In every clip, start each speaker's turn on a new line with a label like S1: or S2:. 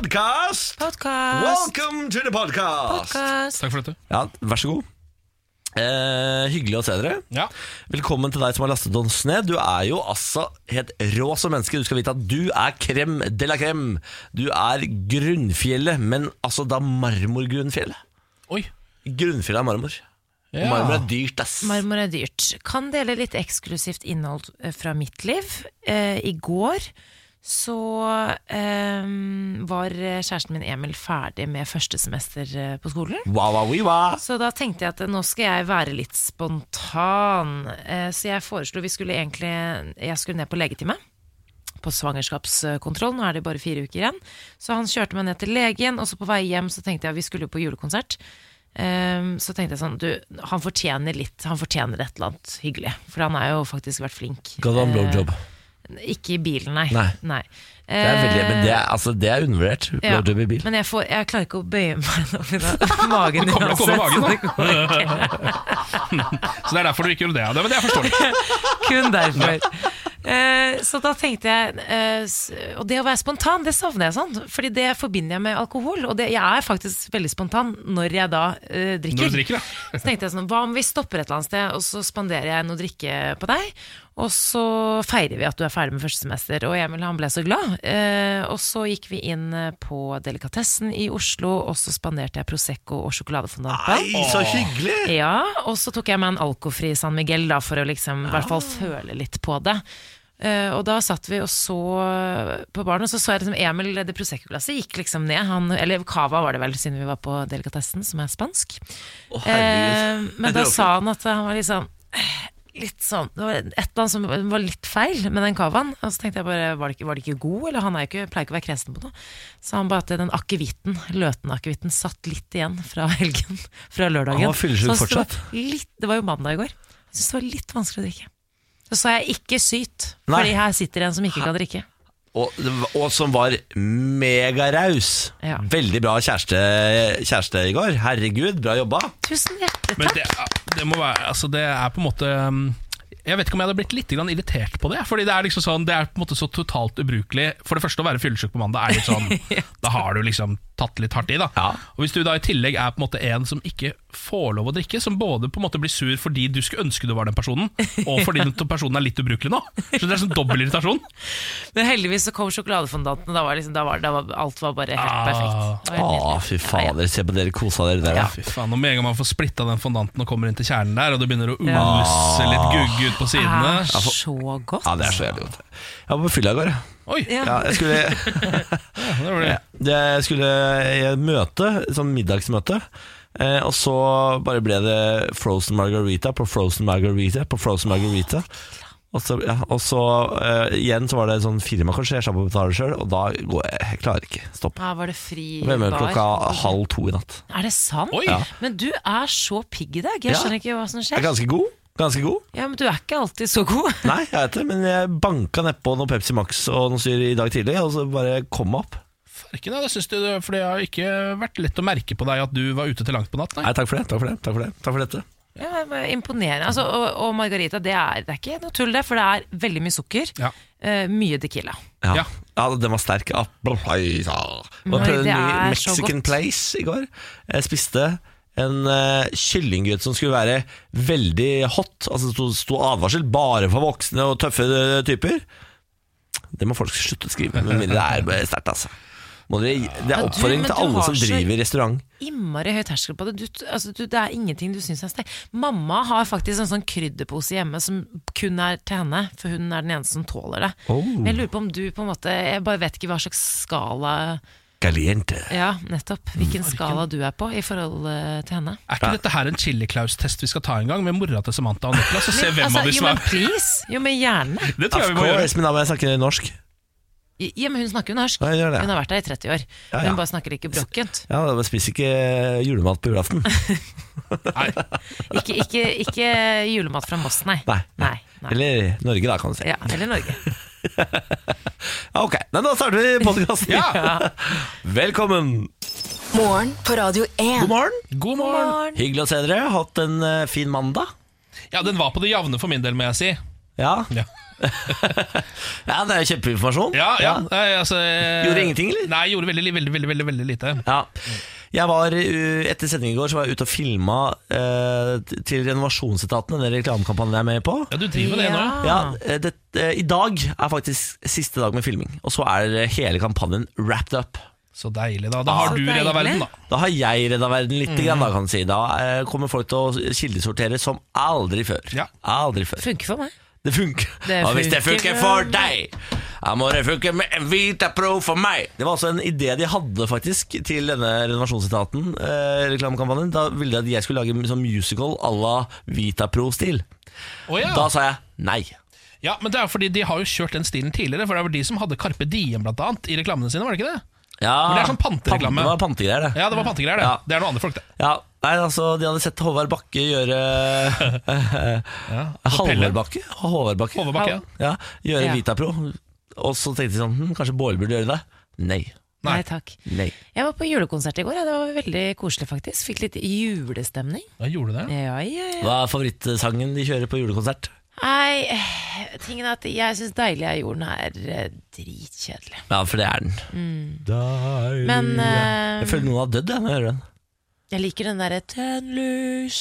S1: podcast!
S2: Podkast!
S1: Welcome to the podcast!
S3: Takk for dette.
S1: Ja, vær så god. Eh, hyggelig å se dere.
S3: Ja.
S1: Velkommen til deg som har lastet oss ned. Du er jo altså helt rå som menneske. Du skal vite at du er krem de la krem. Du er grunnfjellet, men altså da marmorgrunnfjellet.
S3: Oi.
S1: Grunnfjellet er marmor. Og
S3: Ja.
S1: Marmor er dyrt, ass.
S2: Marmor er dyrt. Kan dele litt eksklusivt innhold eh, fra mitt liv. Eh, I går så eh, var eh, kjæresten min Emil ferdig med førstesemester eh, på skolen.
S1: Wa, wa, wi, wa.
S2: Så da tenkte jeg at nå skal jeg være litt spontan. Eh, Så jeg foreslo vi skulle egentlig Jeg skulle ned på legetime. På svangerskapskontroll. Nå er det bare fire uker igjen. Så han kjørte meg ned til legen, og så på vei hjem så tenkte jeg vi skulle jo på julekonsert. Ehm, så tenkte jeg sånn Du, han fortjener litt. Han fortjener et eller annet hyggelig. For han har jo faktisk vært flink.
S1: Ga du ham blowjob?
S2: Eh, Ikke i bilen, nei.
S1: Nei. Det er veldig, men det er, altså, det er undervurdert.
S2: Eh, Ja,
S1: Blowjob i bil.
S2: Men jeg, får, jeg klarer ikke å bøye meg over den- magen
S3: Kommer det å komme magen,
S2: så
S3: da?
S2: det går ikke.
S3: Så det er derfor du ikke gjorde det. Ja, det- Men det er forståelig.
S2: Kun derfor. Eh, så da tenkte jeg eh, s- Og det å være spontan, det savner jeg sånn. Fordi det forbinder jeg med alkohol. Og det, jeg er faktisk veldig spontan når jeg da eh, drikker.
S3: Når du drikker, ja.
S2: Så tenkte jeg sånn, hva om vi stopper et eller annet sted, og så spanderer jeg noe drikke på deg, og så feirer vi at du er ferdig med første semester. Og Emil han ble så glad. Eh, og så gikk vi inn eh, på Delikatessen i Oslo, og så spanderte jeg Prosecco og sjokoladefondant på.
S1: Nei, så hyggelig!
S2: Ja, og så tok jeg meg en alkofri San Miguel da, for å liksom, i hvert fall føle litt på det. Eh, og da satt vi og så på baren, og så så jeg liksom Emil det Prosecco-glasset gikk liksom ned. Han, eller Cava var det vel, siden vi var på Delicatessen, som er spansk.
S1: Å,
S2: Eh,
S1: herregud.
S2: men da sa han at han var litt sånn eh, Litt sånn, Det var et eller annet som var litt feil med den cavaen. Og så tenkte jeg bare, var det ikke, var det ikke god? Eller han er jo ikke, pleier ikke å være kresen på noe. Så han bare at den akevitten, løten-akevitten, satt litt igjen fra helgen. Fra lørdagen.
S1: Han var fyllesyk
S2: Så han syntes det var Litt, det var jo mandag i går. Jeg syntes det var litt vanskelig å drikke. Så sa jeg ikke syt,
S1: Nei.
S2: fordi her sitter en som ikke kan drikke.
S1: Og, og som var megaraus.
S2: Ja.
S1: Veldig bra kjæreste, kjæreste i går. Herregud, bra jobba.
S2: Tusen hjertelig
S3: Men
S2: takk.
S3: det, er- det må være Altså, det er på en måte um, jeg vet ikke om jeg hadde blitt litt grann irritert på det. Fordi Det er liksom sånn, det er på en måte så totalt ubrukelig. For det første, å være fyllesyk på mandag er litt sånn Da har du liksom tatt litt hardt i. da
S1: Ja.
S3: Og Hvis du da i tillegg er på en måte en som ikke får lov å drikke, som både på en måte blir sur fordi du skulle ønske du var den personen, og fordi den personen er litt ubrukelig nå. Så det er sånn dobbel irritasjon.
S2: Men heldigvis så kom sjokoladefondanten, og da var, liksom, da var, da var alt var bare helt
S3: Ah.
S2: perfekt. Det var
S1: Å,
S2: helt nydelig.
S1: fy
S2: Ja, ja.
S1: fader. Se på dere kosa dere der.
S2: Ja.
S1: da.
S3: Fy faen, og Med en gang man får splitta den fondanten og kommer inn til kjernen der, og det begynner å umse litt gugge ut på
S2: er
S3: sidene
S2: Ah, så godt.
S1: Ja, det er så jævlig godt. Jeg var på fylla i går. jeg.
S3: Oi!
S2: Ja.
S1: Ja, jeg skulle,
S3: det var det.
S1: jeg skulle i et møte, et sånn middagsmøte. Eh, og så bare ble det frozen margarita på frozen margarita på frozen margarita. Og så, ja, og så eh, igjen så var det sånn firma, kanskje. Jeg slapp å betale sjøl, og da går jeg, jeg klarer ikke. Stopp.
S2: Her var det fri
S1: Jeg ble med klokka
S2: bar.
S1: halv to i natt.
S2: Er det sant?
S3: Oi!
S1: Ja.
S2: Men du er så pigg i dag. Jeg
S1: Ja.
S2: skjønner ikke hva som
S1: Jeg er
S2: skjer.
S1: ganske god. Ganske god.
S2: Ja, men Du er ikke alltid så god.
S1: Nei, jeg vet det, men jeg banka nedpå noe Pepsi Max og noe syre i dag tidlig, og så bare kom jeg opp.
S3: Farken, ja, det syns du, for det har ikke vært lett å merke på deg at du var ute til langt på natt. Nei.
S1: Nei, takk for det. Takk for det. Takk for, det, takk for dette.
S2: Ja, men Imponerende. Altså, og, og Margarita, det er, det er ikke noe tull, det, for det er veldig mye sukker.
S3: Ja.
S2: eh, mye Tequila.
S1: Ja.
S3: Ja.
S1: ja. den var sterk. Ah, bla, bla, ja. Og
S2: Nei,
S1: jeg prøvde en
S2: det
S1: ny
S2: er så
S1: Mexican
S2: godt.
S1: Place i går. Jeg spiste en uh, kyllingrøt som skulle være veldig hot. Altså Det sto- sto advarsel bare for voksne og tøffe eh, typer. Det må folk slutte å skrive, med mindre det er sterkt, altså. Må dere, det er
S2: du,
S1: oppfordring
S2: men
S1: til
S2: du
S1: alle
S2: har
S1: som
S2: så-
S1: driver restaurant.
S2: Innmari høy terskel på det. Du, t- altså, du, det er ingenting du syns er sterkt. Mamma har faktisk en sånn krydderpose hjemme som kun er til henne, for hun er den eneste som tåler det.
S1: Oh.
S2: Men Jeg lurer på om du på en måte Jeg bare vet ikke hva slags skala
S1: Caliente.
S2: Ja, nettopp.
S1: Mm.
S2: Hvilken skala du er på i forhold eh, til henne.
S3: Er ikke dette her en Chili-Klaus-test vi skal ta en gang, med mora til Samantha og Niklas, og se hvem
S2: altså,
S3: av de
S2: jo,
S3: som
S2: men
S3: er
S2: please! Jo, men gjerne.
S3: Det tror jeg
S1: Of
S3: vi må gjøre.
S1: course, men da må jeg snakke norsk.
S2: I- Ja, men hun snakker jo norsk.
S1: Ja, jeg gjør det.
S2: Hun har vært der i 30 år.
S1: Ja, ja.
S2: Hun bare snakker ikke brokkent.
S1: Ja, da Spiser ikke julemat på julaften.
S3: Nei.
S2: Ikke, ikke, ikke julemat fra Moss, nei.
S1: Nei.
S2: nei, nei.
S1: Eller Norge, da, kan du si.
S2: Ja, eller Norge.
S1: Ja, ok, Nei, da starter vi podkasten.
S3: Ja.
S1: Velkommen!
S4: Morgen på Radio 1.
S1: God morgen.
S3: God morgen!
S1: Hyggelig å se dere. Hatt en eh, fin mandag.
S3: Ja, den var på det jevne for min del, må jeg si.
S1: Ja.
S3: Ja.
S1: Ja, det er jo kjempeinformasjon.
S3: Ja, ja. Nei, altså, eh,
S1: Gjorde ingenting, eller?
S3: Nei, gjorde veldig, li- veldig, veldig, veldig, veldig lite.
S1: Ja. Jeg var, uh, etter sendingen i går så var jeg ute og filma eh, til renovasjonsetaten, den reklamekampanjen jeg er med på.
S3: Ja, du driver med det nå?
S2: Ja.
S1: Ja, eh, det, eh, I dag er faktisk siste dag med filming, og så er eh, hele kampanjen wrapped up.
S3: Så deilig, da. Da
S2: Ah,
S3: har
S2: så
S3: du redda
S2: deilig.
S3: verden, da.
S1: Da har jeg redda verden litt, grann, da,
S3: Mhm.
S1: kan du si. Da eh, kommer folk til å kildesortere som aldri før.
S3: Ja.
S1: Aldri før.
S2: Funker for meg.
S1: Det funker.
S2: Det
S1: og hvis det
S2: funker
S1: funker for deg, da må det funke med en Vita Pro for meg. Det var også en idé de hadde faktisk til denne renovasjonsetaten, eh, reklamekampanjen. Da ville de at jeg skulle lage en sånn musical à la Vita Pro-stil.
S3: Å, ja.
S1: Da sa jeg nei.
S3: ja, men det er jo fordi De har jo kjørt den stilen tidligere. For Det var de som hadde Carpe Diem blant annet, i reklamene sine. var det ikke det?
S1: Ja,
S3: Men det er sånn pantereklame.
S1: Det var pantegreier, det.
S3: Ja, det var pantegreier, det.
S1: Ja.
S3: Det er noen andre folk, det.
S1: Ja, nei, altså, De hadde sett Håvard Bakke gjøre
S3: Ja.
S1: Halvor Bakke? Håvard Bakke.
S3: Håvard Bakke, ja.
S1: Ja, gjøre
S2: Ja.
S1: Vita Pro. Og så tenkte de sånn hm, Kanskje Bård burde gjøre det? Nei.
S3: Nei.
S2: Nei, takk.
S1: Nei.
S2: Jeg var på julekonsert i går. Ja. Det var veldig koselig, faktisk. Fikk litt julestemning.
S3: Da gjorde du det.
S2: Ja, ja, ja.
S1: Hva er favorittsangen de kjører på julekonsert?
S2: Nei, eh, tingen er at jeg syns 'Deilig er jorden' er eh, dritkjedelig.
S1: Ja, for det er den.
S2: Mm. Men eh,
S1: Jeg føler noen har dødd jeg, når jeg hører den.
S2: jeg liker den derre 'Tenn lys'.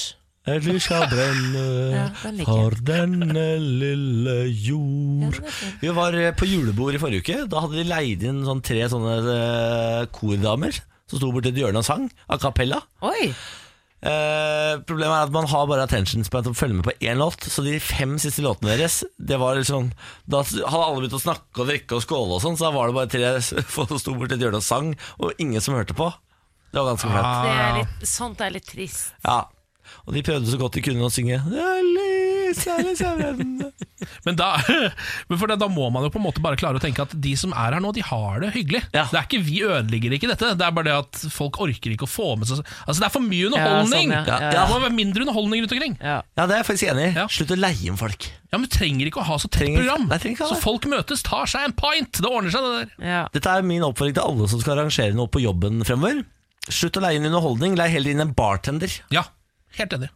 S1: Eller skal brenne
S2: Ja, den liker jeg.
S1: denne lille
S2: Ja,
S1: jord
S2: den er fin.
S1: Vi var eh, på julebord i forrige uke. Da hadde de leid inn sånn tre sånne eh, kordamer som sto borti et hjørne og sang a cappella.
S2: Oi!
S1: Eh, problemet er at man har bare attention span til å følge med på én låt, så de fem siste låtene deres Det var liksom Da hadde alle begynt å snakke og drikke og skåle og sånn, så da var det bare tre s- folk som sto borti et hjørne og sang, og ingen som hørte på. Det var ganske flaut.
S2: Det er
S3: Ah,
S2: litt, sånt er litt trist.
S1: Ja. Og de prøvde så godt de kunne å synge «Ja, lys, ja, lys, ja, brennende».
S3: men da, men for da, da må man jo på en måte bare klare å tenke at de som er her nå, de har det hyggelig.
S1: Ja.
S3: Det er ikke Vi ødelegger ikke dette, det er bare det at folk orker ikke å få med seg Altså Det er for mye underholdning!
S2: Ja, sånn, ja.
S1: Ja,
S3: Det
S1: ja.
S3: må være mindre underholdning rundt omkring.
S2: Ja.
S1: Ja, det er jeg faktisk enig i.
S3: Ja.
S1: Slutt å leie inn folk.
S3: Ja, men Du trenger ikke å ha så tett
S1: Trenger-
S3: program.
S1: Nei, trenger ikke ha
S3: så
S1: det.
S3: folk møtes, tar seg en pint. Det ordner seg, det der.
S2: Ja.
S1: Dette er min oppfordring til alle som skal arrangere noe på jobben fremover. Slutt å leie inn underholdning, leie heller inn en bartender.
S3: Ja, helt enig.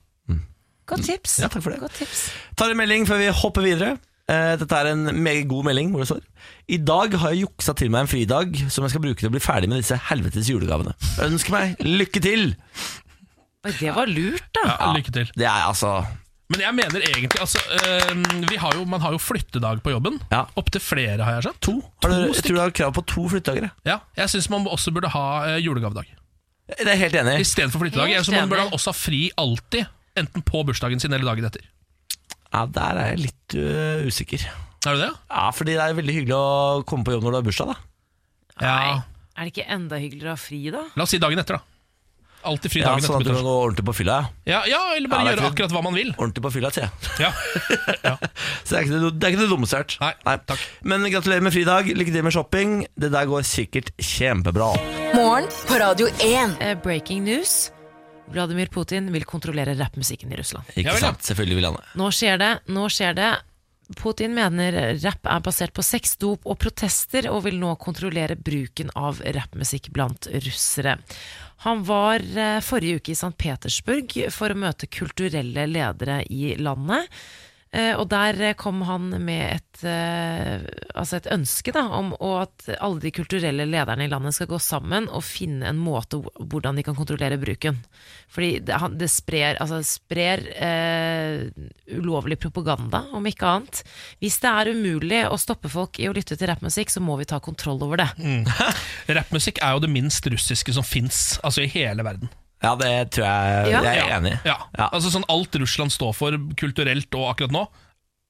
S2: Godt tips.
S1: Ja, takk for det.
S2: Godt tips.
S1: Tar en melding før vi hopper videre. Eh, Dette er en meget god melding hvor det står I dag har jeg juksa til meg en fridag som jeg skal bruke til å bli ferdig med disse helvetes julegavene. Ønsk meg lykke til!
S2: Oi, det var lurt, da.
S3: Ja, Lykke til.
S1: Det er altså
S3: Men jeg mener egentlig altså, øhm, vi har jo, Man har jo flyttedag på jobben.
S1: Ja.
S3: Opptil flere, har jeg skjønt.
S1: To. Har du, jeg
S3: stykker.
S1: tror du har krav på to flyttedagere.
S3: Ja, jeg syns man også burde ha øh, julegavedag
S1: Det er jeg helt enig.
S3: I
S1: i.
S3: stedet for flyttedag.
S2: Helt
S3: Ellers så man burde
S2: enig.
S3: man også ha fri alltid. Enten på bursdagen sin eller dagen etter.
S1: Ja, der er jeg litt øh, usikker.
S3: Er du det?
S1: Ja, fordi det er veldig hyggelig å komme på jobb når du har bursdag, da.
S3: Ja.
S2: Er det ikke enda hyggeligere å ha fri, da?
S3: La oss si dagen etter, da. Alltid fri
S1: Ja,
S3: dagen
S1: sånn at
S3: etter.
S1: du kan
S3: på torsdag.
S1: gå ordentlig på fylla. ja.
S3: Ja, ja, eller bare
S1: Ja, det er
S3: gjøre
S1: fint.
S3: akkurat hva man vil.
S1: Ordentlig på fylla, sier jeg.
S3: Ja. ja.
S1: Så det er ikke det, det, er ikke det dummeste jeg har hørt.
S3: Nei, takk.
S1: Men gratulerer med fridag, lykke til med shopping. Det der går sikkert kjempebra.
S4: Morgen på Radio 1.
S2: Eh, breaking news. Vladimir Putin vil kontrollere rappmusikken i Russland.
S1: Ikke
S3: Ja vel, ja.
S1: sant, selvfølgelig vil han det.
S2: Nå skjer det, nå skjer det. Putin mener rapp er basert på sex, dop og protester, og vil nå kontrollere bruken av rappmusikk blant russere. Han var eh, forrige uke i St. Petersburg for å møte kulturelle ledere i landet. Eh, Og der eh, kom han med et, eh, altså et ønske da, om å- at alle de kulturelle lederne i landet skal gå sammen og finne en måte hvor- hvordan de kan kontrollere bruken. Fordi det, han, det sprer, altså, det sprer eh, ulovlig propaganda, om ikke annet. Hvis det er umulig å stoppe folk i å lytte til rappmusikk, så må vi ta kontroll over det.
S3: Rappmusikk er jo det minst russiske som fins altså i hele verden.
S1: Ja, det tror jeg
S2: Ja.
S1: jeg er enig i.
S3: Ja.
S1: Ja.
S3: Altså sånn Alt Russland står for kulturelt og akkurat nå,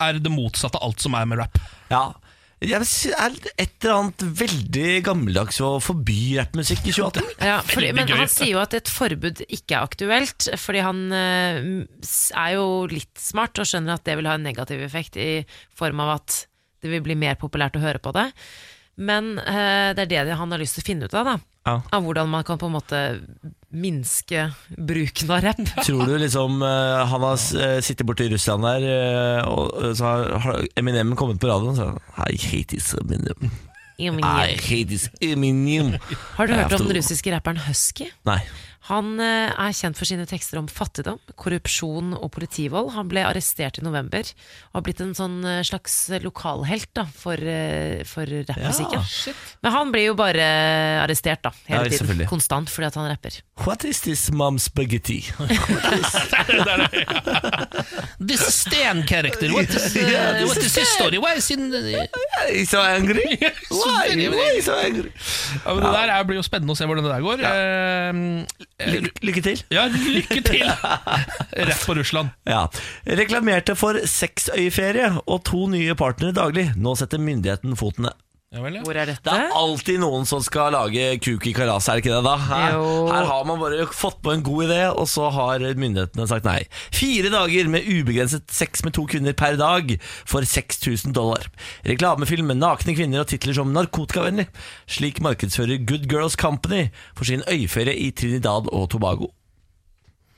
S3: er det motsatte av alt som er med rap.
S1: Ja. Jeg vil si, er det et eller annet veldig gammeldags å forby rappmusikk i 2018.
S2: Ja, fordi,
S3: Veldig
S2: men
S3: gøy.
S2: han sier jo at et forbud ikke er aktuelt, fordi han eh, s- er jo litt smart og skjønner at det vil ha en negativ effekt i form av at det vil bli mer populært å høre på det. Men eh, det er det han har lyst til å finne ut av, da.
S1: Ja.
S2: Av hvordan man kan på en måte minske bruken av rapp.
S1: Tror du liksom eh, han har eh, sittet borte i Russland der, eh, og eh, så har- har Eminem kommet på radioen og sagt I hate this Eminem. I hate this Eminem.
S2: Har du hørt om
S1: Jeg
S2: den
S1: tror-
S2: russiske rapperen Husky?
S1: Nei.
S2: Han eh, er kjent for sine tekster om fattigdom, korrupsjon og politivold. Han ble arrestert i november og har blitt en sånn eh, slags lokalhelt da, for, eh, for rappmusikken.
S1: Ja,
S2: Men han blir jo bare eh, arrestert da, hele
S1: Ja,
S2: tiden,
S1: selvfølgelig.
S2: konstant, fordi at han rapper.
S1: What is this mom spaghetti?
S3: This is Stan
S2: eh,
S3: character.
S1: What is, uh, Yeah, what
S3: is his story? Why is in
S1: He's so angry? Why? Why he's so angry?
S3: ja, men Det der er, blir jo spennende å se hvordan det der går. Eh,
S1: Lykke, lykke til.
S3: ja, lykke til! Rett på Russland.
S1: Ja. Reklamerte for seksøyferie og to nye partnere daglig. Nå setter myndigheten foten ned.
S3: Ja, vel, ja.
S2: Hvor er dette?
S1: Det er alltid noen som skal lage kuk i kalaset, er det ikke det da? Her,
S2: Jo.
S1: her har man bare fått på en god idé, og så har myndighetene sagt nei. Fire dager med ubegrenset sex med to kvinner per dag for 6000 dollar. Reklamefilm med nakne kvinner og titler som narkotikavennlig. Slik markedsfører Good Girls Company for sin øyferie i Trinidad og Tobago.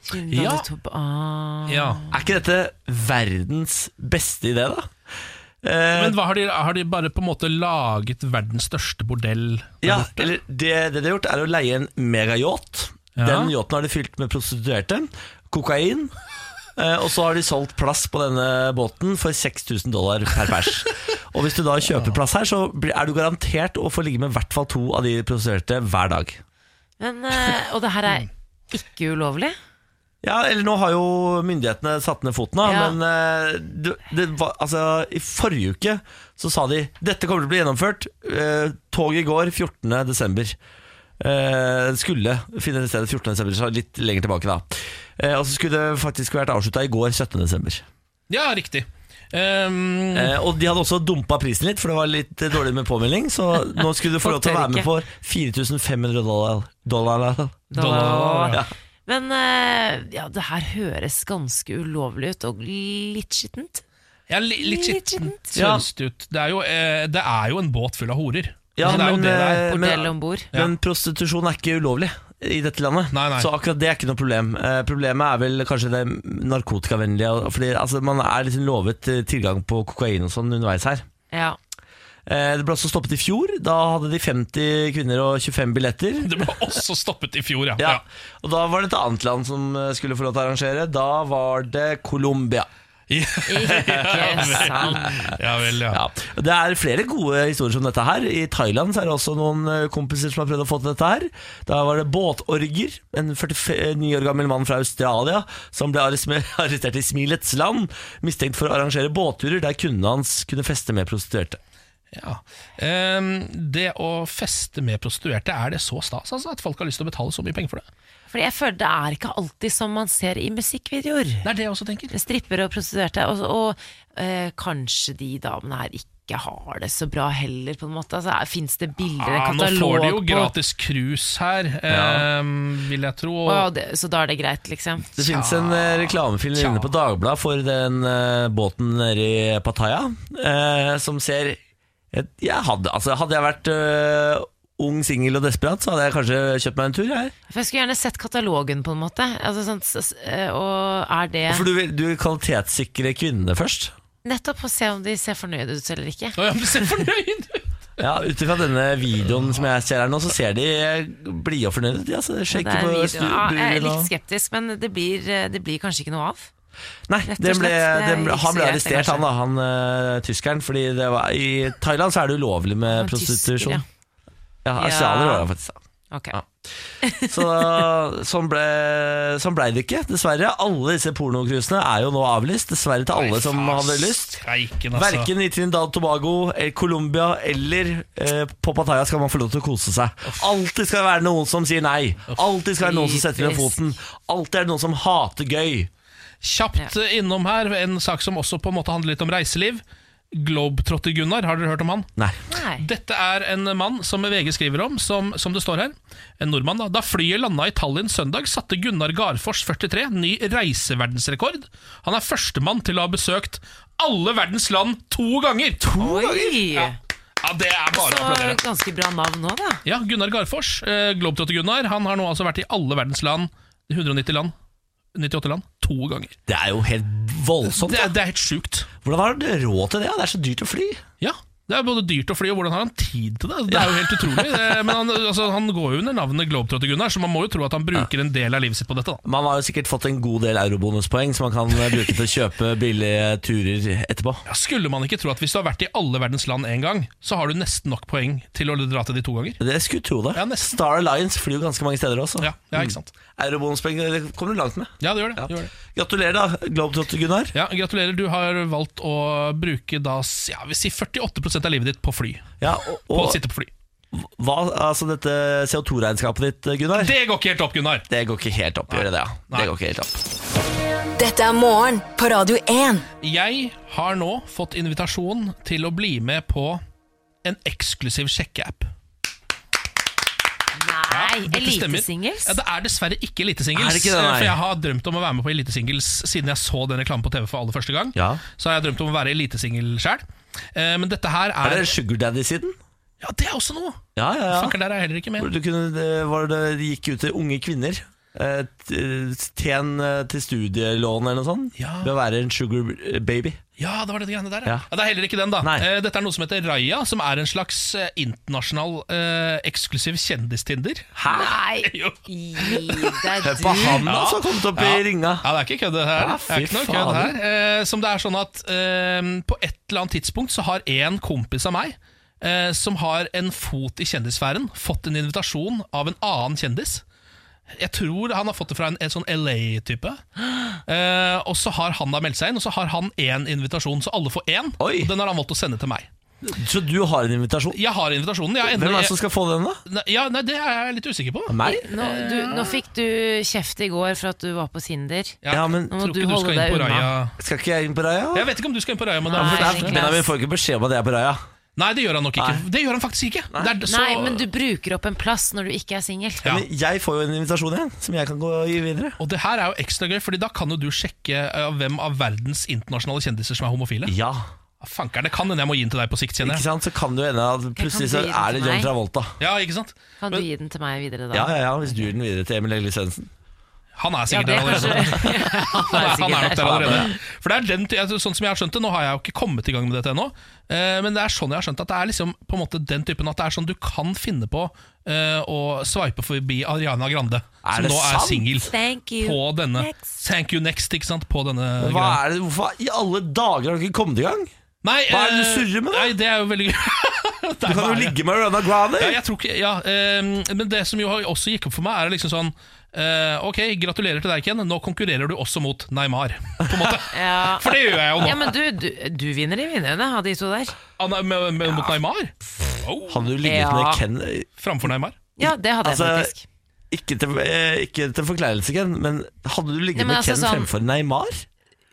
S2: Trinidad
S3: Ja.
S2: og Tob- Ah.
S3: Ja.
S1: Er ikke dette verdens beste idé, da? Eh,
S3: Men hva har, de, har de bare på en måte laget verdens største bordell? der
S1: Ja,
S3: borte?
S1: eller det, det de har gjort er å leie en megayacht.
S3: Ja.
S1: Den yachten har de fylt med prostituerte, kokain. eh, Og så har de solgt plass på denne båten for 6000 dollar per pers. Og hvis du da kjøper plass her, så blir- er du garantert å få ligge med i hvert fall to av de prostituerte hver dag.
S2: Men, eh, og det her er ikke ulovlig?
S1: Ja, eller nå har jo myndighetene satt ned foten, da,
S2: Ja.
S1: men eh, det, det var, altså, i forrige uke så sa de dette kommer til å bli gjennomført. Eh, Toget går 14. desember. Eh, skulle finne stedet 14. desember, så litt lenger tilbake da. Eh, og så skulle det faktisk vært avslutta i går, 17. desember.
S3: ja riktig. Um,
S1: Eh, og de hadde også dumpa prisen litt, for det var litt eh, dårlig med påmelding. Så nå skulle du få lov til å være med på 4500 dollar. dollar.
S2: Da-
S3: Dollar, ja.
S2: Men eh, ja, det her høres ganske ulovlig ut, og litt skittent.
S3: ja, li, litt
S2: Litt
S3: skittent.
S2: skittent.
S1: Ja.
S3: Sønst ut. Det er, jo, eh, det er jo en båt full av horer.
S1: Ja,
S3: Altså, det er jo
S1: men,
S3: det det er.
S1: eh,
S2: Bordell om bord.
S1: Men prostitusjon er ikke ulovlig i dette landet,
S3: Nei, nei.
S1: så akkurat det er ikke noe problem. Eh, problemet er vel kanskje det narkotikavennlige. og- Fordi altså, Man er liksom lovet eh, tilgang på kokain og sånn underveis her.
S2: Ja.
S1: Eh, det ble også stoppet i fjor. Da hadde de 50 kvinner og 25 billetter.
S3: Det ble også stoppet i fjor, ja.
S1: Ja. Og da var det et annet land som eh, skulle få lov til å arrangere. Da var det Colombia.
S3: ja.
S2: Ikke sant.
S3: ja vel, ja.
S1: Ja. Det er flere gode historier som dette her. I Thailand så er det også noen eh, kompiser som har prøvd å få til dette her. Da var det båtorger. En 49 år gammel mann fra Australia som ble arres- arrestert i Smilets land, mistenkt for å arrangere båtturer der kundene hans kunne feste med prostituerte.
S3: Ja. Ehm, det å feste med prostituerte, er det så stas altså, at folk har lyst til å betale så mye penger for det?
S2: Fordi jeg føler det er ikke alltid som man ser i musikkvideoer.
S3: Det er det jeg også tenker.
S2: Strippere og prostituerte. Og, og eh, kanskje de damene her ikke har det så bra heller, på en måte. Altså, Fins det bilder,
S3: Ja,
S2: en
S3: Ah, nå
S2: katalog
S3: får de jo
S2: på
S3: gratis cruise her, ehm, vil jeg tro. Og,
S2: Å, det, Så da er det greit, liksom?
S1: Det finnes en eh, reklamefilm
S3: Tja.
S1: inne på Dagbladet for den eh, båten nede i Pattaya, eh, som ser jeg, jeg hadde, altså, hadde jeg vært eh, ung, singel og desperat, så hadde jeg kanskje kjøpt meg en tur. Jeg.
S2: For jeg skulle gjerne sett katalogen, på en måte. Altså, sånn, s- s- eh, og er det
S1: For du, vil- du vil kvalitetssikre kvinnene først?
S2: Nettopp å se om de ser fornøyde ut eller ikke.
S3: Å, ja, men se fornøyd ut!
S1: Ja, Ut ifra denne videoen som jeg ser her nå, så ser de blide og fornøyde ut. de, Altså,
S2: Det
S1: sjekker
S2: er
S1: på
S2: mye-
S1: stu-
S2: ja, jeg er
S1: bruden
S2: litt
S1: og-
S2: skeptisk, men det blir, eh, det blir kanskje ikke noe av.
S1: Nei,
S2: rett og
S1: den ble,
S2: slett, det er
S1: den ble,
S2: ikke så
S1: han ble
S2: greit, det,
S1: arrestert,
S2: kanskje.
S1: han da, han eh, tyskeren. Fordi det var, i Thailand så er det ulovlig med
S2: Han er tysker,
S1: prostitusjon.
S2: ja.
S1: Ja, asianer var han faktisk. da.
S2: Ok.
S1: Ja. Så sånn ble, sånn ble det ikke, dessverre. Alle disse pornocruisene er jo nå avlyst, dessverre til alle som hadde lyst.
S3: Streiken, altså.
S1: Verken i Trinidad Tobago, eh, Colombia eller eh, på Pattaya skal man få lov til å kose seg. Alltid skal det være noen som sier nei. Alltid skal det være noen som setter ned
S2: Typisk.
S1: foten. Alltid er det noen som hater gøy.
S3: Kjapt eh, innom her, en sak som også på en måte handler litt om reiseliv. Globetrotter-Gunnar, har dere hørt om han?
S1: Nei.
S2: Nei.
S3: Dette er en mann som VG skriver om, som, som det står her. En nordmann, da. Da flyet landa i Tallinn søndag, satte Gunnar Garfors 43 ny reiseverdensrekord. Han er førstemann til å ha besøkt alle verdens land to ganger!
S2: Oi!
S3: Ja. ja, det er bare å
S2: Så
S3: applaudere.
S2: ganske bra navn nå, da.
S3: Ja, Gunnar Garfors, eh, Globetrotter-Gunnar, han har nå altså vært i alle verdens land, 190 land, 98 land, to ganger.
S1: Det er jo helt voldsomt.
S3: Det,
S1: da.
S3: er- det er helt sjukt.
S1: Hvordan har du råd til det? da? Det er så dyrt å fly.
S3: Ja. Det er både dyrt å fly, og hvordan har han tid til det? Det er jo helt utrolig. Det, men han, altså, han går jo under navnet Globetrotter-Gunnar, så man må jo tro at han bruker en del av livet sitt på dette. da
S1: Man har jo sikkert fått en god del eurobonuspoeng som man kan eh, bruke til å kjøpe billige turer etterpå.
S3: ja, Skulle man ikke tro at hvis du har vært i alle verdens land én gang, så har du nesten nok poeng til å dra til de to ganger?
S1: Det skulle tro det.
S3: Ja, nesten.
S1: Star Alliance flyr jo ganske mange steder også.
S3: Ja, ja ikke sant?
S1: Eurobonuspoeng det kommer du langt med.
S3: Ja, det gjør det.
S1: Ja.
S3: det gjør det.
S1: Gratulerer, da, Globetrotter Gunnar.
S3: Ja, Gratulerer. Du har valgt å bruke da, s- ja, vi sier 48 av livet ditt på fly.
S1: Ja, og,
S3: På å
S1: og
S3: sitte på fly.
S1: hva, altså dette CO2-regnskapet ditt, Gunnar,
S3: Det går ikke helt opp, Gunnar!
S1: det går ikke helt opp. Gjør det det, ja.
S3: Nei.
S1: Det går ikke helt opp.
S4: Dette er morgen på Radio 1.
S3: Jeg har nå fått invitasjon til å bli med på en eksklusiv sjekkeapp.
S2: Nei,
S3: dette stemmer.
S2: elitesingels?
S3: Ja, det er dessverre ikke Elitesingles.
S1: Er det ikke det, nei?
S3: for jeg har drømt om å være med på Elitesingles siden jeg så den reklamen på TV for aller første gang.
S1: Ja.
S3: Så har jeg drømt om å være elitesingel sjøl. Men dette her er,
S1: Er det Sugar Daddy-siden?
S3: Ja, det er også noe!
S1: Ja, ja, ja.
S3: Fucker, der er jeg heller ikke med.
S1: Du kunne, det, var det, det gikk ut til unge kvinner. Eh, t- Tjen eh, til studielån eller noe sånt.
S3: Ja.
S1: Ved å være en sugar baby.
S3: Ja, det var det greiene der, ja.
S1: Ja.
S3: ja. Det er heller ikke den, da.
S1: Nei.
S3: Eh, Dette er noe som heter Raya, som er en slags eh, internasjonal eh, eksklusiv kjendistinder.
S2: Nei,
S3: Jo.
S2: gi deg
S1: Hør
S2: du.
S1: på han
S3: Ja.
S1: som har kommet opp i ringa!
S3: Ja, det er ikke kødd det her.
S1: Ja,
S3: det er
S1: fy
S3: ikke noe kødd
S1: fader.
S3: her. Eh, som det er sånn at eh, på et eller annet tidspunkt så har en kompis av meg eh, som har en fot i kjendissfæren, fått en invitasjon av en annen kjendis. Jeg tror han har fått det fra en, en sånn LA-type. Eh, og så har han da meldt seg inn, og så har han én invitasjon, så alle får én.
S1: Oi.
S3: Og den har han valgt å sende til meg.
S1: Så du har en invitasjon?
S3: Jeg har invitasjonen. Jeg har
S1: Hvem er det
S3: endelig-
S1: som skal få den, da?
S3: Nei, ja, nei, det er jeg litt usikker på.
S1: Meg?
S2: Nå, du, nå fikk du kjeft i går for at du var på Tinder.
S1: Ja, men-
S2: Nå må
S3: tror
S2: du
S3: ikke du
S2: holde
S3: skal inn
S2: deg
S3: på
S2: unna.
S3: Raja.
S1: Skal ikke jeg inn på Raja?
S3: Jeg vet ikke om du skal inn på Raja, men det er
S2: Nei,
S3: for-
S1: For der-
S2: Niklas.
S1: Benjamin får ikke beskjed om at jeg er på Raja.
S3: Nei, det gjør han nok ikke.
S1: Nei.
S3: Det gjør han faktisk ikke. Det er så-
S2: Nei, men du bruker opp en plass når du ikke er singel.
S3: Ja.
S1: Men jeg får jo en invitasjon igjen, som jeg kan gå og gi videre.
S3: Og det her er jo ekstra gøy, Fordi da kan jo du sjekke eh, hvem av verdens internasjonale kjendiser som er homofile.
S1: Ja,
S3: Fanker, det kan hende jeg må gi den til deg på sikt, kjenner
S1: ikke
S3: jeg.
S1: sant? Så kan det jo ende at plutselig så
S2: du gi den
S1: er det
S2: til
S1: John
S2: meg?
S1: Travolta.
S3: Ja, ikke sant?
S2: Kan du gi den til meg videre da?
S1: Ja, ja, ja, hvis du gir den videre til Emil Egil Svendsen.
S3: Han er
S2: Ja,
S3: sikkert
S2: det
S3: der
S2: er kanskje
S3: allerede. Han er, han er nok
S2: sikkert
S3: der
S2: der.
S3: allerede. For det er den, ty- altså, sånn som jeg har skjønt det, Nå har jeg jo ikke kommet i gang med dette ennå, eh, men det er sånn jeg har skjønt at det er liksom på en måte den typen at det er sånn du kan finne på eh, å sveipe forbi Ariana Grande,
S1: Er
S3: som
S1: det
S3: nå er
S1: sant?
S3: singel.
S2: Thank you.
S3: På denne
S2: Next.
S3: Thank you next, ikke sant? På denne
S1: Hva
S3: greia.
S1: er det, hvorfor i alle dager har du ikke kommet i gang?
S3: Nei,
S1: Hva er det du
S3: eh,
S1: surrer med, da?
S3: Nei, det er jo veldig gøy.
S1: Du kan jo ligge med Rana Grande!
S3: Ja, jeg tror ikke, ja, eh, men det som jo har- også gikk opp for meg, er liksom sånn eh, Ok, gratulerer til deg, Ken. Nå konkurrerer du også mot Neymar. På en måte.
S2: Ja.
S3: For det gjør jeg jo nå.
S2: Ja, men du, du, du vinner i vinnerne av de to der.
S3: Ah, nei, med, med, Mot Neymar? Oh,
S1: Hadde du ligget
S2: Ja.
S1: med Ken
S3: framfor Neymar?
S2: Ja, det hadde
S1: Altså,
S2: jeg faktisk.
S1: ikke til, eh, ikke til forkleinelse, Ken, men hadde du ligget
S2: Nei, men
S1: med
S2: altså
S1: Ken
S2: sånn-
S1: fremfor Neymar?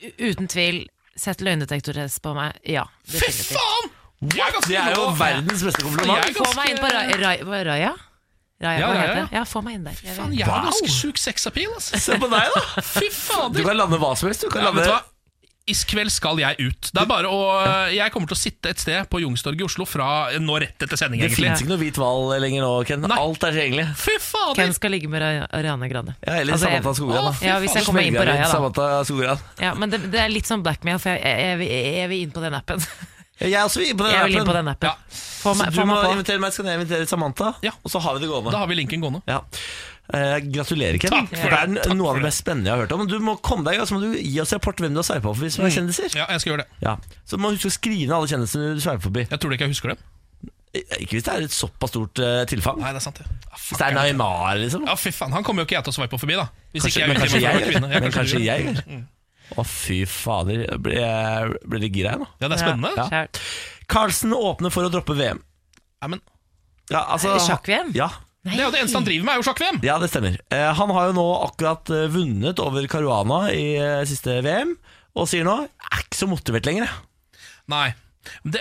S2: U- Uten tvil. Sett løgndetektortest på meg. Ja.
S3: Fy
S2: definitivt.
S3: faen! Jeg er ganske
S1: Det er jo
S3: rå.
S1: verdens beste kompliment.
S3: Jeg er
S2: Få meg inn på Ra-
S3: ganske-
S2: Ra- hva er Raja. Raja,
S3: Ja,
S2: hva
S3: Raja,
S2: heter
S3: ja.
S2: det? Ja, få meg inn der. Jeg
S3: Faen,
S2: vil-
S3: jeg har
S1: Wow.
S3: ganske sjuk sexappeal, altså.
S1: Se på deg, da!
S3: Fy
S1: Du
S3: fader.
S1: kan lande hva som helst. Du kan
S3: Ja, vet
S1: lande
S3: du hva? I kveld skal jeg ut. Det er bare å, eh, jeg kommer til å sitte et sted på Youngstorget i Oslo fra nå rett etter sending.
S1: Det
S3: egentlig
S1: fins ikke noe hvit hval lenger nå, Ken.
S3: Nei.
S1: Alt er tilgjengelig.
S3: Fy fader!
S2: Hvem skal ligge med Ra- Ariane Grande?
S1: Ja, eller
S2: Altså, jeg-
S1: Samantha Skogran.
S3: Å,
S1: da.
S3: fy
S2: Ja, hvis
S3: faen,
S2: jeg kommer inn på Raja, da.
S1: Samantha Skogran.
S2: Ja, men det, det er litt sånn blackmail, for jeg, jeg, jeg, vil- jeg vil inn på den appen.
S1: Ja, Jeg er også vil på den
S2: Jeg vil inn på
S1: appen.
S2: den appen.
S3: Ja.
S2: Få
S1: Så
S2: meg,
S1: du
S2: få
S1: må
S2: meg på.
S1: invitere meg, så kan jeg invitere Samantha,
S3: Ja.
S1: og så har vi det gående.
S3: Da har vi linken gående.
S1: Ja. Eh, gratulerer, Ken.
S3: Takk for
S1: det er
S3: det, takk
S1: noe
S3: for
S1: av det mest spennende jeg har hørt om. Men Du må komme deg i gang, så må du gi oss rapport hvem du har sveipa for hvis du er kjendiser.
S3: Mm. Ja, jeg skal gjøre det.
S1: Ja. Så må du huske å skrine alle kjendisene du sveiper forbi. Eh,
S3: Jeg tror ikke jeg husker dem.
S1: Ikke hvis det er et såpass stort eh, tilfang.
S3: Nei, det er sant det. Ah, fuck,
S1: Hvis det er
S3: jeg-
S1: Neymar, liksom.
S3: Ja, fy faen, Han kommer jo ikke jeg til å sveipe forbi, da. Hvis
S1: Kanskje,
S3: ikke
S1: men
S3: jeg er
S1: kanskje jeg
S3: ute med
S1: gjør det.
S3: kvinne. Mm.
S1: Men kanskje jeg gjør det. Å, fy fader. Jeg Ble jeg ble litt gira, jeg nå.
S3: Ja, det er spennende.
S2: Ja. skjær.
S1: Carlsen åpner for å droppe VM.
S3: Nei, men,
S1: Ja, altså,
S2: Sjakk-VM?
S1: Ja,
S3: det er jo det eneste han driver med, er jo sjakk-VM!
S1: ja, det stemmer. Eh, han har jo nå akkurat eh, vunnet over Caruana i eh, siste VM, og sier nå Jeg er ikke så motivert lenger. jeg».
S3: Nei. Det,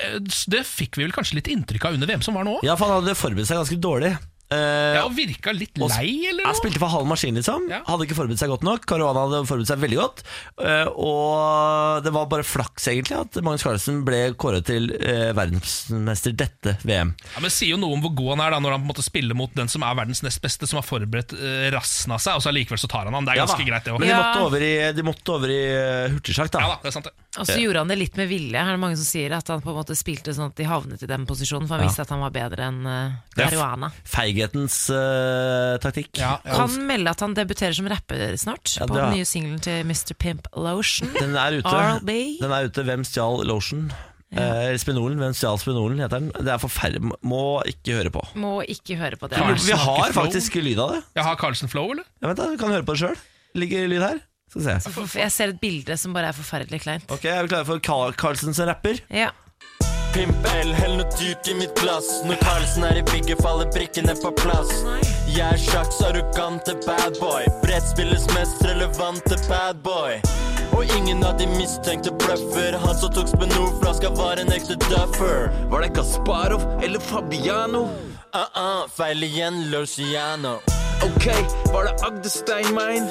S3: det fikk vi vel kanskje litt inntrykk av under VM som var nå òg.
S1: Ja, for han hadde forberedt seg ganske dårlig. Eh,
S3: Jeg virka litt
S1: og sp-
S3: lei, eller
S1: Jeg
S3: noe?
S1: spilte for halv maskin, liksom.
S3: Ja.
S1: Hadde ikke forberedt seg godt nok. Caruana hadde forberedt seg veldig godt. Eh, og det var bare flaks, egentlig, at Magnus Carlsen ble kåret til eh, verdensmester dette VM.
S3: Ja, men det sier jo noe om hvor god han er da når han på en måte spiller mot den som er verdens nest beste, som har forberedt eh, rassen av seg, og så allikevel så tar han han. Det er
S1: Ja da.
S3: ganske greit, det
S1: Men
S3: òg.
S1: de
S3: Ja.
S2: Ja.
S1: måtte over i, de måtte over i eh, hurtigsjakk, da.
S3: da, det er sant, det.
S2: Og så gjorde han det litt med vilje. Her er det mange som sier at han på en måte spilte sånn at de havnet i den posisjonen, for han
S1: Ja.
S2: visste at han var bedre enn uh,
S1: Det er f-
S2: Caruana.
S1: Feighetens eh, taktikk.
S3: Ja, ja.
S2: Kan melde at han debuterer som rapper snart,
S1: Ja,
S2: på
S1: det er-
S2: den nye singelen til Mr. Pimp Lotion.
S1: Den er ute.
S2: R.B.
S1: Den er ute. Hvem stjal lotion? Eh, Spinolen. Hvem stjal spinolen, heter den. Det er forferdelig. Må ikke høre på.
S2: Må ikke høre på det.
S3: Karl
S1: Vi har
S3: snakker flow.
S1: faktisk lyd av det.
S3: Jeg har Carlsen Flow, eller?
S1: Ja, vent da, Du kan høre på det sjøl. Ligger lyd her? Skal vi se.
S2: For- Jeg ser et bilde som bare er forferdelig kleint.
S1: Ok, Er vi klare for Carl Carlsen som rapper?
S2: Ja.
S5: Pimpe L, hell noe dyrt i mitt glass Når Carlsen er i bygget faller brikkene på plass Jeg er sjakks arrogante bad boy Brettspillets mest relevante bad boy Og ingen av de mistenkte bløffer Han som tok spenoflaska var en ekte duffer
S6: Var det Gasparov eller Fabiano?
S5: Uh-uh, feil igjen, Luciano
S6: Ok, var det Agde Steinmein?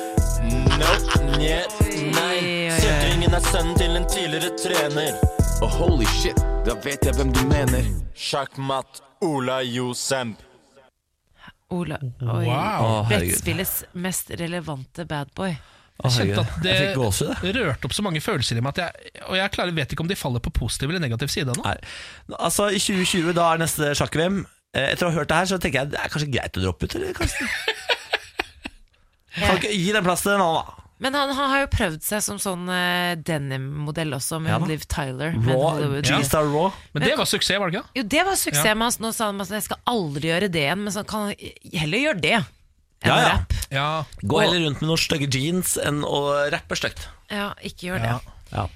S5: Nope, njet,
S2: Oi, oi,
S5: nei
S2: oi.
S5: Søtringen er sønnen til en tidligere trener
S6: Og holy shit, da vet jeg hvem du mener.
S5: Sjakkmatt, Ola Josemp
S2: Ola Oi.
S1: Å, herregud.
S2: Brettspillets mest relevante badboy.
S1: Å,
S3: Jeg
S1: herregud.
S3: kjente at
S1: Jeg fikk gåsehud, jeg.
S3: det rørte opp så mange følelser i meg at jeg Og jeg klarer, vet ikke om de faller på positiv eller negativ side ennå.
S1: Nei. Altså, i 2020, da er neste sjakk-VM. Eh, Etter å ha hørt det her, så tenker jeg det er kanskje greit å droppe ut, eller? Karlsen? Kan ikke gi den plass til en annen, da.
S2: Men han, han har jo prøvd seg som sånn eh, denimmodell også, med
S1: Ja da.
S2: Liv Tyler. med
S1: Raw,
S2: Hollywood.
S1: G-Star Raw.
S3: Men det var suksess, var det ikke?
S2: Jo, det var suksess
S3: Ja.
S2: med hans. Nå sa han at jeg skal aldri gjøre det igjen, men så kan han heller gjøre det enn
S1: Ja, ja.
S2: rapp.
S3: det? Ja.
S1: Gå heller rundt med noen stygge jeans enn å rappe stygt.
S2: Ja, ikke gjør
S3: Ja.
S2: det.
S1: Ja.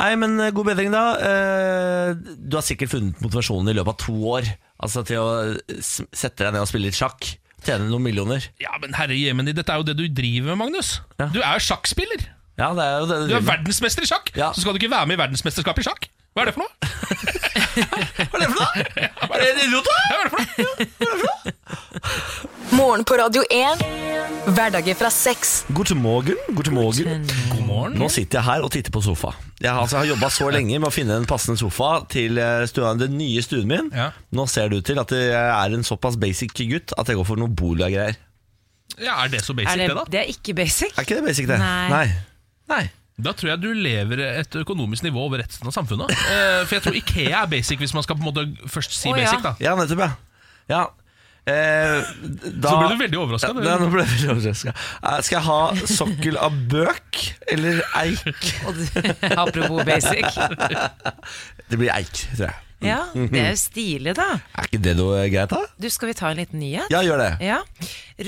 S1: Nei, men eh, god bedring, da. Eh, Du har sikkert funnet motivasjonen i løpet av to år Altså til å s- sette deg ned og spille litt sjakk. Tjene noen millioner.
S3: ja, men herre jemini, dette er jo det du driver med, Magnus.
S1: Ja.
S3: Du er jo sjakkspiller.
S1: Ja, det er jo det
S3: Du er
S1: driver med.
S3: verdensmester i sjakk,
S1: Ja.
S3: så skal du ikke være med i verdensmesterskapet i sjakk? Hva er det for noe?
S1: Hva er det for noe?! Er det en idiot, da?!
S3: Hva er det for noe?
S4: Morgen på Radio 1. Hverdager fra seks.
S1: God morgen. God morgen.
S3: God morgen.
S1: Nå sitter jeg her og titter på sofa. Jeg har, altså, jeg har jobba så lenge med å finne en passende sofa til eh, stua, den nye stuen min.
S3: Ja.
S1: Nå ser det ut til at jeg er en såpass basic gutt at jeg går for noe Bolia-greier.
S3: Ja, Er det så basic,
S2: Er
S3: det,
S2: det,
S3: da?
S2: det er ikke basic.
S1: Er ikke det basic, det?
S2: Nei.
S1: Nei.
S3: Da tror jeg du lever et økonomisk nivå over resten av samfunnet. Eh, for jeg tror Ikea er basic, hvis man skal på en måte først si
S2: Å, ja.
S3: basic. da
S1: Ja, nettopp, ja. ja. Eh, da,
S3: Så ble du veldig overraska.
S1: Ja, nå ble jeg veldig overraska. Eh, Skal jeg ha sokkel av bøk eller eik?
S2: Og du- Apropos basic.
S1: Det blir eik, tror jeg.
S2: Ja, det er jo stilig, da.
S1: Er ikke det noe greit, da?
S2: Du, skal vi ta en liten nyhet?
S1: Ja, gjør det.
S2: Ja.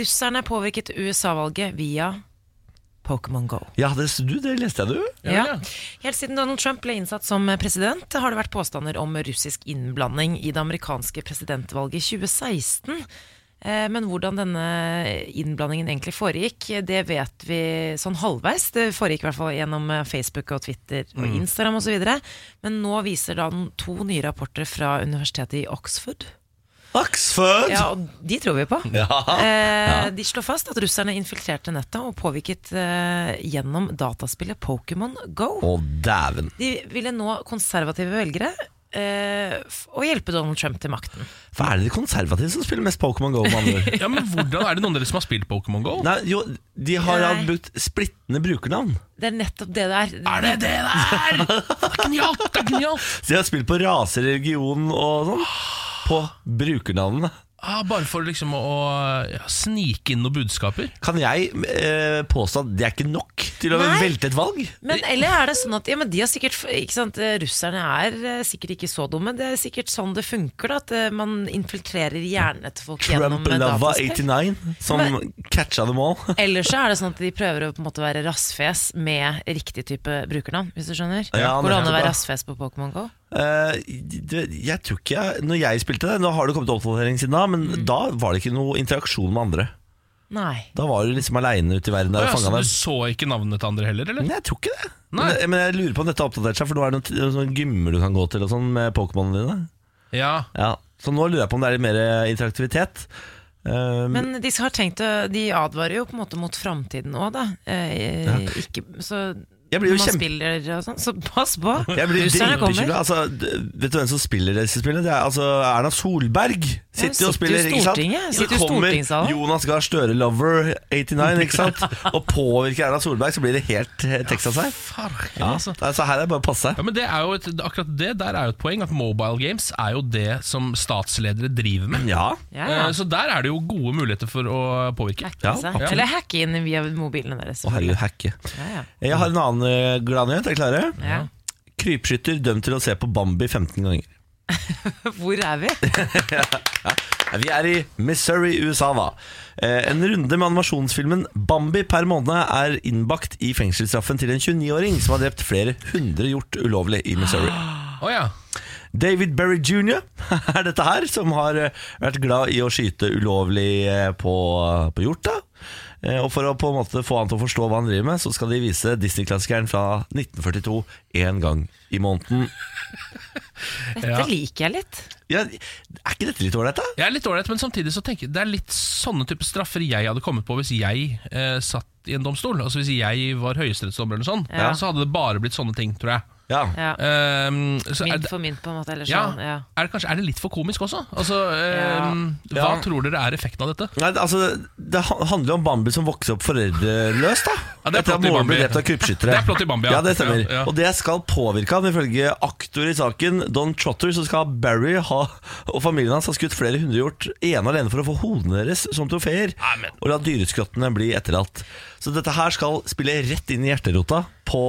S2: Russerne påvirket USA-valget via Pokémon Go.
S1: Ja, det, du, det leste jeg, du.
S3: Ja,
S2: Ja.
S3: ja.
S2: Helt siden Donald Trump ble innsatt som president, har det vært påstander om russisk innblanding i det amerikanske presidentvalget i 2016. Eh, Men hvordan denne innblandingen egentlig foregikk, det vet vi sånn halvveis. Det foregikk i hvert fall gjennom eh, Facebook og Twitter og
S1: Mm.
S2: Instagram osv. Men nå viser da den to nye rapporter fra universitetet i Oxford.
S1: Oxford!
S2: Ja, og de tror vi på.
S1: Ja.
S2: Eh, de slår fast at russerne infiltrerte nettet og påvirket eh, gjennom dataspillet Pokémon Go.
S1: Å, dæven.
S2: De ville nå konservative velgere eh, f- og hjelpe Donald Trump til makten.
S1: Hva er det de konservative som spiller mest Pokémon Go? med andre ord?
S3: men hvordan Er det noen av dere som har spilt Pokémon GO?
S1: Nei, jo, De har
S2: Nei.
S1: hatt brukt splittende brukernavn.
S2: Det er nettopp det det er.
S3: Er det det der?! Det er genialt! det er genialt
S1: Så De har spilt på rase, religion og sånn. På brukernavnene.
S3: ah, Bare for liksom å ja, snike inn noen budskaper.
S1: Kan jeg eh, påstå at det er ikke nok til å
S2: Nei.
S1: velte et valg?
S2: Men eller er det sånn at ja, men de har sikkert, ikke sant, eh, Russerne er eh, sikkert ikke så dumme. Det er sikkert sånn det funker, da, at eh, man infiltrerer hjernene til folk gjennom eh,
S1: Trump-lava
S2: dataspill.
S1: 89 som catcha dem all.
S2: Eller så er det sånn at de prøver å på en måte være rassfes med riktig type brukernavn. hvis du skjønner.
S1: Ja,
S2: Går det an
S1: nettopp,
S2: å være
S1: ja.
S2: rassfes på Pokémon GO?
S1: Eh, det- jeg tror ikke jeg, Når jeg spilte det Nå har det kommet oppdatering siden da, men da var det ikke noe interaksjon med andre.
S2: Nei.
S1: Da var du liksom aleine ute i verden
S3: Å,
S1: der og
S3: ja, så
S1: fanga
S3: du
S1: dem.
S3: så ikke navnet til andre heller, eller?
S1: Nei, jeg tror ikke det.
S3: Nei.
S1: Men, men jeg lurer på om dette har oppdatert seg, for nå er det noen, noen sånne gymmer du kan gå til og sånn med Pokémonene dine.
S3: Ja,
S1: Ja, Så nå lurer jeg på om det er litt mer eh, interaktivitet. Eh,
S2: Men de har tenkt å De advarer jo på en måte mot framtiden òg, da. Eh, ikke, så
S1: Jeg blir jo
S2: når man
S1: kjempe-
S2: spiller og sånn, så pass på!
S1: Jeg blir
S2: Russerne kommer.
S1: dritbekymra. Altså, d- vet du hvem som spiller disse spillene? Det er altså Erna Solberg. Sitter jo
S2: sitter jo
S1: og
S2: i
S1: spiller, ikke sant?
S2: Stortinget. Sitter jo i
S1: Så kommer
S2: stortingssalen.
S1: Jonas Gahr Støre, Lover 89, ikke sant? Og påvirker Erna Solberg, så blir det helt eh, Texas her.
S3: Farken,
S1: Ja.
S3: altså.
S1: Så her er det bare å passe
S3: Ja,
S1: seg.
S3: men det er jo et, akkurat det der er jo et poeng, at mobile games er jo det som statsledere driver med.
S1: Ja.
S2: Ja, ja.
S3: Eh, Så der er det jo gode muligheter for å påvirke.
S2: Hacke
S1: Ja,
S2: seg.
S1: absolutt.
S2: altså. Eller hacke inn via mobilene deres.
S1: Å herregud, hacke.
S2: Ja, ja.
S1: Jeg har en annen eh, gladnyhet. Er dere klare?
S2: Ja.
S1: Krypskytter dømt til å se på Bambi 15 ganger.
S2: Hvor er vi?
S1: Vi er i Missouri, USA, da. Eh, En runde med animasjonsfilmen Bambi per måned er innbakt i fengselsstraffen til en 29-åring som har drept flere hundre hjort ulovlig i Missouri.
S3: Å ja.
S1: David Berry jr. er dette her, som har eh, vært glad i å skyte ulovlig eh, på, på hjort. da. Eh, Og For å på en måte få han til å forstå hva han driver med, så skal de vise Disney-klassikeren fra 1942 én gang i måneden.
S2: Dette liker jeg litt.
S1: Ja, er ikke dette litt ålreit, da?
S3: Jeg er litt ålreit, men samtidig så tenker jeg det er litt sånne type straffer jeg hadde kommet på hvis jeg eh, satt i en domstol. Altså Hvis jeg var høyesterettsdommer eller sånn,
S2: Ja.
S3: så hadde det bare blitt sånne ting, tror jeg.
S1: Ja.
S2: Ja.
S3: Ehm, så er
S2: Mynt
S3: det,
S2: for mynt, på en måte. Eller
S3: ja,
S2: sånn. Ja.
S3: er det kanskje er det litt for komisk også? Altså, ehm, Hva
S1: Ja.
S3: tror dere er effekten av dette?
S1: Nei, altså, Det han- handler om Bambi som vokser opp foreldreløst. da
S3: Ja, det er
S1: Etter at
S3: plott i
S1: moren ble
S3: Bambi.
S1: drept av krypskyttere.
S3: Det er plott i Bambi, ja.
S1: ja det stemmer
S3: Ja, ja.
S1: Og det skal påvirke han Ifølge aktor i saken, Don Trotter, så skal Barry ha, og familien hans ha skutt flere hundre hjort ene alene for å få hodene deres som trofeer.
S3: Nei, men-
S1: Og la dyreskrottene bli etterlatt. Så dette her skal spille rett inn i hjerterota på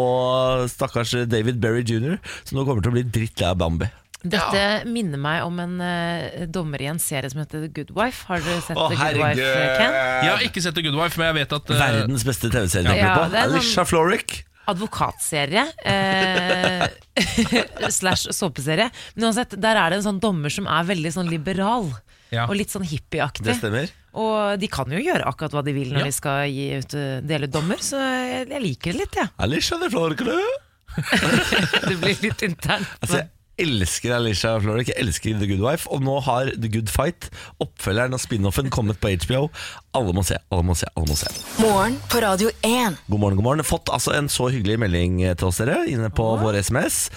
S1: stakkars David Berry jr., som nå kommer til å bli drittlei av Bambi.
S2: Dette minner meg om en eh, dommer i en serie som heter The Good Wife. Har dere sett
S1: Å,
S2: The Good
S1: herregud.
S2: Wife, eh, Ken?
S3: Jeg har ikke sett The Good Wife, men jeg vet at eh,
S1: Verdens beste TV-serie. du
S2: Ja,
S1: har
S2: det er
S1: blitt på.
S2: sånn-
S1: Alicia Florrick.
S2: Advokatserie. Eh, slash såpeserie. Men uansett, der er det en sånn dommer som er veldig sånn liberal.
S3: Ja.
S2: Og litt sånn hippieaktig.
S1: Det stemmer.
S2: Og de kan jo gjøre akkurat hva de vil når
S3: Ja.
S2: de skal gi ut, eh, dele ut dommer, så jeg, jeg liker det litt, jeg.
S1: Alicia de Florrick, du.
S2: Ja. Det blir litt internt.
S1: Altså, jeg elsker Alicia Florrick, jeg elsker The Good Wife, og nå har The Good Fight, oppfølgeren og spin-offen, kommet på HBO. Alle må se, alle må se, alle må se.
S4: Morgen på Radio 1.
S1: God morgen, god morgen. Fått altså en så hyggelig melding eh, til oss dere, inne på vår SMS.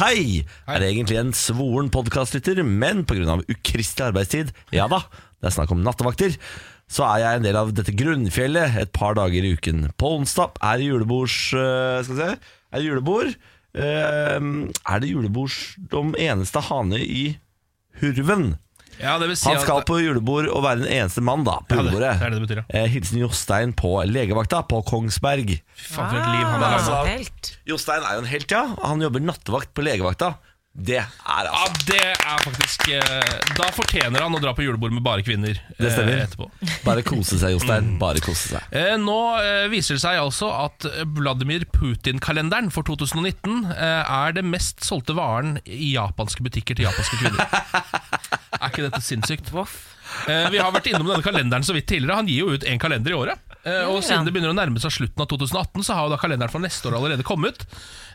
S1: Hei! Er egentlig en svoren podkastlytter, men pga. ukristelig arbeidstid, ja da, det er snakk om nattevakter, så er jeg en del av dette grunnfjellet et par dager i uken. På onsdag er det julebords... øh, Skal vi se Er det julebord? Ehm, er det julebords om eneste hane i Hurven?
S3: ja, det vil si
S1: Han
S3: at-
S1: skal på julebord og være den eneste mann da på
S3: Ja, det-
S1: julebordet.
S3: det er det det betyr,
S1: Eh, Hilsen Jostein på legevakta på Kongsberg.
S3: Fy faen, for et liv han har lagd.
S1: altså.
S2: helt.
S1: Jostein er jo en helt, ja. Han jobber nattevakt på legevakta. Det er
S3: Ja,
S1: altså
S3: det er faktisk eh, Da fortjener han å dra på julebord med bare kvinner eh,
S1: Det stemmer.
S3: etterpå. Mm.
S1: Bare kose seg, Jostein. Bare kose seg.
S3: Eh, Nå eh, viser det seg altså at Vladimir Putin-kalenderen for 2019 eh, er det mest solgte varen i japanske butikker til japanske kvinner. Er ikke dette sinnssykt? Eh, Vi har vært innom denne kalenderen så vidt tidligere. Han gir jo ut én kalender i året. Eh, Og
S2: Ja.
S3: siden det begynner å nærme seg slutten av 2018, så har jo da kalenderen for neste år allerede kommet.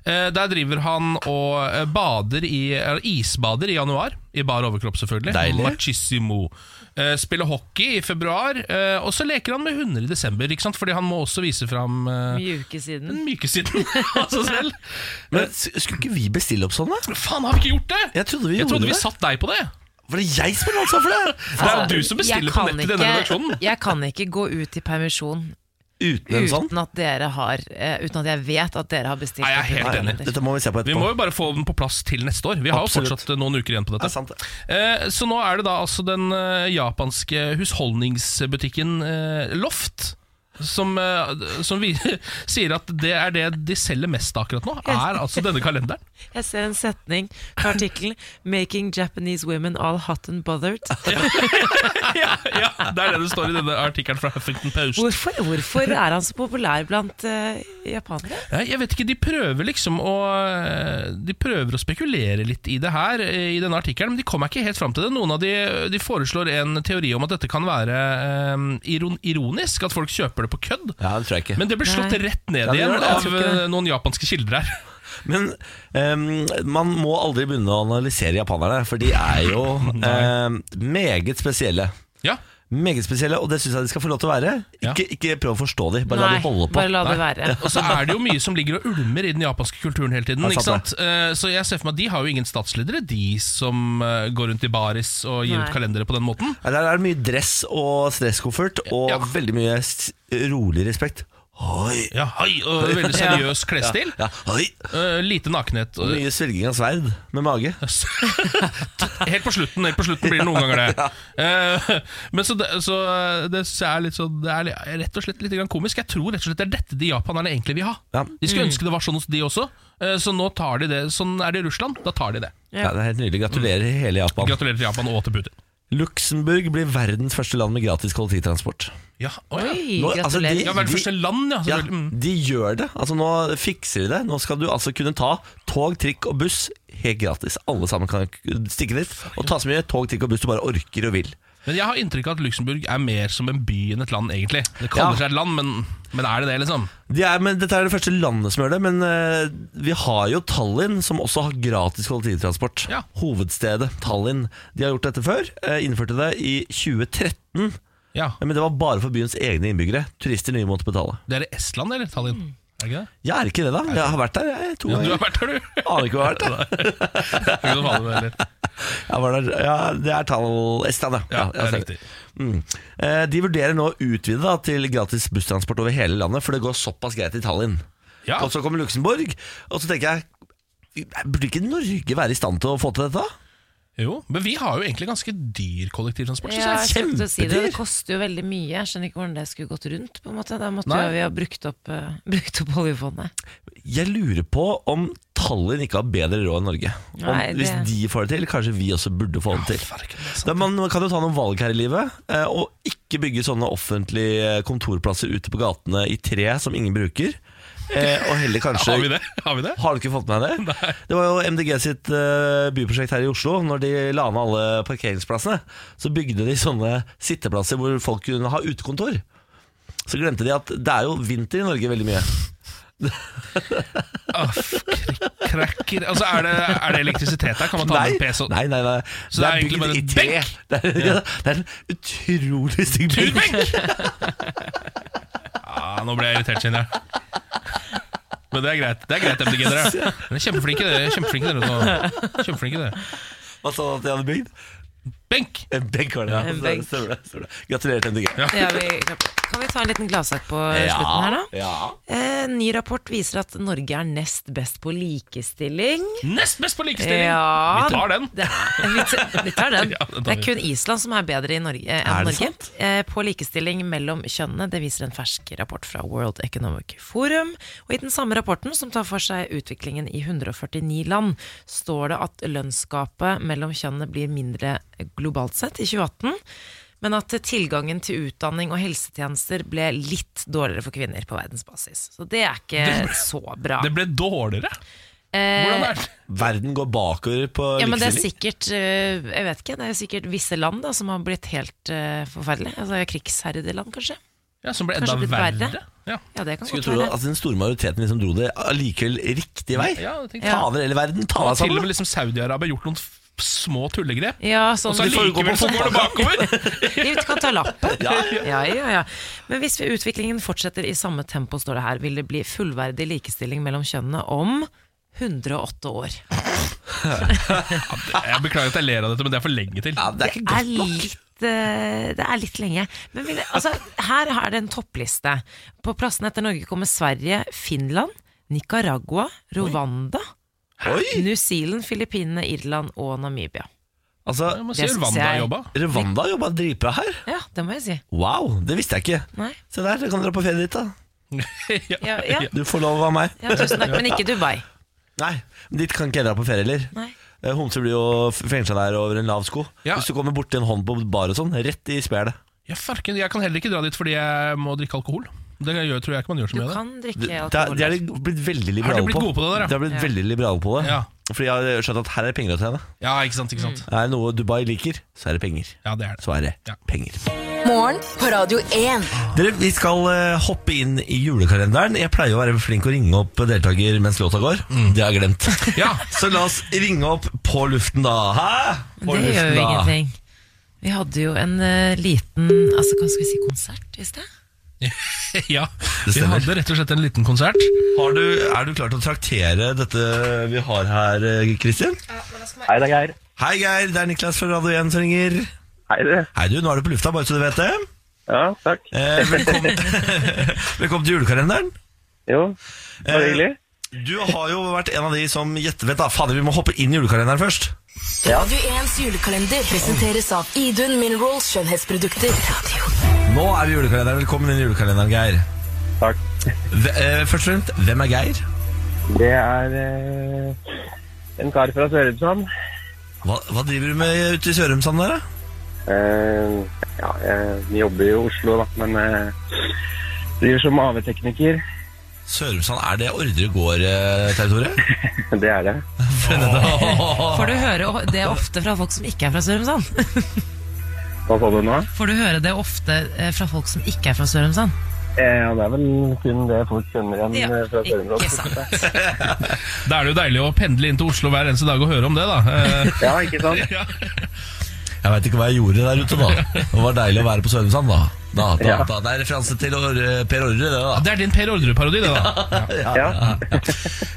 S3: Eh, Der driver han og eh, bader i, eller isbader i januar. I bar overkropp, selvfølgelig.
S1: Deilig.
S3: Machissimo. Eh, Spiller hockey i februar. eh, Og så leker han med hunder i desember, ikke sant? fordi han må også vise fram eh,
S2: Mjuke siden.
S3: den myke siden av seg selv.
S1: Men s- skulle ikke vi bestille opp sånn, da?
S3: Faen, har vi ikke gjort det?
S1: Jeg trodde vi
S3: jeg
S1: gjorde
S3: trodde vi
S1: det. Altså,
S3: satt deg på det.
S1: Var det jeg som hadde ansvar for det?
S3: Det er jo du som bestiller
S2: Jeg
S3: på
S2: kan
S3: nettet i denne
S2: ikke-
S3: redaksjonen.
S2: Jeg kan ikke gå ut i permisjon
S1: Uten en sånn?
S2: uten at dere har eh, Uten at jeg vet at dere har bestilt
S3: Nei, jeg er helt
S1: Nei,
S2: en
S3: enig.
S2: kalender.
S1: dette må vi se på
S3: Vi må
S1: etterpå.
S3: jo bare få den på plass til neste år. Vi har
S1: Absolutt.
S3: jo fortsatt eh, noen uker igjen på
S1: Det
S3: dette.
S1: er sant, det.
S3: Eh, så nå er det da altså den eh, japanske husholdningsbutikken eh, Loft som, eh, som vi sier at det er det de selger mest akkurat nå, er altså denne kalenderen.
S2: Jeg ser en setning fra artikkelen 'Making Japanese women all hot and bothered'.
S3: ja, ja, det er det det står i denne artikkelen fra Huffington Post.
S2: Hvorfor, hvorfor er han så populær blant eh, japanere?
S3: Nei, Jeg vet ikke, de prøver liksom å De prøver å spekulere litt i det her eh, I denne artikkelen, men de kommer ikke helt fram til det Noen av de, de foreslår en teori om at dette kan være eh, iron, ironisk At folk kjøper det på kødd
S1: Ja, det tror jeg ikke.
S3: Men det blir slått
S2: Nei.
S3: rett ned
S1: Ja, det
S3: igjen
S1: gjør det. Jeg
S3: av
S1: tror
S3: eh, noen japanske kilder her
S1: Men ehm, man må aldri begynne å analysere japanerne, for de er jo ehm, meget spesielle.
S3: Ja,
S1: Meget spesielle, og det syns jeg de skal få lov til å være.
S3: Ja.
S1: Ikke, ikke prøv å forstå de, bare la de holde på.
S2: bare la det være.
S3: Og så er det jo mye som ligger og ulmer i den japanske kulturen hele tiden.
S1: Ja,
S3: Ikke
S1: sant
S3: sant? Eh, Så jeg ser for meg at De har jo ingen statsledere, de som eh, går rundt i baris og gir
S2: Nei.
S3: ut kalendere på den måten.
S1: Ja, Der er det mye dress og stresskoffert, og
S3: Ja.
S1: veldig mye s- rolig respekt. Hoi!
S3: Ja, hei, og Veldig seriøs klesstil.
S1: Ja, hoi!
S3: Eh, Lite nakenhet. og-
S1: Mye svelging av sverd med mage.
S3: Helt på slutten helt på slutten blir det noen ganger det. Eh, Men så det, så det synes jeg er litt sånn Det er li- rett og slett litt grann komisk. Jeg tror rett og slett det er dette de japanerne egentlig vil ha.
S1: Ja.
S3: De skulle ønske det var sånn hos de også, Eh, så nå tar de det. Sånn er det i Russland. Da tar de det.
S1: Ja. det er helt nydelig. Gratulerer hele Japan.
S3: Gratulerer til Japan og til Putin.
S1: Luxembourg blir verdens første land med gratis kollektivtransport.
S3: Ja, å ja.
S2: Oi,
S1: Nå- altså, de-
S2: gratulerer.
S3: ja verdens
S1: de-
S3: første land, ja.
S1: Ja,
S3: selvfølgelig. Mm.
S1: de gjør det. Altså Nå fikser de det. Nå skal du altså kunne ta tog, trikk og buss helt gratis. Alle sammen kan stikke dit og ta så mye tog, trikk og buss du bare orker og vil.
S3: Men jeg har inntrykk av at Luxembourg er mer som en by enn et land, egentlig. Det kaller
S1: Ja.
S3: seg et land, men, men er det det, liksom?
S1: De er, men Dette er det første landet som gjør det, men eh, vi har jo Tallinn, som også har gratis kollektivtransport.
S3: Ja.
S1: Hovedstedet Tallinn. De har gjort dette før. eh, innførte det i 2013,
S3: Ja.
S1: men det var bare for byens egne innbyggere. Turister nye måtte betale.
S3: Det er i Estland eller Tallinn? Er det ikke det?
S1: Jeg er ikke det, da. Jeg har vært der jeg,
S3: Ja,
S1: to
S3: du
S1: ganger.
S3: har vært der, du!
S1: Aner ikke hvor jeg har vært. der.
S3: Jeg kan falle med, eller?
S1: Jeg var der. Ja, det er Tall... Estland,
S3: Ja, det er
S1: altså.
S3: riktig.
S1: Mm. Eh, De vurderer nå å utvide da, til gratis busstransport over hele landet, for det går såpass greit i Tallinn.
S3: Ja.
S1: Og så kommer Luxembourg, og så tenker jeg Burde ikke Norge være i stand til å få til dette?
S3: Jo, men vi har jo egentlig ganske dyr kollektivtransport. synes
S2: Ja,
S3: jeg.
S2: jeg skulle til å si det.
S1: kjempedyr.
S2: det koster jo veldig mye. Jeg skjønner ikke hvordan det skulle gått rundt. på en måte Da måtte
S1: Nei.
S2: jo vi ha brukt opp, eh, brukt opp oljefondet.
S1: Jeg lurer på om Tallinn ikke har bedre råd enn Norge. Om,
S2: Nei, det-
S1: Hvis de får det til, kanskje vi også burde få det til.
S3: Farken, det er sant.
S1: Da man kan jo ta noen valg her i livet, eh, og ikke bygge sånne offentlige kontorplasser ute på gatene i tre som ingen bruker. eh, Og heller kanskje
S3: Har vi det? Har vi det?
S1: Har du ikke fått med deg det? Det var jo MDG sitt eh, byprosjekt her i Oslo. Når de la ned alle parkeringsplassene, så bygde de sånne sitteplasser hvor folk kunne ha utekontor. Så glemte de at det er jo vinter i Norge veldig mye.
S3: Åh, krik- Krakker altså, er, det, er det elektrisitet her? Kan man ta
S1: Nei,
S3: med en PC?
S1: nei, nei, nei.
S3: Så det er egentlig
S1: bygd
S3: bare en
S1: i tre. Det er, ja. det er en utrolig stygg benk.
S3: Turbenk! Ja, nå ble jeg irritert, kjenner jeg. Men det er greit, det er greit MDG, dere. Dere er kjempeflinke, dere. Kjempeflinke, dere. nå. Kjempeflinke, dere.
S1: Hva sa du at de hadde bygd?
S3: Benk!
S1: En benk var det.
S2: En
S1: Så-
S2: benk.
S1: stemmer det, stemmer det. Gratulerer til MDG.
S2: Ja, vi, kan vi ta en liten gladsak på eh, slutten her, da?
S1: ja.
S2: Eh, ny rapport viser at Norge er nest best på likestilling.
S3: Nest best på likestilling!
S2: Ja,
S3: Vi tar den.
S2: Det er, vi tar- vi tar den.
S3: Ja, det tar
S2: Det er
S3: vi.
S2: kun Island som er bedre i Norge, eh,
S1: Er
S2: enn
S1: det
S2: Norge eh, på likestilling mellom kjønnene. Det viser en fersk rapport fra World Economic Forum. Og I den samme rapporten, som tar for seg utviklingen i 149 land, står det at lønnsgapet mellom kjønnene blir mindre globalt sett i 2018. Men at tilgangen til utdanning og helsetjenester ble litt dårligere for kvinner på verdensbasis. Så det er ikke så bra.
S3: Det ble dårligere.
S2: Eh,
S3: Hvordan er det?
S1: Verden går bakover på
S2: Ja, men det er
S1: likestilling.
S2: sikkert øh, Jeg vet ikke, det er sikkert visse land da Som har blitt helt øh, forferdelige Altså krigsherredeland kanskje
S3: Ja, Som ble enda
S2: Kanskje blitt
S3: verre.
S2: verre?
S3: Ja.
S2: Ja, det kan
S1: Skulle
S2: godt
S1: tro
S2: være
S1: at den store majoriteten liksom dro det allikevel riktig vei.
S3: Ja, jeg tenkte-
S1: Fader hele verden,
S3: Og til
S1: ta deg
S3: og med
S1: sammen!
S3: liksom Saudi-Arabia har gjort noen f- små tullegrep.
S2: ja, sånn,
S3: Og
S1: Altså,
S3: så likevel så går det bakover!
S2: Vi kan ta lappen. Ja, ja, ja. Men hvis vi- utviklingen fortsetter i samme tempo, står det her, vil det bli fullverdig likestilling mellom kjønnene om 108 år.
S3: Jeg beklager at jeg ler av dette, men det er for lenge til.
S1: Ja, det er ikke
S2: er
S1: godt nok.
S2: litt, eh, det er litt lenge. Men vil, altså, her er det en toppliste. På plassen etter Norge kommer Sverige, Finland, Nicaragua, Rwanda,
S1: Oi!
S2: New Zealand, Filippinene, Irland og Namibia.
S1: Altså,
S3: Jeg må
S2: Det
S3: si
S2: synes
S3: Rwanda
S2: jeg-
S3: jobba.
S1: Rwanda jobba dritbra her.
S2: Ja, det må jeg si.
S1: Wow, det visste jeg ikke.
S2: Nei.
S1: Se der, du kan dra på ferie dit, da.
S2: Ja, ja.
S1: Du får lov av meg.
S2: Ja, tusen takk, men ikke Dubai.
S1: Nei, men dit kan ikke jeg dra på ferie heller.
S2: Nei.
S1: Eh, Homser blir jo fengsla der over en lav sko.
S3: Ja.
S1: Hvis du kommer borti en hånd på bar og sånn, rett i spelet.
S3: Ja, farken, jeg kan heller ikke dra dit fordi jeg må drikke alkohol. Det gjør, tror jeg ikke man gjør så
S2: Du
S3: mye av det.
S2: kan drikke
S1: Det- det er-
S2: alkohol.
S1: De er litt- blitt veldig
S3: Har de
S1: liberale
S3: blitt
S1: på.
S3: gode på det der, ja?
S1: De har blitt
S2: Ja.
S1: veldig liberale på det.
S3: Ja.
S1: Fordi jeg har skjønt at her er det penger å tjene.
S3: Ja, ikke sant, ikke sant.
S1: Er det noe Dubai liker, så er det penger.
S3: Ja, det er det.
S1: Mm. Så er det
S3: Ja.
S1: penger.
S4: Morgen på Radio 1.
S1: Dere, Vi skal eh, hoppe inn i julekalenderen. Jeg pleier å være flink å ringe opp deltaker mens låta går.
S2: Mm.
S1: Det har jeg glemt.
S3: Ja.
S1: Så la oss ringe opp på luften, da. Hæ? På
S2: Det
S1: luften,
S2: gjør jo
S1: da.
S2: ingenting. Vi Vi hadde jo en eh, liten altså, hva skal vi si, konsert i sted.
S3: ja, vi
S1: stemmer.
S3: hadde rett og slett en liten konsert.
S1: Har du, er du klar til å traktere dette vi har her, eh, Christian?
S7: Hei, det er Geir.
S1: Hei, Geir. Det er Niklas fra Radio 1 som ringer.
S7: Hei, dere.
S1: Hei, du. Nå er du på lufta, bare så du vet det.
S7: Ja, takk.
S1: Eh, velkommen, velkommen til julekalenderen.
S7: Jo, bare
S1: Eh,
S7: hyggelig.
S1: Du har jo vært en av de som gjetter Vent, da. Fader, vi må hoppe inn i julekalenderen først.
S4: Radio 1s julekalender presenteres av Idun Minerals skjønnhetsprodukter.
S1: Nå er vi i julekalenderen. Velkommen inn i julekalenderen, Geir.
S7: Takk.
S1: Hve- eh, Først og fremst, hvem er Geir?
S7: Det er eh, en kar fra Sørumsand.
S1: Hva, hva driver du med ute i Sørumsand der, da?
S7: Eh, ja, jeg vi jobber jo i Oslo, da, men eh, driver som AV-tekniker.
S1: Sørumsand, er det Ordre eh, gård-territoriet?
S7: Det er det.
S2: Får du høre o- det ofte fra folk som ikke er fra Sørumsand?
S7: Hva sa du nå?
S2: Får du høre det ofte eh, fra folk som ikke er fra Sørumsand?
S7: Eh, ja, det er vel kun det folk kjenner igjen
S2: Ja,
S7: eh, fra
S2: ikke
S7: Sørumsand.
S2: sant.
S3: Da er det jo deilig å pendle inn til Oslo hver eneste dag og høre om det, da. Eh,
S7: Ja, ikke sant?
S3: ja.
S1: Jeg veit ikke hva jeg gjorde der ute, da. Det var deilig å være på Sørumsand, da. Da, da,
S7: Ja.
S1: da. Det er referanse til Or- Per Orre, det, da.
S3: Det er din Per Orderud-parodi, det, da.
S7: Ja.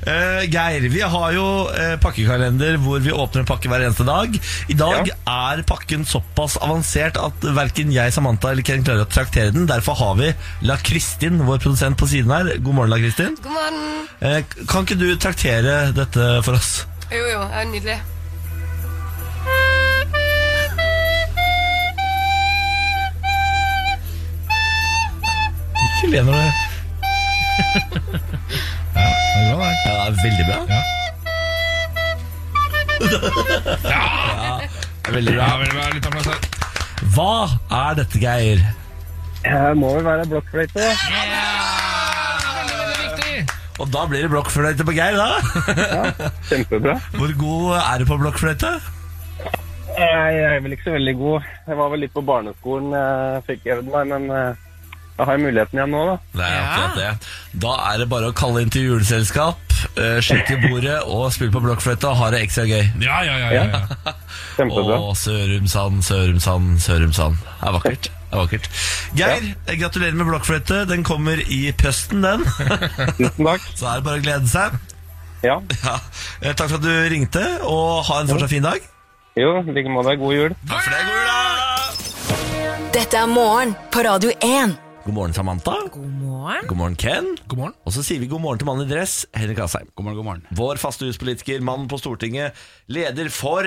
S1: Eh, Geir, vi har jo eh, pakkekalender hvor vi åpner en pakke hver eneste dag. I dag er pakken såpass avansert at verken jeg, Samantha eller Ken klarer å traktere den. Derfor har vi La Kristin, vår produsent, på siden her. God morgen, La Kristin.
S8: God morgen.
S1: Eh, kan ikke du traktere dette for oss?
S8: Jo, jo, det er nydelig.
S1: Ikke le når du Ja, det er veldig bra. Ja. det er veldig bra.
S3: Ja, vel, vel, litt applaus her.
S1: Hva er dette, Geir?
S7: Det må vel være blokkfløyte, da.
S3: Veldig, veldig viktig.
S1: Og da blir det blokkfløyte på Geir, da.
S7: Kjempebra.
S1: Hvor god er du på blokkfløyte?
S7: Eh, Jeg er vel ikke så veldig god. Jeg var vel litt på barneskolen, eh, fikk øvd meg, men eh, da har jeg muligheten igjen nå, da.
S1: Det er
S2: Ja.
S1: akkurat det. Da er det bare å kalle inn til juleselskap, eh, sjekke bordet og spille på blokkfløyte og ha det ekstra gøy.
S3: Ja, ja, ja, ja, ja.
S7: Kjempebra.
S1: Å, Sørumsand, Sørumsand, Sørumsand. Det er vakkert. Det er vakkert. Geir, eh, gratulerer med blokkfløyte. Den kommer i pøsten, den.
S7: Tusen takk.
S1: Så er det bare å glede seg.
S7: Ja,
S1: Ja. Eh, Takk for at du ringte, og ha en fortsatt fin dag.
S7: jo, i like måte. God jul.
S1: Takk for det, god jul!
S4: Dette er morgen på Radio 1.
S1: God morgen, Samantha.
S2: God morgen.
S1: God morgen, Ken.
S3: God morgen.
S1: Og så sier vi god morgen til mannen i dress, Henrik Asheim. God morgen, god morgen. Vår faste huspolitiker, mann på Stortinget, leder for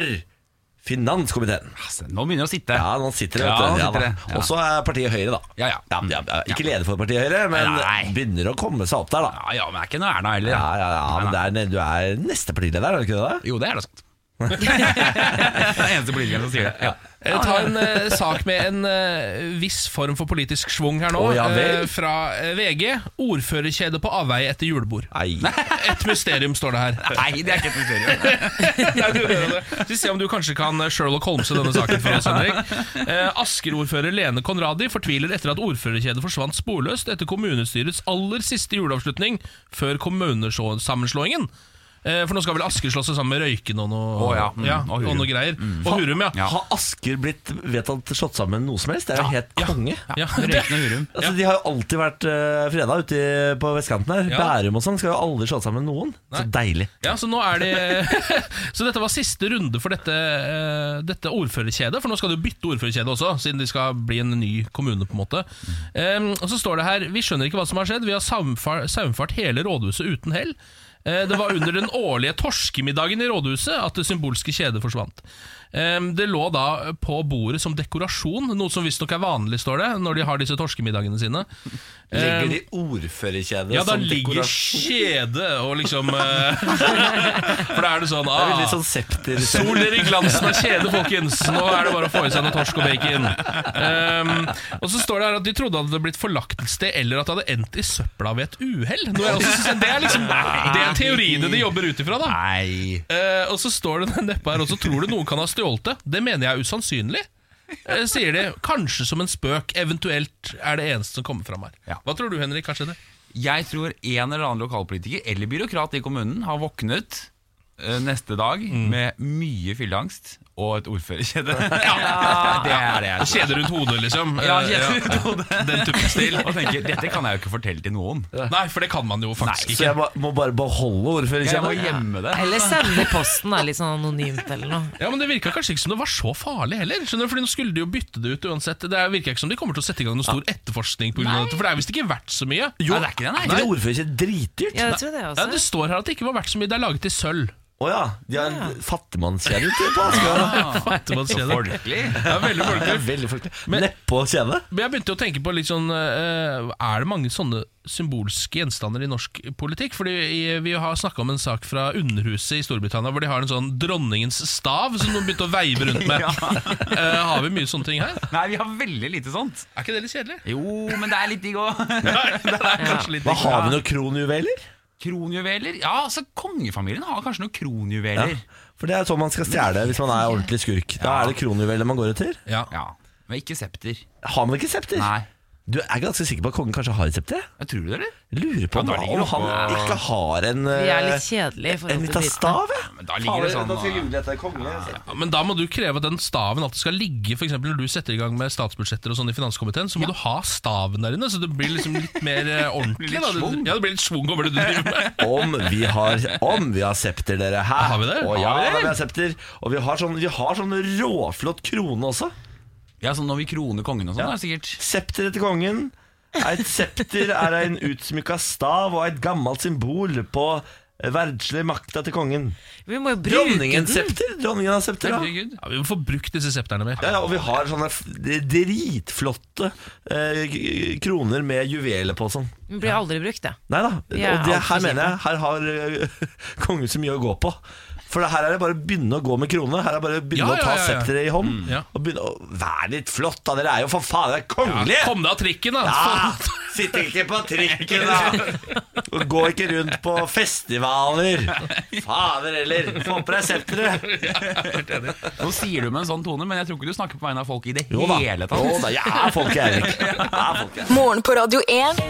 S1: finanskomiteen.
S9: Altså, nå begynner det å sitte.
S1: Ja, nå sitter det,
S9: Ja,
S1: vet du. Ja,
S9: nå
S1: da.
S9: sitter det, ja.
S1: Og så er partiet Høyre, da.
S9: Ja, ja.
S1: ja, ja. Ikke
S9: Ja.
S1: leder for partiet Høyre, men
S9: Nei.
S1: begynner å komme seg opp der, da.
S9: Ja, ja, men det er ikke noe Erna heller.
S1: Ja, ja, ja,
S9: Nei,
S1: men
S9: nei.
S1: det er, du er neste partileder, er du ikke det? da?
S9: Jo, det er da sant. det er den eneste politikeren som sier det. Ja.
S3: Eh, Ta en eh, sak med en eh, viss form for politisk schwung her nå.
S1: Å, ja vel.
S3: eh, fra eh, VG. Ordførerkjede på avveie etter julebord.
S1: Nei.
S3: Et mysterium, står det her.
S9: Nei, det er ikke et mysterium.
S3: Nei, du gjør det. Så Vi ser om du kanskje kan eh, Sherlock Holmese denne saken for oss, Henrik. Eh, Asker-ordfører Lene Konradi fortviler etter at ordførerkjedet forsvant sporløst etter kommunestyrets aller siste juleavslutning før kommunesammenslåingen. Eh, for nå skal vel Asker slå seg sammen med Røyken og noe,
S9: Å, ja. Mm, og
S3: og
S9: Hurum.
S3: noe greier.
S1: Mm.
S3: Og Hurum, ja.
S9: Ja.
S1: Har Asker blitt vedtatt slått sammen med noe som helst? Det er jo helt konge.
S3: Ja.
S9: Røyken og Hurum.
S1: Altså, De har jo alltid vært uh, freda ute i- på vestkanten her.
S3: Ja.
S1: Bærum og sånn skal jo aldri slått sammen med noen. Så deilig.
S3: Ja, så nå er det Så dette var siste runde for dette, eh, dette ordførerkjedet, for nå skal du bytte ordførerkjede også, siden de skal bli en ny kommune, på en måte. Em, og så står det her Vi skjønner ikke hva som har skjedd, vi har saumfar- saumfart hele rådhuset uten hell. Eh, Det var under den årlige torskemiddagen i rådhuset at det symbolske kjedet forsvant. Em, Det lå da på bordet som dekorasjon, noe som visstnok er vanlig, står det, når de har disse torskemiddagene sine.
S9: Um,
S1: Legger de
S6: Oh.
S1: ordførerkjedet
S3: Ja, da
S1: som
S3: ligger
S1: sånn dekorasjon?
S3: kjedet og liksom eh, For da er det sånn
S1: Det er
S3: ah,
S1: veldig sånn septer
S3: Soler i glansen av kjede, folkens! Nå er det bare å få i seg noe torsk og bacon. Ehm, og så står det her at de trodde at det hadde blitt forlagt et sted, eller at det hadde endt i søpla ved et uhell. Noe jeg også synes- Det er liksom Det er teoriene de jobber ut ifra, da.
S9: Nei.
S3: Eh, og så står det neppe her, og så tror du noen kan ha stjålet det. Det mener jeg er usannsynlig. eh, sier de. Kanskje som en spøk. Eventuelt er det eneste som kommer fram her.
S9: Ja.
S3: Hva tror du, Henrik? Kanskje det?
S9: Jeg tror en eller annen lokalpolitiker eller byråkrat i kommunen har våknet eh, neste dag med mye fylleangst og et ordførerkjede. Det er det altså. jeg tror.
S3: Kjede rundt hodet, liksom.
S9: Ja,
S3: Eh,
S9: kjede rundt hodet.
S3: Den typen stil.
S9: Og tenker, dette kan jeg jo ikke fortelle til noen.
S3: Nei, for det kan man jo faktisk
S1: Så
S3: ikke.
S1: jeg ba, må bare beholde
S9: Jeg må
S1: ordførerkjeden?
S9: gjemme det.
S2: Eller sende i posten, da, litt sånn anonymt eller noe.
S3: Ja, men Det virka kanskje ikke som det var så farlig heller. Skjønner du, Fordi Nå skulle de jo bytte det ut uansett. Det virka ikke som de kommer til å sette i gang noen stor etterforskning. På grunn av dette, for det er visst ikke verdt så mye.
S9: Jo, det er ikke det,
S1: Er
S9: nei.
S1: ikke det ordførerkjede dritdyrt?
S2: Ja, jeg tror det
S3: Ja, Det
S2: også.
S3: står her at det ikke var verdt så mye. Det er laget i sølv.
S1: Å ja, de har en fattigmannskjede ute på Askøya.
S3: Ah. Fattigmannskjede.
S9: Folkelig.
S3: Ja, veldig
S1: Det
S3: folkelig.
S1: er veldig folkelig. Nedpå kjede?
S3: Men jeg begynte å tenke på litt sånn eh, Er det mange sånne symbolske gjenstander i norsk politikk? Fordi i- vi har snakka om en sak fra Underhuset i Storbritannia, hvor de har en sånn dronningens stav som noen begynte å veive rundt med. Eh, har vi mye sånne ting her?
S9: Nei, vi har veldig lite sånt.
S3: Er ikke det litt kjedelig?
S9: Jo, men det er litt digg òg.
S3: Kanskje litt
S1: Hva Har vi noen kronjuveler?
S9: Kronjuveler? Ja, altså kongefamilien har kanskje noen
S1: Ja.
S9: kronjuveler.
S1: For det er sånn man skal stjele hvis man er ordentlig skurk. Da er det kronjuveler man går etter.
S3: Ja.
S9: Ja. Men ikke septer.
S1: Har man ikke septer?
S9: Nei.
S1: Du er ganske sikker på at kongen kanskje har et septer?
S9: Jeg tror du det, eller?
S1: Jeg Lurer på om,
S9: Ja, da ligger
S1: om
S9: det
S1: han
S9: oppå-
S1: ikke har en
S2: Vi er
S1: eh,
S2: litt kjedelige i
S1: En
S2: forhold til
S1: liten
S2: britene.
S1: stav, ja.
S9: Men da ligger det sånn ah,
S1: etter kongen.
S3: Ja, Men da må du kreve at den staven alltid skal ligge For eksempel når du setter i gang med statsbudsjetter og sånn i finanskomiteen, så må du ha staven der inne, så det blir liksom litt mer eh, ordentlig.
S9: Litt
S3: da. Du-
S9: schwung.
S3: Ja, det blir litt schwung over det du driver med.
S1: Om vi har, om vi har septer, dere. Hæ?
S3: Har vi det?
S1: Å, ja,
S3: Har vi det?
S1: da, vi har septer. Og vi har sånn, vi har sånn råflott krone også.
S9: Ja, sånn når vi kroner kongen og sånn, da, sikkert.
S1: Septer etter kongen. Et septer er en utsmykka stav og et gammelt symbol på verdslig makta til kongen.
S2: Vi må jo bruke den.
S1: Dronningens septer. Dronningen har septer, ja.
S9: Herregud.
S3: Ja, vi må få brukt disse septerne mer.
S1: Ja, ja, og vi har sånne f- dritflotte eh, k- kroner med juveler på og sånn.
S2: Den blir aldri brukt, det.
S1: Nei da.
S2: Vi er
S1: og det,
S2: alt for
S1: her mener jeg, her har eh, kongehuset mye å gå på. For det her er det bare å begynne å gå med krone. Her er det bare å begynne
S3: Ja,
S1: å ta
S3: ja, ja, ja.
S1: septeret i hånd.
S3: ja.
S1: Og begynne å Vær litt flott, da! Dere er jo for faen det er
S3: Ja,
S1: kongelige!
S3: kom deg av trikken, da!
S1: Ja, Sitt ikke på trikken, da! Og gå ikke rundt på festivaler! Fader heller! Få på deg septeret!
S9: Nå sier du med en sånn tone, men jeg tror ikke du snakker på vegne av folk i det
S1: Jo da.
S9: hele tatt.
S1: Jo da, jeg er folk, Eirik. Jeg er folk, jeg.
S4: Morgen på Radio 1.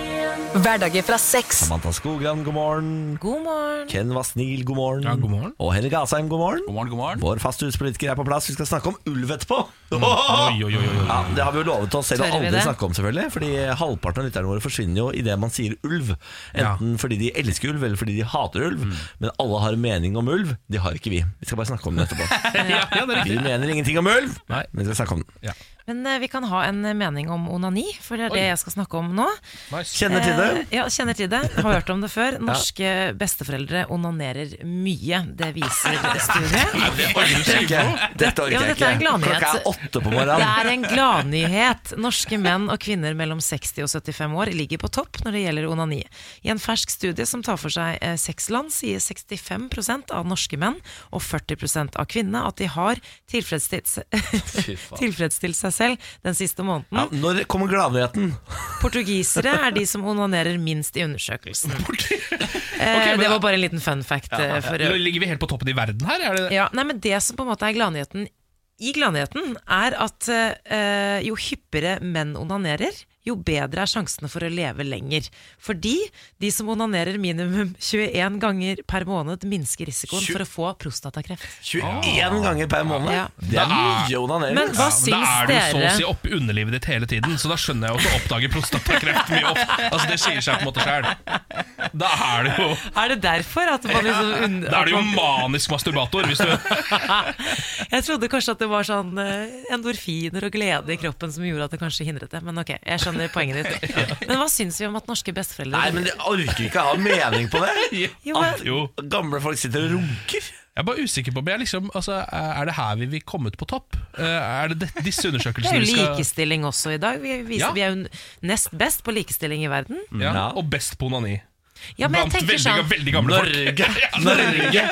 S4: Hverdager fra seks.
S1: Samantha Skogran, god morgen.
S2: God morgen.
S1: Ken Vasnil, god morgen.
S3: Ja, god morgen.
S1: Og Henrik Asheim, god morgen.
S9: God morgen, god morgen.
S1: Vår faste huspolitiker er på plass. Vi skal snakke om ulv etterpå.
S3: Oi, oi, oi, Mm. oi.
S1: Ja, det har vi jo lovet oss selv å
S2: Tør vi
S1: aldri
S2: det?
S1: snakke om, selvfølgelig. Fordi halvparten av lytterne våre forsvinner jo idet man sier ulv. Enten fordi de elsker ulv, eller fordi de hater ulv.
S3: Mm.
S1: Men alle har en mening om ulv. Det har ikke vi. Vi skal bare snakke om den etterpå.
S3: Ja, ja, det er
S1: Vi
S3: riktig.
S1: mener ingenting om ulv,
S3: Nei.
S1: men vi skal snakke om den.
S2: Men eh, vi kan ha en eh, mening om onani, for det er det jeg skal snakke om nå.
S3: Nice.
S1: Kjenner til det?
S2: Eh, Ja, kjenner til det. Har hørt om det før. Norske besteforeldre onanerer mye. Det viser studiet.
S3: Eh, Det orker du ikke.
S1: Dette orker
S2: Ja,
S1: jeg
S2: dette er en
S1: ikke.
S2: gladnyhet.
S1: Klokka er åtte på
S2: Det
S1: morgenen.
S2: er en gladnyhet. Norske menn og kvinner mellom 60 og 75 år ligger på topp når det gjelder onani. I en fersk studie som tar for seg eh, seks land, sier 65 av norske menn og 40 av kvinnene at de har tilfredsstilt, se- tilfredsstilt seg selv den siste måneden.
S1: Ja, når kommer gladnyheten?
S3: Ah.
S2: Portugisere er de som onanerer minst i undersøkelsen.
S3: Ok,
S2: eh,
S3: men
S2: det
S3: da-
S2: var bare en liten fun fact. eh, for,
S3: Nå Ligger vi helt på toppen i verden her? Er det det?
S2: ja, nei, men det som på en måte er gladnyheten i gladnyheten, er at eh, jo hyppigere menn onanerer, jo bedre er sjansene for å leve lenger. Fordi de som onanerer minimum 21 ganger per måned, minsker risikoen for å få prostatakreft.
S1: 21 ganger per måned?
S2: Ja.
S1: Det er mye å onanere.
S2: Men
S3: Ja, men da
S2: hva syns
S3: er du så å si
S2: dere?
S3: oppe i underlivet ditt hele tiden, så da skjønner jeg jo at du oppdager prostatakreft mye opp. Altså, det sier seg på en måte sjøl. Da er du jo
S2: Er det derfor at man liksom und-
S3: Da er du jo
S2: at man-
S3: manisk masturbator. Hvis du,
S2: Jeg trodde kanskje at det var sånn eh, endorfiner og glede i kroppen som gjorde at det kanskje hindret det, men ok, jeg skjønner poenget ditt. Men hva syns vi om at norske besteforeldre
S1: Nei, men det orker ikke ha mening på det.
S2: Jo, men-
S1: At
S3: jo.
S1: Gamle folk sitter og runker.
S3: jeg er bare usikker på om jeg liksom, altså, Er det her vi vil komme ut på topp? Eh, Er det det- disse
S2: Det er
S3: undersøkelsene
S2: jo
S3: vi skal
S2: likestilling også i dag. Vi, viser,
S3: Ja.
S2: vi er jo nest best på likestilling i verden.
S3: ja, Og best på onani.
S2: Ja, men jeg
S3: Blant
S2: tenker
S3: veldig,
S2: sånn
S3: veldig gamle
S1: Norge,
S3: folk. Ja,
S1: Norge,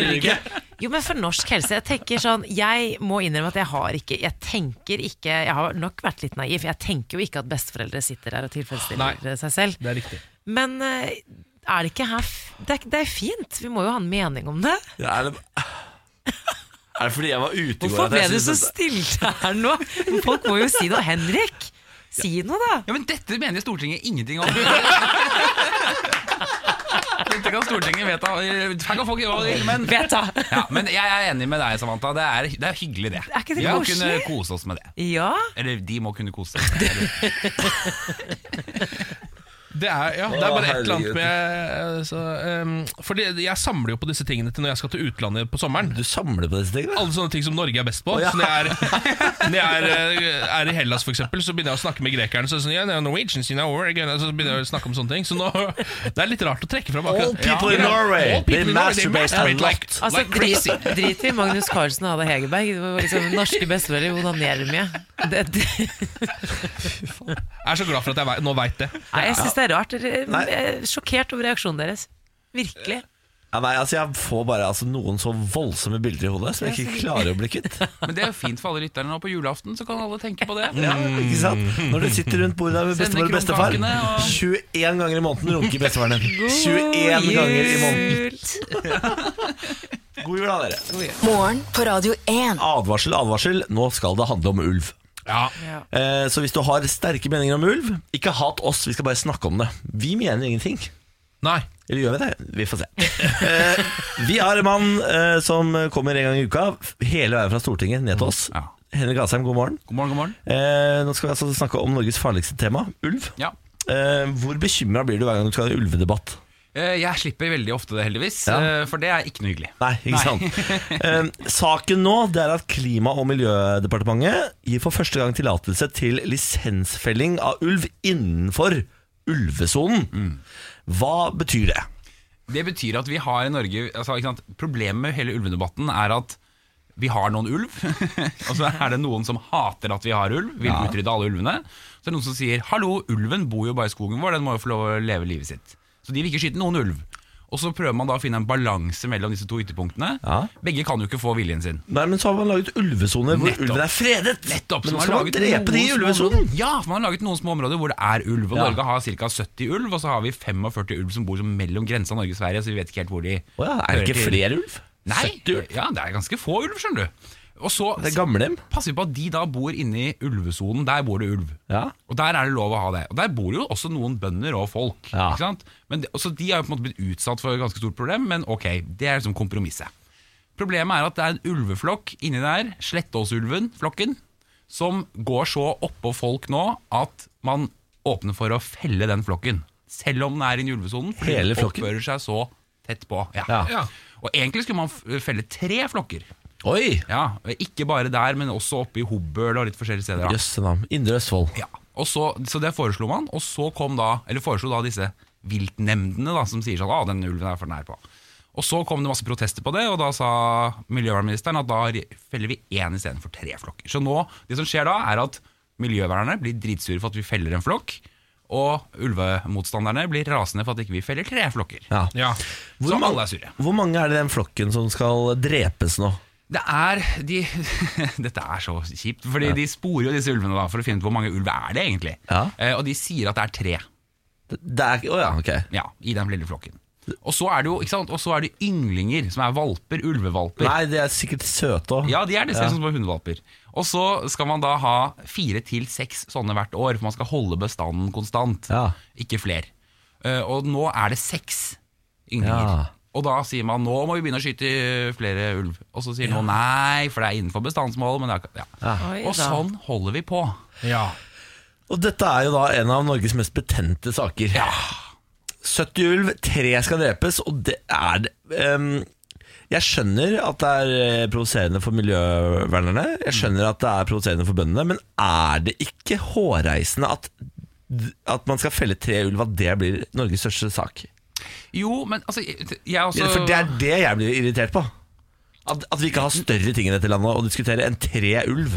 S1: Norge.
S2: Jo, men for norsk helse. Jeg tenker sånn Jeg må innrømme at jeg har ikke Jeg tenker ikke Jeg har nok vært litt naiv. Jeg tenker jo ikke at besteforeldre sitter der og tilfredsstiller
S3: Nei.
S2: seg selv.
S3: Det er riktig.
S2: Men eh, er det ikke her f- det er, det er fint. Vi må jo ha en mening om det.
S1: Ja, Er det, er det fordi jeg var ute i går
S2: Hvorfor
S1: at
S2: ble
S1: jeg
S2: du så
S1: syntes at-
S2: stille her nå? Folk må jo si noe. Henrik, si noe, da.
S9: Ja, men dette mener Stortinget ingenting om. Dette kan Stortinget vedta. Her kan folk gjøre hva de vil, men
S2: Vedta!
S9: ja, men jeg er enig med deg, Samantha. Det er, det er hyggelig, det.
S2: Er ikke det
S9: Vi må
S2: koselig?
S9: kunne kose oss med det.
S2: Ja.
S9: Eller de må kunne kose seg. med det.
S3: Det er, ja, det er bare et eller annet med så, ehm, Fordi jeg samler jo på disse tingene til når jeg skal til utlandet på sommeren.
S1: Du samler på disse tingene?
S3: Alle sånne ting som Norge er best på.
S1: ja.
S3: Så når jeg, er, når jeg er, eh, er i Hellas, for eksempel, så begynner jeg å snakke med grekerne. Så, er det sånn, yeah, they're Norwegians, you know, we're gonna-" så begynner jeg å snakke om sånne ting. Så nå, det er litt rart å trekke fram akkurat
S1: All people in Norway,
S3: All people in
S1: they
S3: Norway, they
S1: masturbate a
S3: masturbate like,
S1: lot.
S2: Altså,
S3: like
S2: drit,
S3: crazy.
S2: drit i Magnus Carlsen og Ada Hegerberg. Det var liksom Norske besteforeldre onanerer mye. Det, det,
S3: Jeg er så glad for at jeg vei- nå veit det.
S2: nei, jeg syns det er rart. Dere-
S1: Nei.
S2: jeg er Sjokkert over reaksjonen deres. Virkelig.
S1: Ja, nei, altså Jeg får bare altså, noen så voldsomme bilder i hodet som jeg ikke klarer å bli kvitt.
S9: Men det er jo fint for alle lytterne nå på julaften, så kan alle tenke på det. Mm.
S1: Ja, ikke sant? Når du sitter rundt bordet med
S9: Sende
S1: bestemor og bestefar
S9: kronkakene og-
S1: 21 ganger i måneden runker bestefaren din. 21 ganger i måneden. God jul, da, dere.
S4: Morgen på Radio 1.
S1: Advarsel, advarsel. Nå skal det handle om ulv.
S3: Ja,
S2: Ja.
S1: Eh, Så hvis du har sterke meninger om ulv, ikke hat oss, vi skal bare snakke om det. Vi mener ingenting.
S3: Nei.
S1: Eller gjør vi det? Vi får se. Eh, vi har en mann eh, som kommer en gang i uka, hele veien fra Stortinget ned til oss.
S9: Ja.
S1: Henrik Asheim, god morgen.
S9: God morgen, god morgen.
S1: Eh, nå skal vi altså snakke om Norges farligste tema, ulv.
S9: Ja.
S1: Eh, hvor bekymra blir du hver gang du skal ha en ulvedebatt?
S9: Eh, Jeg slipper veldig ofte det, heldigvis,
S1: Ja.
S9: eh, for det er ikke noe hyggelig.
S1: Nei, ikke sant. Eh, saken nå det er at Klima- og miljødepartementet gir for første gang tillatelse til lisensfelling av ulv innenfor ulvesonen.
S9: Mm.
S1: Hva betyr det?
S9: Det betyr at vi har i Norge altså, ikke sant? Problemet med hele ulvedebatten er at vi har noen ulv, og så er det noen som hater at vi har ulv, vil utrydde alle ulvene. Så er det noen som sier 'hallo, ulven bor jo bare i skogen vår, den må jo få lov å leve livet sitt'. Så de vil ikke skyte noen ulv. Og så prøver man da å finne en balanse mellom disse to ytterpunktene.
S1: Ja.
S9: Begge kan jo ikke få viljen sin.
S1: Nei, men så har man laget ulvesoner hvor
S9: Nettopp.
S1: ulven er fredet.
S9: Nettopp,
S1: men
S9: så
S1: nå
S9: man
S1: skal
S9: har
S1: man
S9: laget
S1: drepe de i
S9: noen små
S1: ulvesonen.
S9: områder- Ja, for man har laget noen små områder hvor det er ulv. Og
S1: Ja.
S9: Norge har ca. 70 ulv, og så har vi 45 ulv som bor som mellom grensa Norge og Sverige, så vi vet ikke helt hvor de
S1: Å ja, er det ikke
S9: hører til.
S1: flere ulv?
S9: Nei,
S1: 70 ulv?
S9: Ja, det er ganske få ulv, skjønner du. Og så
S1: Det er gamlehjem.
S9: passer vi på at de da bor inne i ulvesonen. Der bor det ulv.
S1: Ja.
S9: Og der er det lov å ha det. Og der bor jo også noen bønder og folk.
S1: Ja.
S9: Ikke sant? Men, det- så de har jo på en måte blitt utsatt for et ganske stort problem, men ok, det er liksom kompromisset. Problemet er at det er en ulveflokk inni der, Slettåsulven, flokken, som går så oppå folk nå at man åpner for å felle den flokken. Selv om den er inne i ulvesonen. fordi
S1: Hele
S9: folk
S1: flokken?
S9: Oppfører seg så tett på.
S1: Ja.
S3: Ja.
S9: Og egentlig skulle man f- felle tre flokker.
S1: Oi!
S9: Ja, Ikke bare der, men også oppe i Hobøl og litt forskjellige steder. da.
S1: Jøsse navn. Indre Østfold.
S9: Ja, og så, så det foreslo man, og så kom da, eller foreslo da disse viltnemndene da, som sier sånn, ah, den ulven er for nær på. Og så kom det masse protester på det, og da sa miljøvernministeren at da re- feller vi én istedenfor tre flokker. Så nå, det som skjer da, er at miljøvernerne blir dritsure for at vi feller en flokk, og ulvemotstanderne blir rasende for at ikke vi feller tre flokker.
S1: Ja.
S3: Ja.
S9: Så
S1: mange-
S9: alle er sure.
S1: Hvor mange er det i den flokken som skal drepes nå?
S9: Det er de, Dette er så kjipt, fordi de sporer jo disse ulvene da for å finne ut hvor mange ulv er det egentlig.
S1: Ja.
S9: Eh, og de sier at det er tre.
S1: Det er ikke Å ja, ok.
S9: Ja, i den lille flokken. Og så er det jo, ikke sant, og så er det ynglinger, som er valper, ulvevalper.
S1: Nei, de er sikkert søte òg.
S9: Ja, de er det, ser ut som små hundevalper. Og så skal man da ha fire til seks sånne hvert år, for man skal holde bestanden konstant.
S1: Ja.
S9: Ikke fler. Eh, og nå er det seks ynglinger.
S1: Ja.
S9: Og da sier man nå må vi begynne å skyte flere ulv. Og så sier noen nei, for det er innenfor bestandsmålet. Men det er, ikke- ja.
S2: Oi,
S9: Og
S2: da.
S9: sånn holder vi på.
S3: Ja.
S1: Og dette er jo da en av Norges mest betente saker. 70 ulv, tre skal drepes, og det er det. Ehm, jeg skjønner at det er eh, provoserende for miljøvernerne, jeg skjønner at det er provoserende for bøndene, men er det ikke hårreisende at, at man skal felle tre ulv, at det blir Norges største sak?
S9: Jo, men altså jeg, jeg også
S1: For det er det jeg blir irritert på. At, at vi ikke har større ting i dette landet å diskutere enn tre ulv.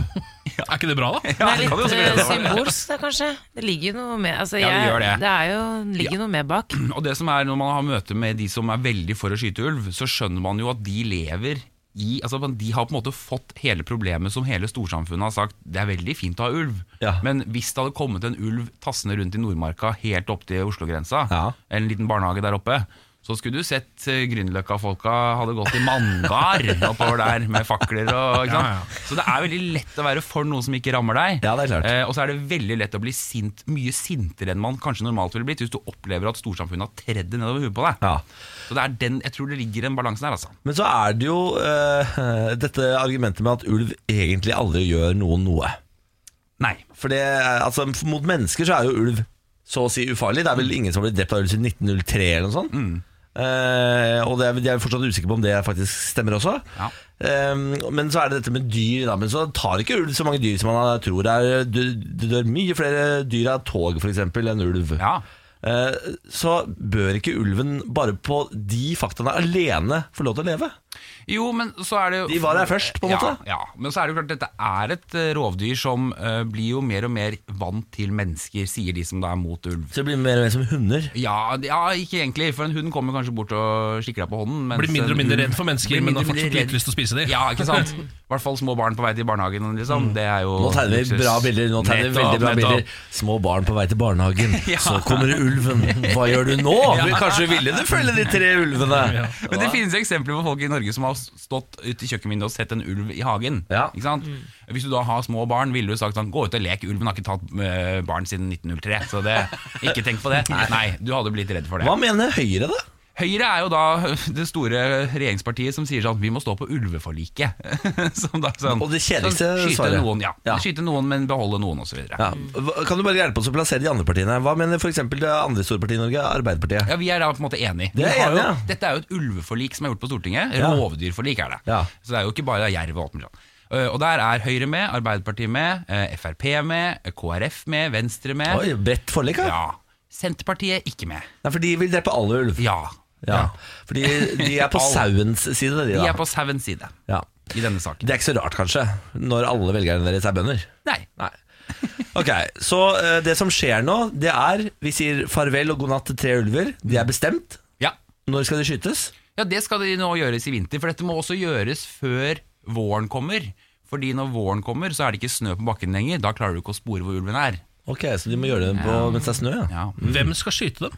S3: Er ikke det bra, da?
S9: Ja,
S2: Det
S9: det kan vi også
S2: er
S9: glede
S2: litt
S9: oss
S2: eh,
S9: over.
S2: symbolsk, da, kanskje. Det ligger jo noe med altså,
S9: Ja, det
S2: jeg-
S9: gjør det.
S2: er jo, ligger noe med bak.
S9: Og det som er Når man har møte med de som er veldig for å skyte ulv, så skjønner man jo at de lever i altså De har på en måte fått hele problemet som hele storsamfunnet har sagt det er veldig fint å ha ulv,
S1: Ja.
S9: men hvis det hadde kommet en ulv tassende rundt i Nordmarka helt opp til Oslo-grensa,
S1: Ja.
S9: en liten barnehage der oppe, Så skulle du sett eh, Grünerløkka-folka hadde gått i mangar oppover der med fakler og ikke sant?
S3: Ja, ja.
S9: Så det er veldig lett å være for noe som ikke rammer deg.
S1: Ja, det er klart.
S9: Eh, og så er det veldig lett å bli sint, mye sintere enn man kanskje normalt ville blitt hvis du opplever at storsamfunnet har tredd det nedover huet på deg.
S1: Ja.
S9: Så det er den, jeg tror det ligger en balanse der, altså.
S1: Men så er det jo eh, dette argumentet med at ulv egentlig aldri gjør noen noe.
S9: Nei.
S1: For det, altså, mot mennesker så er jo ulv så å si ufarlig. Det er vel ingen som har blitt drept av ulv siden 1903 eller noe sånt.
S9: Mm.
S1: Eh, og det er, jeg er fortsatt usikker på om det faktisk stemmer også.
S9: Ja.
S1: Eh, men så er det dette med dyr. Da. Men så tar ikke ulv så mange dyr som man tror. Det er- du- Det dør mye flere dyr av tog f.eks. enn ulv.
S9: Ja.
S1: Eh, så bør ikke ulven bare på de faktaene alene få lov til å leve?
S9: Jo, men så er det jo
S1: De var der først, på en
S9: ja,
S1: måte.
S9: Ja, men så er det jo klart dette er et eh, rovdyr som eh, blir jo mer og mer vant til mennesker, sier de som da er mot ulv.
S1: Så det blir mer og mer som hunder.
S9: Ja, ja, ikke egentlig, for en hund kommer kanskje bort og kikker deg på hånden. mens
S3: Blir mindre og
S9: en
S3: mindre
S9: ulv
S3: redd for mennesker,
S9: blir
S3: men
S9: mindre
S3: har
S9: og mindre
S3: fortsatt litt
S9: redd.
S3: lyst til å spise Mm. dem.
S9: Ja, ikke sant? I hvert fall små barn på vei til barnehagen. Liksom. Det er jo
S1: Nå tegner vi bra bilder. Nå tegner vi veldig bra
S9: Nettopp, nettopp.
S1: bilder Små barn på vei til barnehagen. Så kommer ulven. Hva gjør du nå? Kanskje ville du følge de tre ulvene?
S9: Men det finnes eksempler på folk i Norge som har stått ute i kjøkkenvinduet og sett en ulv i hagen.
S1: Ja.
S9: Ikke sant? Hvis du da har små barn, ville du sagt sånn Gå ut og lek, ulven har ikke tatt eh, barn siden 1903. Så det, ikke tenk på det. Nei, du hadde blitt redd for det.
S1: Hva mener Høyre, da?
S9: Høyre er jo da det store regjeringspartiet som sier sånn Vi må stå på ulveforliket. som da sånn,
S1: Og det kjedeligste
S9: sånn, skyte
S1: svaret.
S9: Noen, ja.
S1: Ja.
S9: Skyte noen, men beholde noen, osv.
S1: Ja. hva- Kan du bare hjelpe oss å plassere de andre partiene? Hva mener f.eks. det andre store partiet i Norge, Arbeiderpartiet?
S9: Ja, Vi er da på en måte enige.
S1: Det er
S9: Vi har jo,
S1: enige, ja.
S9: Dette er jo et ulveforlik som er gjort på Stortinget.
S1: Ja.
S9: Rovdyrforlik er det.
S1: Ja.
S9: Så det er jo ikke bare jerv og alt mulig sånn. Eh, Og der er Høyre med, Arbeiderpartiet med, eh, Frp med, eh, KrF med, Venstre med.
S1: Oi, Bredt forlik, ja.
S9: Ja. Senterpartiet ikke med.
S1: Nei, for de vil drepe alle ulv.
S9: Ja.
S1: Ja. Fordi de er på
S9: Alle.
S1: sauens side, de
S9: De
S1: da.
S9: er på sauens side
S1: Ja.
S9: i denne saken.
S1: Det er ikke så rart, kanskje, når alle velgerne deres er bønder.
S9: Nei.
S1: Nei. Ok, Så eh, det som skjer nå, det er Vi sier farvel og god natt til tre ulver. De er bestemt.
S9: Ja.
S1: Når skal de skytes?
S9: ja, det skal de nå gjøres i vinter, for dette må også gjøres før våren kommer. Fordi når våren kommer, så er det ikke snø på bakken lenger. Da klarer du ikke å spore hvor ulven er.
S1: Ok, Så de må gjøre det på, mens det er snø? Ja.
S9: Ja.
S3: Hvem skal skyte dem?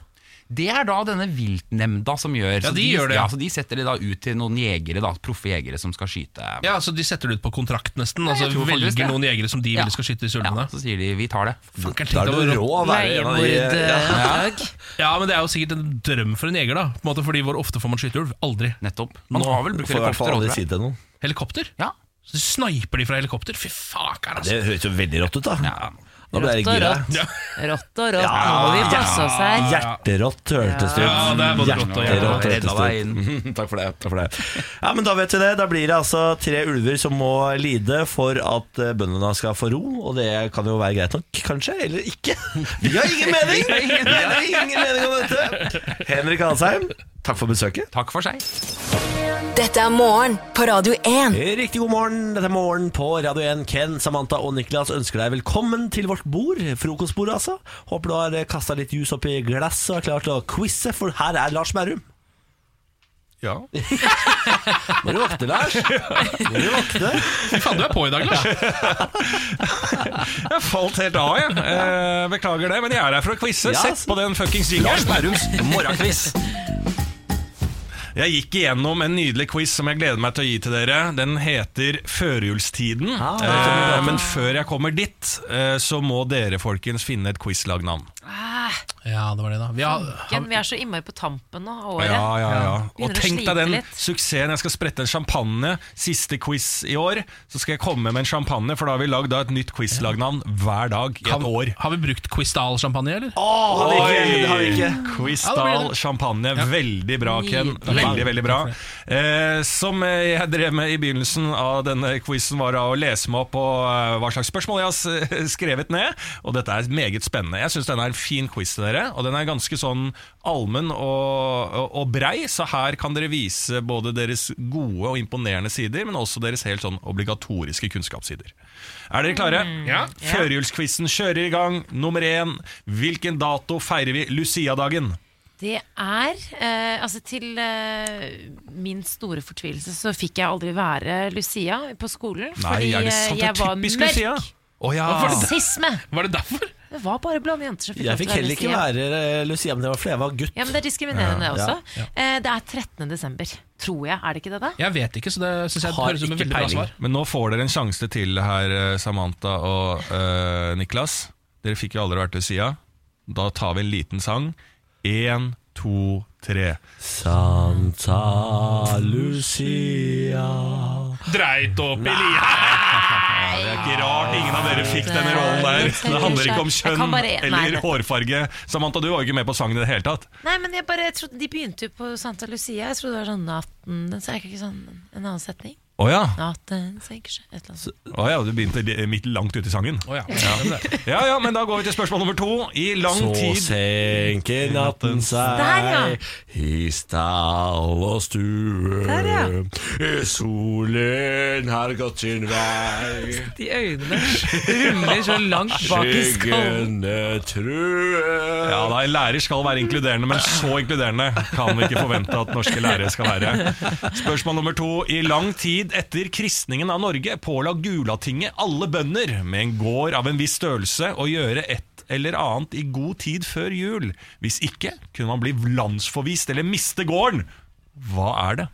S9: Det er da denne viltnemnda som gjør.
S3: Ja, de gjør det, ja.
S9: Ja, så de setter det da ut til noen jegere, da, proffe jegere som skal skyte.
S3: Ja, altså De setter det ut på kontrakt, nesten. Altså,
S9: jeg tror faktisk
S3: velger
S9: det.
S3: noen jegere som de
S9: Ja.
S3: ville skal skyte disse ulvene.
S9: Ja, altså, så sier de 'vi tar det'.
S3: Fuck, jeg
S1: Da
S3: tenkte
S1: er
S3: over-
S1: du rå å være en av de ja.
S2: Leiemorderdag.
S3: Ja, men Det er jo sikkert en drøm for en jeger, da. På en måte, fordi Hvor ofte får man skyte ulv? Aldri.
S9: Nettopp. Man har vel brukt
S1: Får i hvert fall
S9: helikopter
S1: aldri
S9: over
S1: si
S9: det.
S1: det til noen.
S3: Helikopter?
S9: Ja.
S3: Så sniper de fra helikopter? Fy faker, altså.
S1: Det høres jo veldig rått ut, da.
S9: Ja.
S1: Nå ble jeg
S2: Rått og
S1: gira.
S2: rått.
S3: Ja.
S2: Rått og rått. Nå må vi passe oss her.
S1: Hjerterått hørtes det ut.
S3: Ja, det er både rått og
S1: Hjerterått
S9: hjerterått.
S1: hørtes det ut. Mhm, Takk for det. Takk for det. Ja, men Da vet vi det. Da blir det altså tre ulver som må lide for at eh, bøndene skal få ro. Og det kan jo være greit nok, kanskje? Eller ikke? Vi har ingen mening! Vi har ingen mening om dette! Henrik Asheim, takk for besøket.
S9: Takk for seg.
S4: Dette er morgen på Radio 1.
S1: Riktig god morgen. Dette er Morgen på Radio 1. Ken, Samantha og Niklas ønsker deg velkommen til vårt bord. Frokostbordet, altså. Håper du har kasta litt juice oppi glasset og er klar til å quize, for her er Lars Merrum.
S9: Ja.
S1: Må du våkne, Lars. Må du våkne.
S3: Fy faen, du er på i dag, Lars.
S8: Jeg falt helt av, jeg. Eh, beklager det, men jeg er her for å quize.
S1: Ja,
S8: Sett på den fuckings jingeren. Jeg gikk igjennom en nydelig quiz som jeg gleder meg til å gi til dere. Den heter Førjulstiden.
S1: Ah.
S8: eh, men før jeg kommer dit, eh, så må dere folkens finne et quizlagnavn.
S3: Ja, det var det, da. Vi har,
S2: Ken, vi er så innmari på tampen nå av året.
S8: Ja, ja, ja. Og
S2: Begynner å
S8: tenk deg
S2: slite
S8: den
S2: litt.
S8: suksessen. Jeg skal sprette en champagne. Siste quiz i år, så skal jeg komme med en champagne, for da har vi lagd da et nytt quizlagnavn hver dag i et år.
S3: har vi brukt Quistal-champagne, eller?
S1: Åh, har vi ikke, det har vi ikke.
S3: Ja, det
S8: Quistal
S3: blir det.
S8: champagne. Veldig bra, Ken.
S2: Nydelig.
S8: Veldig, veldig bra. Eh, som eh, jeg drev med i begynnelsen av denne quizen, var da å lese meg opp på eh, hva slags spørsmål jeg har s- eh, skrevet ned. Og dette er meget spennende. Jeg syns denne er en fin quiz til dere, og den er ganske sånn allmenn og, og, og brei, så her kan dere vise både deres gode og imponerende sider, men også deres helt sånn obligatoriske kunnskapssider. Er dere klare? Mm. Ja. Førjulsquizen kjører i gang. Nummer én, hvilken dato feirer vi Lucia-dagen?
S2: Det er eh, Altså, til eh, min store fortvilelse så fikk jeg aldri være Lucia på skolen.
S8: Nei,
S2: fordi
S8: er det
S2: eh,
S8: sant? Det er
S2: jeg var
S8: typisk Ah.
S2: mørk.
S8: Lucia. Å ja.
S2: Rasisme!
S3: Var det derfor?
S2: Det var bare blonde jenter som fikk
S1: Jeg
S2: lov til
S1: fikk
S2: å være
S1: heller ikke
S2: Lucia.
S1: være eh, Lucia, men det var fordi jeg var gutt.
S2: Ja, men Det er diskriminerende,
S1: Ja,
S2: også. Eh, det er 13. desember, tror jeg. Er det ikke det, da?
S3: Jeg vet ikke, så det synes jeg
S1: Har
S3: høres ut som et
S1: ikke
S3: veldig bra
S1: peiling.
S3: svar.
S8: Men nå får dere en sjanse til her, eh, Samantha og eh, Niklas. Dere fikk jo aldri vært til sida. Da tar vi en liten sang. Én, to, tre.
S1: Santa Lucia
S3: Dreit opp i lia!
S8: Det er ikke rart ingen av
S2: Ah,
S8: dere fikk denne rollen der. Det handler ikke om
S2: Jeg kan
S8: kjønn
S2: bare- Nei,
S8: eller
S2: dette-
S8: hårfarge. Samantha, du var jo ikke med på sangen i det hele tatt.
S2: Nei, men jeg bare trodde De begynte jo på Santa Lucia. Jeg trodde det var sånn natten Den senker ikke sånn en annen setning.
S8: Å ja.
S2: Natten senker seg Et eller annet. sånt.
S8: Å ja, du begynte li- midt langt ute i sangen.
S3: Å ja. Ja.
S8: Ja ja, men da går vi til spørsmål nummer to. I lang
S1: Så
S8: tid
S1: senker natten seg
S2: Der, ja.
S1: i stall og stue.
S2: Der, ja.
S1: Solen har gått sin vei,
S10: De øynene ruller så langt bak i skallen.
S1: skyggene truer.
S8: Ja da, En lærer skal være inkluderende, men så inkluderende kan vi ikke forvente at norske lærere skal være. Spørsmål nummer to. I lang tid etter kristningen av Norge påla Gulatinget alle bønder med en gård av en viss størrelse å gjøre et eller annet i god tid før jul. Hvis ikke kunne man bli landsforvist eller miste gården. Hva er det?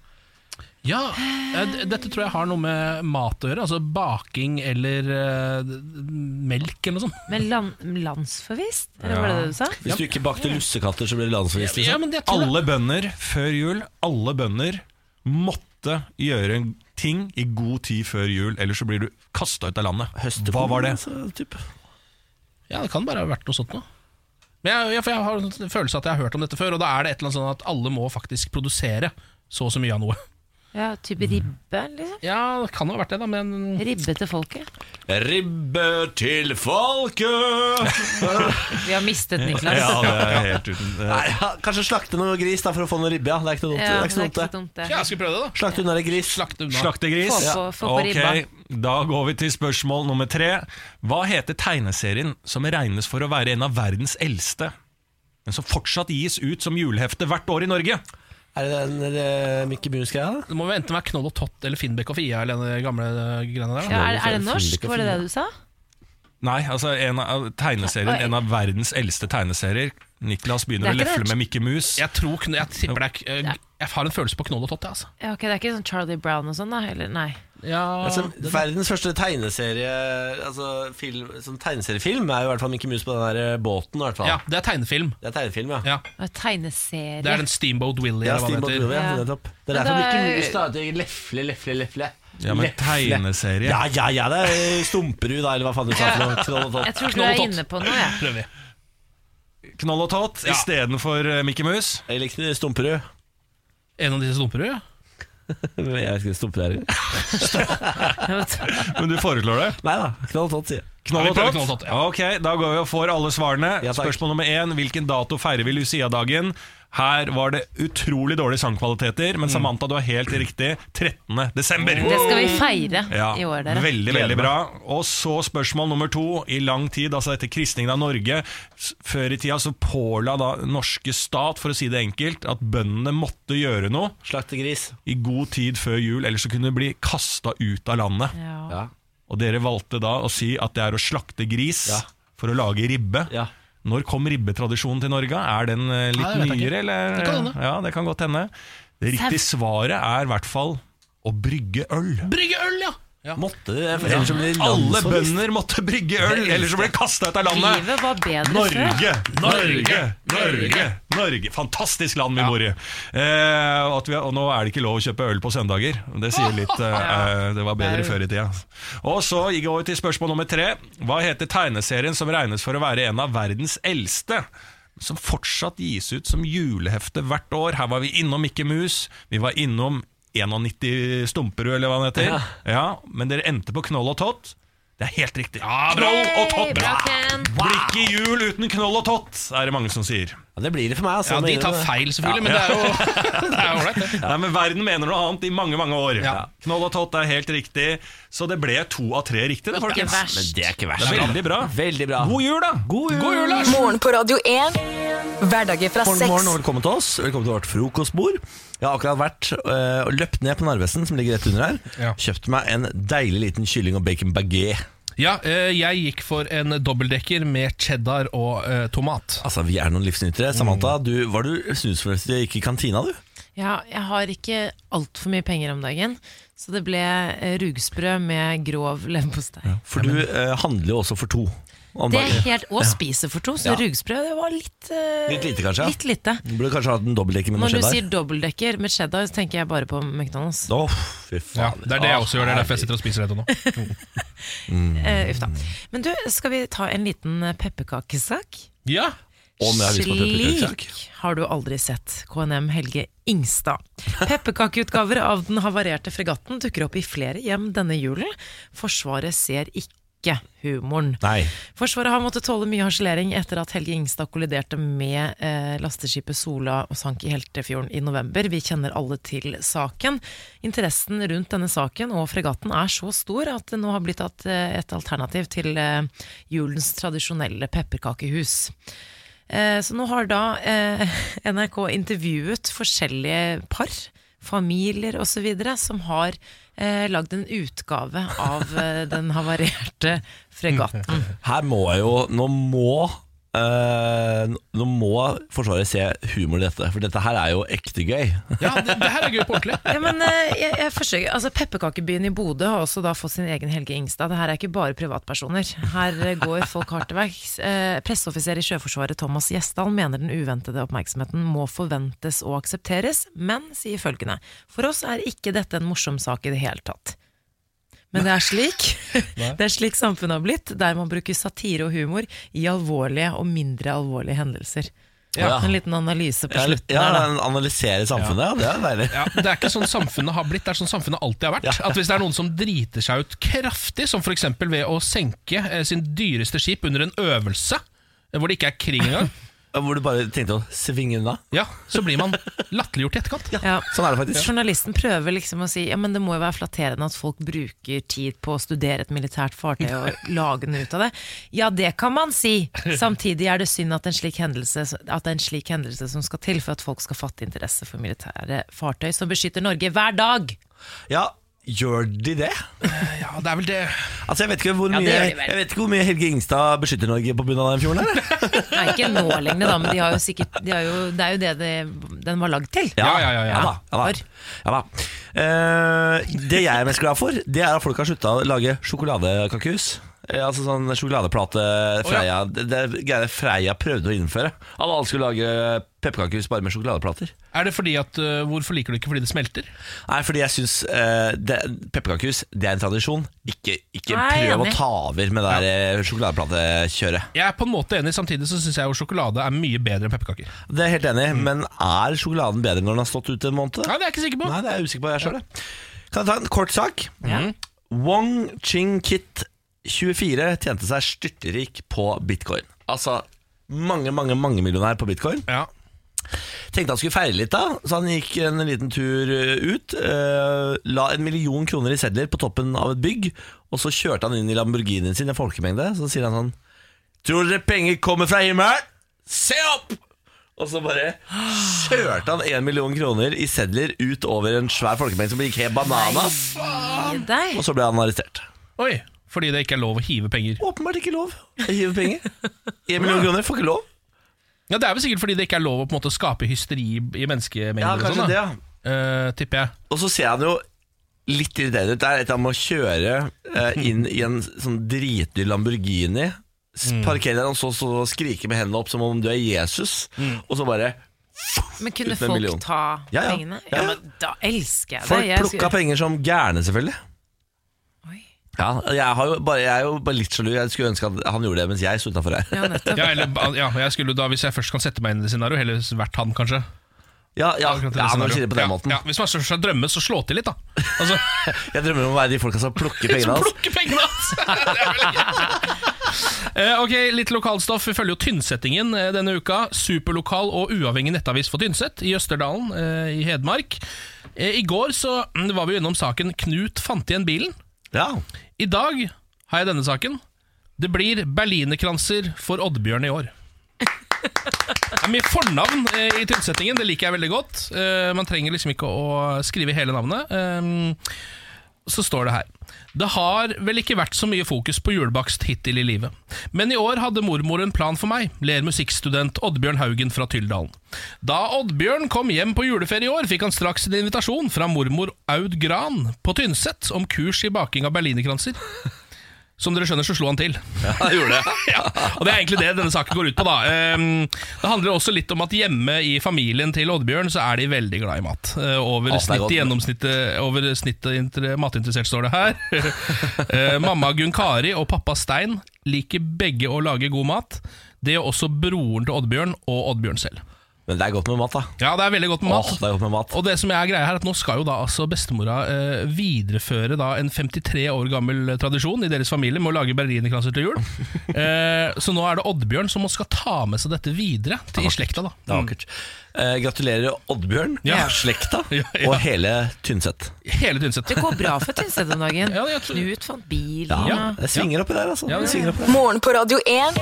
S3: Ja, eh, d- dette tror jeg har noe med mat å gjøre. Altså baking eller eh, d- melk eller noe sånt.
S2: Men land, landsforvist? Eller var det det du sa?
S1: Hvis du ikke bakte lussekatter, så ble du landsforvist.
S3: Ja,
S1: Liksom.
S3: men jeg tror det-
S8: Alle bønder før jul, alle bønder måtte gjøre en ting i god tid før jul, ellers så blir du kasta ut av landet. Hva var det?
S1: Altså, typ.
S3: Ja, det kan bare ha vært noe sånt noe. Men jeg, ja, for jeg har en følelse at jeg har hørt om dette før, og da er det et eller annet sånn at alle må faktisk produsere så og så mye av noe.
S2: Ja, Type
S8: Mm.
S2: ribbe, liksom?
S3: Ja, det kan jo ha vært det, da, men
S2: Ribbe til folket.
S1: Ribbe til folket!
S2: Vi har mistet Niklas.
S8: Ja, det er helt uten
S1: Nei, ja, kanskje slakte noe gris da for å få noe ribbe. Ja. Det er ikke noe
S2: Ja,
S1: dumt. det er ikke så dumt, det.
S2: dumt, det.
S3: ja, skal vi prøve det, da?
S1: Slakte unna en gris.
S3: Slakte unna.
S8: Slaktegris.
S2: Få på- få på
S8: Ok,
S2: ribba.
S8: Da går vi til spørsmål nummer tre. Hva heter tegneserien som regnes for å være en av verdens eldste, men som fortsatt gis ut som julehefte hvert år i Norge?
S1: Er det den uh, Mickey Mouse-greia? da?
S3: Det må jo enten være Knoll og Tott eller Finnbekk og Fia eller den gamle eh, greiene der. da.
S2: Ja, er, er det norsk? Var det det du sa?
S8: Nei, altså en av tegneserien, en av verdens eldste tegneserier. Niklas begynner å
S2: Det er ikke
S8: lefle
S2: det.
S8: med Mikke Mus.
S3: Jeg tror, kn- jeg tipper det er k- eh, Jeg har en følelse på Knoll og Tott, jeg, altså.
S2: Ja, ok, Det er ikke sånn Charlie Brown og sånn, da? Eller nei.
S3: Ja,
S1: Altså,
S3: det-
S1: verdens første tegneserie Altså film, sånn tegneseriefilm er jo i hvert fall Mickey Mouse på den der eh, båten. I hvert fall.
S3: ja, det er tegnefilm.
S1: Det er tegnefilm, ja.
S3: Ja,
S2: Og Tegneserie.
S3: Det er den Steamboat Willie.
S1: Ja,
S3: eller hva den
S1: Steamboat
S3: heter.
S1: Willie, ja.
S2: Ja.
S1: nettopp. Det er
S2: Men
S1: derfor
S2: da
S1: Mickey
S2: er-
S1: Mouse da, det er lefle, lefle, lefle.
S8: Ja, men tegneserie
S1: Ja, ja, ja, det er eh, Stumperud, da, eller hva faen du sa. for noe. Knoll og
S2: Jeg
S1: tott.
S2: tror du
S3: Knoll og
S2: er
S3: Tott.
S2: inne på noe, jeg.
S3: Prøver vi.
S8: Knoll og Tott
S3: Ja.
S8: istedenfor eh, Mikke Mus.
S1: Jeg likte Stumperud.
S3: En av disse dumper du? Ja.
S1: Men Jeg vet ikke Stumperud er
S8: Men du foreslår det?
S1: Nei da, Knoll og tott, sier jeg.
S8: Knoll
S3: Ja, vi
S8: og
S3: prøver
S8: Tott?
S3: Knoll og Tott, ja.
S8: Ok, da går vi og får alle svarene.
S1: Ja, takk.
S8: Spørsmål nummer én, hvilken dato feirer vi Lucia-dagen? Her var det utrolig dårlige sangkvaliteter,
S2: Mm.
S8: men Samantha, du har helt riktig. 13. desember.
S2: Det skal vi feire
S8: Ja,
S2: i år, dere.
S8: Veldig, veldig bra. Og så spørsmål nummer to. I lang tid, altså etter kristningen av Norge, s- før i tida så påla da norske stat, for å si det enkelt, at bøndene måtte gjøre noe
S1: Slaktegris.
S8: i god tid før jul, ellers så kunne de bli kasta ut av landet.
S2: Ja.
S1: Ja.
S8: Og dere valgte da å si at det er å slakte gris
S1: Ja.
S8: for å lage ribbe.
S1: Ja.
S8: Når kom ribbetradisjonen til Norge? Er den eh, litt
S3: Nei, det vet jeg ikke.
S8: nyere, eller?
S3: Det kan hende.
S8: Ja, det kan godt hende. Det riktige svaret er i hvert fall å brygge øl.
S3: Brygge øl, ja! ja.
S1: Måtte de det? For ellers så blir de
S8: Alle
S1: landsforvist.
S8: bønder måtte brygge øl, ellers så ble de kasta ut av landet.
S2: Livet var bedre før.
S8: Norge, Norge, Norge, Norge. Fantastisk land vi bor i. Eh, og, at vi, og nå er det ikke lov å kjøpe øl på søndager. Det sier litt eh, eh, Det var bedre før i tida. Og så går vi til spørsmål nummer tre. Hva heter tegneserien som regnes for å være en av verdens eldste? Som fortsatt gis ut som julehefte hvert år. Her var vi innom Mikke Mus. Vi var innom 91 Stumperud, eller hva den heter. Ja. men dere endte på Knoll og Tott. Det er helt riktig. Knoll og
S2: Hei,
S8: Tott!
S2: bra, Ken.
S8: Blir ikke jul uten knoll og tott, er det mange som sier.
S1: Ja, det blir det for meg. Altså.
S3: Ja, De
S1: Jeg
S3: tar
S1: mener det.
S3: feil, selvfølgelig, men det er jo det er jo ålreit, det.
S8: Nei, men Verden mener noe annet i mange mange år.
S3: Ja.
S8: Knoll og tott er helt riktig, så det ble to av tre riktige. Det,
S2: Ikke
S8: folkens.
S2: verst.
S1: Det er ikke
S8: det
S1: verst.
S8: er veldig bra.
S1: Veldig bra.
S8: God jul, da!
S1: God jul.
S4: Morgen på Radio 1. Hverdager fra
S1: Morgen, morgen og
S4: seks.
S1: velkommen til oss. Velkommen til vårt frokostbord. Jeg har akkurat vært øh, og løpt ned på Narvesen, som ligger rett under her.
S3: Ja.
S1: Kjøpt meg en deilig liten kylling og bacon baguette.
S3: Ja, eh, jeg gikk for en dobbeltdekker med cheddar og eh, tomat.
S1: Altså, vi er noen
S3: Mm.
S1: livsnytere. Samantha, du, var du snusfornuftig og gikk i kantina, du?
S2: Ja, jeg har ikke altfor mye penger om dagen, så det ble eh, rugsprø med grov leverpostei.
S1: For du eh, handler jo også for to. om
S2: Det er
S1: dagen.
S2: helt å
S1: Ja.
S2: spise for to, så
S1: Ja.
S2: rugsprø det var litt eh,
S1: Litt lite, kanskje?
S2: Litt lite.
S1: Du burde kanskje hatt en dobbeltdekker med noe
S2: Når du
S1: cheddar.
S2: sier dobbeltdekker med cheddar, så tenker jeg bare på McDonald's.
S1: Å, fy
S3: Ja,
S1: faen.
S3: det er det jeg også gjør. Det er derfor jeg sitter og spiser dette nå.
S2: Eh, uff da. Men du, skal vi ta en liten eh, pepperkakesak?
S3: Ja.
S1: Om jeg har lyst på pepperkakesak?
S2: Slik har du aldri sett KNM Helge Ingstad. Pepperkakeutgaver av den havarerte fregatten dukker opp i flere hjem denne julen. Forsvaret ser ikke humoren.
S1: Nei.
S2: Forsvaret har måttet tåle mye harselering etter at Helge Ingstad kolliderte med eh, lasteskipet Sola og sank i Heltefjorden i november. Vi kjenner alle til saken. Interessen rundt denne saken og fregatten er så stor at det nå har blitt et, et alternativ til eh, julens tradisjonelle pepperkakehus. Eh, Så nå har da eh, NRK intervjuet forskjellige par, familier osv., som har eh, lagd en utgave av eh, den havarerte fregatten.
S1: Her må jeg jo Nå må eh, Nå må Forsvaret se humor i dette, for dette her er jo ekte gøy.
S3: Ja, det, det her er gøy på ordentlig.
S2: Ja, men eh, jeg, jeg forsøker, altså Pepperkakebyen i Bodø har også da fått sin egen Helge Ingstad. Det her er ikke bare privatpersoner. Her eh, går folk hardt til verks. Eh, Presseoffiser i Sjøforsvaret Thomas Gjesdal mener den uventede oppmerksomheten må forventes og aksepteres, men sier følgende For oss er ikke dette en morsom sak i det hele tatt. Men det er slik Det er slik samfunnet har blitt, der man bruker satire og humor i alvorlige og mindre alvorlige hendelser.
S1: Ja.
S2: En liten analyse på
S1: Ja,
S2: slutten.
S1: ja,
S2: her, da.
S1: analysere samfunnet, ja. det er deilig.
S3: Ja, det er ikke sånn samfunnet har blitt, det er sånn samfunnet alltid har vært. At Hvis det er noen som driter seg ut kraftig, som f.eks. ved å senke eh, sin dyreste skip under en øvelse, eh, hvor det ikke er krig engang,
S1: Hvor du bare tenkte å svinge unna.
S3: ja, så blir man latterliggjort i etterkant.
S2: Ja.
S1: Sånn er det faktisk.
S2: Journalisten prøver liksom å si Ja, men det må jo være flatterende at folk bruker tid på å studere et militært fartøy og lage noe ut av det. Ja, det kan man si. Samtidig er det synd at en slik hendelse, at det er en slik hendelse som skal til for at folk skal fatte interesse for militære fartøy som beskytter Norge hver dag.
S1: Ja, gjør de det?
S3: Ja, det er vel det
S1: Altså, jeg vet ikke hvor
S2: Ja, det
S1: mye,
S2: gjør de vel.
S1: jeg vet ikke hvor mye Helge Ingstad beskytter Norge på bunnen av den fjorden her.
S2: Nei, ikke nå lenger, da, men de har jo sikkert de har jo, Det er jo det, det den var lagd til.
S3: Ja, ja, ja, ja.
S1: da, ja, da. Ja, da. Eh, det jeg er mest glad for, det er at folk har slutta å lage sjokoladekakehus. Eh, altså sånn sjokoladeplate Freia Det det er greier Freia prøvde å innføre. At alle skulle lage pepperkakehus bare med sjokoladeplater.
S3: Er det fordi at eh, Hvorfor liker du ikke fordi det smelter?
S1: Nei, fordi jeg syns uh, pepperkakehus det er en tradisjon. Ikke, ikke
S2: Nei, jeg er
S1: prøv
S2: enig.
S1: å ta over med det der eh, sjokoladeplatekjøret.
S3: Jeg er på en måte enig, samtidig så syns jeg jo sjokolade er mye bedre enn pepperkaker.
S1: Det er jeg helt enig i, men er sjokoladen bedre når den har stått ute en måned?
S3: Nei, det er jeg ikke sikker på.
S1: Nei, det er jeg usikker på jeg sjøl. Kan jeg ta en kort sak? Wong Ching-Kit, 24, tjente seg styrtrik på bitcoin. Altså mange, mange, mange millionær på bitcoin.
S3: Ja.
S1: Tenkte han skulle feire litt, da, så han gikk en liten tur eh, ut. eh, la en million kroner i sedler på toppen av et bygg, og så kjørte han inn i Lamborghinien sin i en folkemengde. Så sier han sånn Tror dere penger kommer fra himmelen? Se opp! Og så bare kjørte han en million kroner i sedler ut over en svær folkemengde som gikk helt bananas.
S2: Gi deg.
S1: Og så ble han arrestert.
S3: Oi, fordi det ikke er lov å hive penger.
S1: Åpenbart ikke lov å hive penger. En million kroner får ikke lov.
S3: Ja, Det er vel sikkert fordi det ikke er lov å på en måte skape hysteri i menneskemengder.
S1: Ja,
S3: og
S1: kanskje
S3: sånn,
S1: det,
S3: da.
S1: ja.
S3: Eh, tipper jeg.
S1: Og så ser han jo litt irriterende ut. Det er et eller annet med å kjøre eh, inn i en sånn dritdyr Lamborghini, s- parkere der og så, så skrike med hendene opp som om du er Jesus, og så bare
S2: Men kunne
S1: Uten en
S2: folk
S1: million.
S2: ta
S1: Ja, ja.
S2: pengene?
S1: Ja,
S2: Ja,
S1: ja.
S2: men da elsker jeg det.
S1: Folk
S2: Jeg
S1: plukka
S2: skulle-
S1: penger som gærne, selvfølgelig.
S2: Oi.
S1: Ja, jeg, har jo bare, jeg er jo bare litt sjalu. Jeg skulle ønske at han gjorde det mens jeg sto utafor her.
S2: Ja, nettopp.
S3: Ja, eller, ja, jeg skulle da, Hvis jeg først kan sette meg inn i det scenarioet, heller vært han, kanskje.
S1: Ja, ja,
S3: Akkurat i det
S1: ja når du
S3: scenarioet.
S1: sier det på den
S3: ja,
S1: måten.
S3: Ja, hvis man først skal drømme, så slå til litt, da. Altså,
S1: Jeg drømmer om å være de folka som plukker pengene
S3: så
S1: hans.
S3: plukke pengene hans! Det er vel ikke- Eh, ok, Litt lokalstoff. Vi følger jo Tynsettingen eh, denne uka. Superlokal og uavhengig nettavis for Tynset i Østerdalen eh, i Hedmark. Eh, I går så mm, var vi jo innom saken 'Knut fant igjen bilen'.
S1: Ja.
S3: I dag har jeg denne saken. Det blir berlinerkranser for Oddbjørn i år. Det er mye fornavn eh, i tilsettingen, det liker jeg veldig godt. Eh, Man trenger liksom ikke å skrive hele navnet. Eh, så står det her Det har vel ikke vært så mye fokus på julebakst hittil i livet. Men i år hadde mormor en plan for meg, ler musikkstudent Oddbjørn Haugen fra Tyldalen. Da Oddbjørn kom hjem på juleferie i år, fikk han straks en invitasjon fra mormor Aud Gran på Tynset om kurs i baking av berlinerkranser. Som dere skjønner, så slo han til. Ja,
S1: han gjorde det.
S3: ja, og det er egentlig det denne saken går ut på, da. Ehm, Det handler også litt om at hjemme i familien til Oddbjørn, så er de veldig glad i mat. Eh, Over
S1: Ja, det er
S3: snittet,
S1: godt.
S3: gjennomsnittet, over snittet inter, matinteressert står det her. Eh, Mamma Gunn Kari og pappa Stein liker begge å lage god mat. Det gjør også broren til Oddbjørn og Oddbjørn selv.
S1: Men det er godt med mat, da.
S3: Ja, det er veldig godt med mat.
S1: Åh, det er godt med mat.
S3: Og det som er greia her, er at nå skal jo da altså bestemora eh, videreføre da en 53 år gammel tradisjon i deres familie med å lage berlinerkranser til jul. eh, så nå er det Oddbjørn som skal ta med seg dette videre til i slekta, da.
S1: Det er vakkert. Eh, gratulerer Oddbjørn,
S3: Mm. Ja.
S1: slekta
S3: Ja, ja.
S1: og hele Tynset.
S3: Hele Tynset.
S2: Det går bra for Tynset om dagen.
S3: Ja, jeg tror-
S2: Knut fant bil.
S1: Ja,
S2: Ja.
S1: Det svinger oppi der, altså.
S3: Ja,
S1: det
S3: det-
S1: svinger oppi der.
S4: Morgen på Radio 1.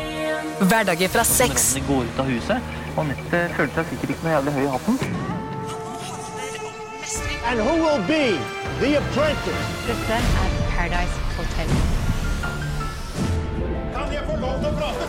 S4: Hverdager fra seks.
S11: går ut av huset. Anette følte seg sikkert ikke noe jævlig høy i hatten.
S12: And who will be the apprentice?
S13: Dette er Paradise Hotel.
S12: Kan jeg få lov til å prate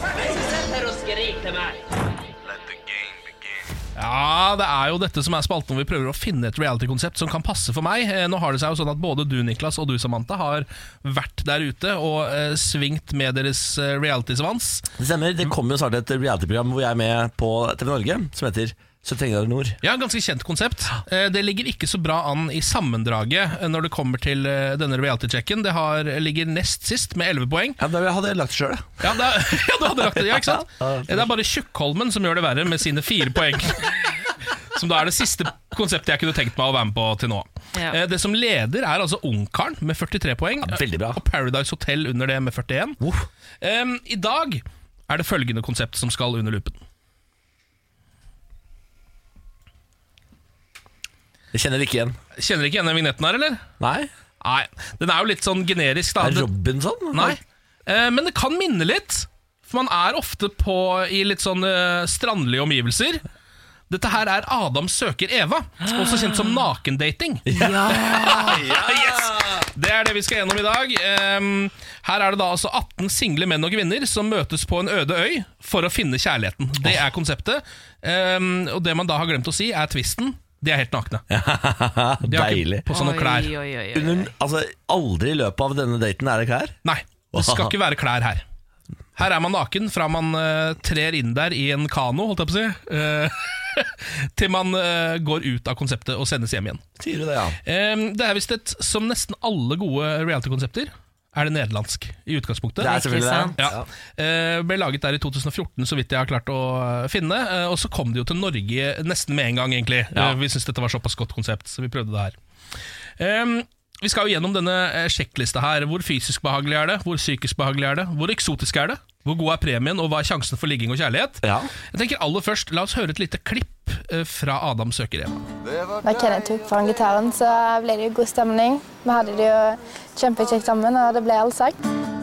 S3: Ja, det er jo dette som er spalten hvor vi prøver å finne et reality-konsept som kan passe for meg. Eh, Nå har det seg jo sånn at både du, Niklas, og du, Samantha, har vært der ute og eh, svingt med deres eh, reality-svans.
S1: Det stemmer. Det kommer jo snart et reality-program hvor jeg er med på TV Norge, som heter 71 grader nord.
S3: Ja, ganske kjent konsept. Eh, Det ligger ikke så bra an i sammendraget eh, når det kommer til eh, denne reality-checken. Det har, eh, ligger nest sist med 11 poeng.
S1: Ja, Det hadde jeg lagt sjøl,
S3: Ja, det, er- ja, du hadde lagt det, ja, ikke sant? Eh, Det er bare Tjukkholmen som gjør det verre med sine fire poeng. Som da er det siste konseptet jeg kunne tenkt meg å være med på til nå.
S2: Ja.
S3: Eh, Det som leder, er altså Ungkaren med 43 poeng.
S1: veldig bra.
S3: Og Paradise Hotel under det med 41. Em, I dag er det følgende konsept som skal under lupen.
S1: Jeg kjenner det ikke igjen.
S3: Kjenner ikke igjen den vignetten her, eller?
S1: Nei.
S3: Nei, Den er jo litt sånn generisk. da
S1: Er det Robinson?
S3: Nei, eh, men det kan minne litt. For man er ofte på i litt sånn eh, strandlige omgivelser. Dette her er Adam søker Eva, også kjent som nakendating. yes! Det er det vi skal gjennom i dag. Ehm, her er det da altså 18 single menn og kvinner som møtes på en øde øy for å finne kjærligheten. Det er konseptet. Ehm, og det man da har glemt å si, er twisten. De er helt nakne. De har
S1: Deilig.
S3: ikke på seg noen klær.
S2: Oi, oi, oi, oi.
S1: Under, altså, aldri i løpet av denne daten er det klær?
S3: Nei, det skal ikke være klær her. Her er man naken fra man eh, trer inn der i en kano, holdt jeg på å si, eh, til man eh, går ut av konseptet og sendes hjem igjen.
S1: Sier du det, ja.
S3: Eh, det er visst et som nesten alle gode reality-konsepter. Er det nederlandsk i utgangspunktet?
S1: Det er selvfølgelig det.
S3: Ja. Eh, ble laget der i 2014, så vidt jeg har klart å eh, finne. Eh, og så kom det jo til Norge nesten med en gang, egentlig.
S1: Ja.
S3: Eh, vi syntes dette var såpass godt konsept, så vi prøvde det her. Ehm, vi skal jo gjennom denne eh, sjekklista her. Hvor fysisk behagelig er det? Hvor psykisk behagelig er det? Hvor eksotisk er det? Hvor god er premien, og hva er sjansen for ligging og kjærlighet?
S1: Ja.
S3: Jeg tenker aller først, La oss høre et lite klipp eh, fra Adam søker Eva.
S14: Da Kenneth tok fram gitaren, så ble det jo god stemning. Vi hadde det jo kjempekjekt sammen, og det ble all sang.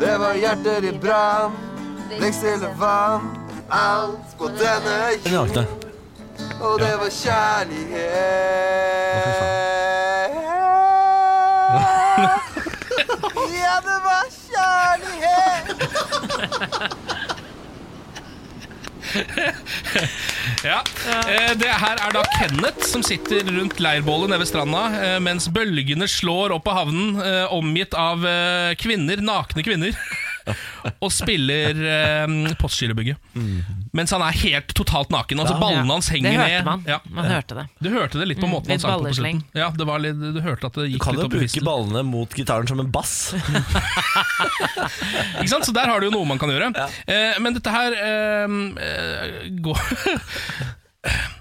S12: Det var hjerter i brann, blikkstille vann, alt på denne
S1: Hun er nakne.
S12: Og det var kjærlighet. Ja, det var kjærlighet.
S3: Ja. Eh, Det her er da Kenneth som sitter rundt leirbålet nede ved stranda eh, mens bølgene slår opp av havnen, eh, omgitt av eh, kvinner, nakne kvinner, og spiller eh, Postgirobygget.
S1: Mm.
S3: Mens han er helt totalt naken. Altså
S2: Ja.
S3: Ballene
S2: Ja.
S3: hans
S2: Det
S3: henger ned.
S2: hørte man. Man hørte det.
S3: Du hørte det litt på
S2: Mm,
S3: måten han
S2: litt
S3: sang på på
S2: ballesleng.
S3: slutten. Ja, det var litt, du hørte at det
S1: Du
S3: gikk
S1: kan
S3: litt
S1: jo
S3: opp i
S1: bruke
S3: fistel.
S1: ballene mot gitaren som en bass.
S3: Ikke sant? Så der har du jo noe man kan gjøre. Eh, men dette her eh, eh, går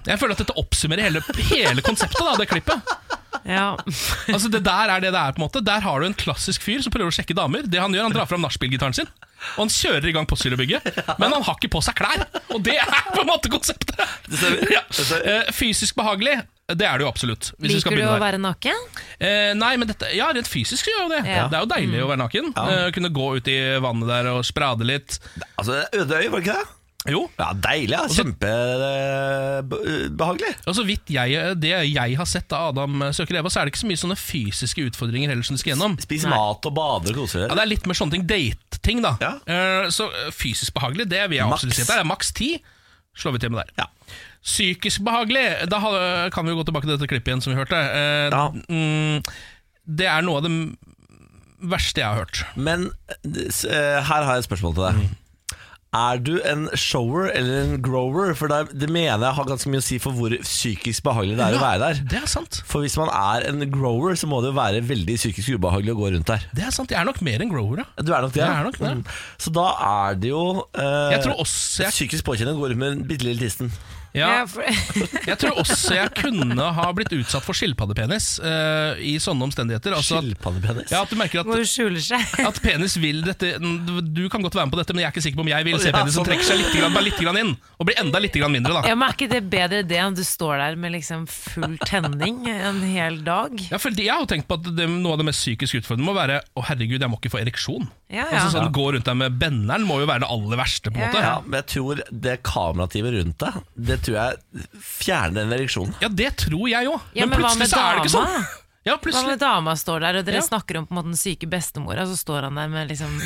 S3: Jeg føler at dette oppsummerer hele, hele konseptet, da, det klippet.
S2: Ja.
S3: Altså Det der er det det er. på en måte Der har du en klassisk fyr som prøver å sjekke damer. Det Han gjør, han drar fram nachspielgitaren sin og han kjører i gang Postgirobygget. Men han har ikke på seg klær! Og det er på en måte konseptet! Ja. Eh, Fysisk behagelig, det er det jo absolutt. hvis vi skal
S2: Liker du
S3: begynne
S2: å
S3: der.
S2: være naken?
S3: Eh, nei, men dette, ja, rent fysisk så gjør jo det.
S2: Ja.
S3: Det er jo deilig å være naken. Eh, kunne gå ut i vannet der og sprade litt.
S1: Altså, Ødøy, var det ikke det?
S3: Jo.
S1: Ja, deilig. Ja. eh, Kjempebehagelig.
S3: Og så vidt jeg, det jeg har sett av Adam søker Eva, så er det ikke så mye sånne fysiske utfordringer heller som du skal gjennom.
S1: Spis mat og bade og kose deg.
S3: Ja, det er litt mer sånne ting. Date-ting, da. Eh, Så eh, fysisk behagelig, det vil jeg
S1: Maks.
S3: absolutt si. at Det er maks ti. Slår vi til med der. Psykisk behagelig, da ha- kan vi jo gå tilbake til dette klippet igjen som vi hørte. Eh, mm, Det er noe av det m- verste jeg har hørt.
S1: Men s- eh, her har jeg et spørsmål til deg. Er du en shower eller en grower? For det, det mener jeg har ganske mye å si for hvor psykisk behagelig det er å
S3: Ja,
S1: være der.
S3: Det er sant.
S1: For hvis man er en grower, så må det jo være veldig psykisk ubehagelig å gå rundt der.
S3: Det er sant, Jeg er nok mer enn grower, ja.
S1: Du er nok det? ja?
S3: Jeg er nok det.
S1: Mm. Så da er det jo eh,
S3: Jeg tror også jeg-
S1: psykisk påkjenning å gå rundt med en bitte lille tissen.
S3: Ja. jeg tror også jeg kunne ha blitt utsatt for skilpaddepenis eh, i sånne omstendigheter. Altså at,
S1: Skilpaddepenis?
S3: ja, at du merker at,
S2: Hvor du skjuler seg.
S3: at penis vil dette Du kan godt være med på dette, men jeg er ikke sikker på om jeg vil se
S2: Ja,
S3: penisen
S2: sånn.
S3: trekke seg litt, grann, bare litt grann inn. Og bli enda litt grann mindre,
S2: Ja,
S3: da.
S2: men Er ikke det bedre det enn du står der med liksom full tenning en hel dag?
S3: Ja, for jeg har jo tenkt på at det, Noe av det mest psykisk utfordrende må være Å herregud, jeg må ikke få ereksjon.
S2: Ja, ja.
S3: Altså sånn
S2: Ja.
S3: Gå rundt der med benneren må jo være det aller verste. på en
S2: Ja,
S3: måte
S2: ja.
S1: Men jeg tror det kamerativet rundt deg, det tror jeg fjerner den ereksjonen.
S3: Ja, det tror jeg òg.
S2: Ja, men hva med dama? hva
S3: plutselig-
S2: med dama står der, og dere
S3: sånn. Ja.
S2: snakker om på en måte den syke bestemora, så står han der med liksom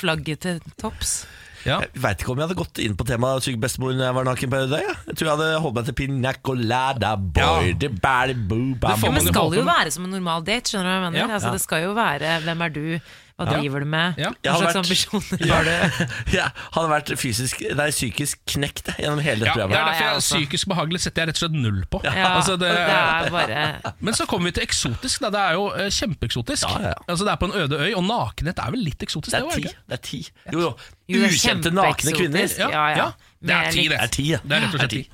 S2: flagget til topps?
S1: Jeg veit ikke om jeg hadde gått inn på temaet syk bestemor når jeg var naken på Øydeøy. Jeg tror jeg hadde holdt meg til pina colada boy. Det bærer boo bam.
S2: Ja, men skal jo være som en normal date, skjønner du hva jeg mener?
S1: Ja.
S2: Altså,
S1: Ja.
S2: det skal jo være 'hvem er du', hva
S1: Ja.
S2: driver du med,
S1: Jeg
S2: hva
S1: hadde
S2: slags
S1: vært-
S2: ambisjoner
S1: Ja.
S2: har du?
S1: Jeg hadde vært fysisk, nei, psykisk knekt gjennom
S3: Ja,
S1: hele dette
S3: det er
S1: programmet.
S3: derfor jeg psykisk behagelig setter jeg rett og slett null på. Altså,
S1: Ja,
S2: og det er bare-
S3: Men så kommer vi til eksotisk. Da. Det er jo eh, kjempeeksotisk. Altså, det er på en øde øy, og nakenhet er vel litt eksotisk?
S1: Det er
S3: også,
S1: ti.
S3: ikke?
S1: Det er ti. Jo, jo.
S3: Jo, det er
S1: Ukjente nakne kvinner.
S3: kjempeeksotisk. Ja, ja. Det er ti, det.
S1: Det er ti, ja.
S3: Det er rett og slett ti.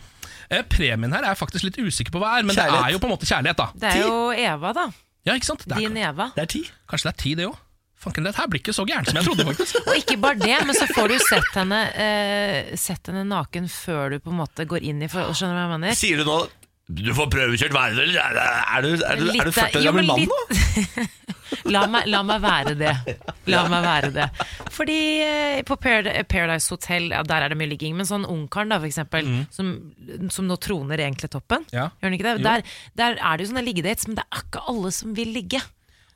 S3: Eh, Premien her er jeg faktisk litt usikker på hva er, men det
S2: Kjærlighet.
S3: er jo på en måte kjærlighet, da.
S2: Det er jo Eva, da.
S3: Ja, ikke sant? Det er,
S2: Din Eva.
S1: Det er ti.
S3: kanskje det er ti, det òg. Fanken, det her blir ikke så gærent som jeg trodde, faktisk.
S2: Og ikke bare det, men så får du sett henne, eh, sett henne naken før du på en måte går inn i for, Skjønner du hva jeg mener?
S1: Sier du nå du får prøvekjørt verden, eller er du, er du, er du, er du
S2: Litt-
S1: 40 år
S2: jo,
S1: gammel
S2: men
S1: mann
S2: litt-
S1: nå?
S2: La meg, la meg være det. La meg være det. Fordi eh, på Parad- Paradise Hotel, ja, der er det mye ligging, men sånn Ungkaren, da, for eksempel,
S10: Mm.
S2: som, som nå troner egentlig toppen,
S10: Ja.
S2: gjør den ikke det?
S10: Jo.
S2: Der, der er det jo sånne liggedates, men det er ikke alle som vil ligge.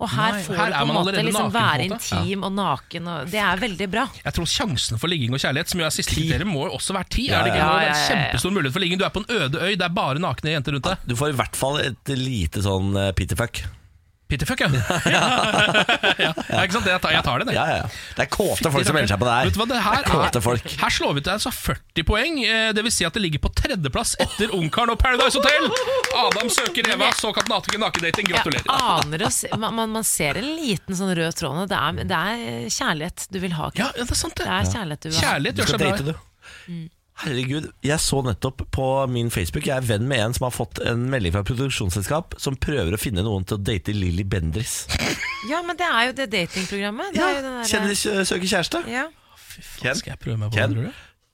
S2: Og her
S3: Nei,
S2: får
S3: her er
S2: du på en
S3: man
S2: måte
S3: allerede naken,
S2: liksom
S3: på
S2: være
S3: en måte.
S2: intim og naken, og det er veldig bra.
S3: Jeg tror sjansen for ligging og kjærlighet, som jo er siste kriterium, må jo også være ti.
S1: Ja,
S3: er det ikke?
S1: ja,
S3: Det er en
S1: ja, ja, Ah. ja.
S3: Kjempestor mulighet for ligging. Du er på en øde øy, det er bare nakne jenter rundt deg.
S1: Du får i hvert fall et lite sånn eh, pitterfuck.
S3: Pitterfuck, ja. ja. ja. Ikke sant? Jeg tar, jeg tar det, det.
S1: Ja, ja, ja. Det er kåte folk som melder seg på det her.
S3: Vet du hva, det her,
S1: er kåte folk.
S3: er, her slår vi til altså 40 poeng. eh, Det vil si at det ligger på tredjeplass etter Ungkaren og Paradise Hotel. Adam søker Eva, såkalt naken- nakendating.
S2: Jeg
S3: Gratulerer.
S2: aner oss, man, man, man ser en liten sånn rød tråd nå. Det er, det er kjærlighet du vil ha. Knut.
S3: det er sant det.
S2: er kjærlighet du vil ha.
S1: Du skal date, du. Herregud, jeg så nettopp på min Facebook Jeg er venn med en som har fått en melding fra et produksjonsselskap som prøver å finne noen til å date Lilly Bendris.
S2: Ja, men det er jo det datingprogrammet. Det er jo den derre-
S1: Kjenner søker kjæreste.
S2: Ja.
S1: Ken,
S3: skal jeg prøve meg på
S1: Ken,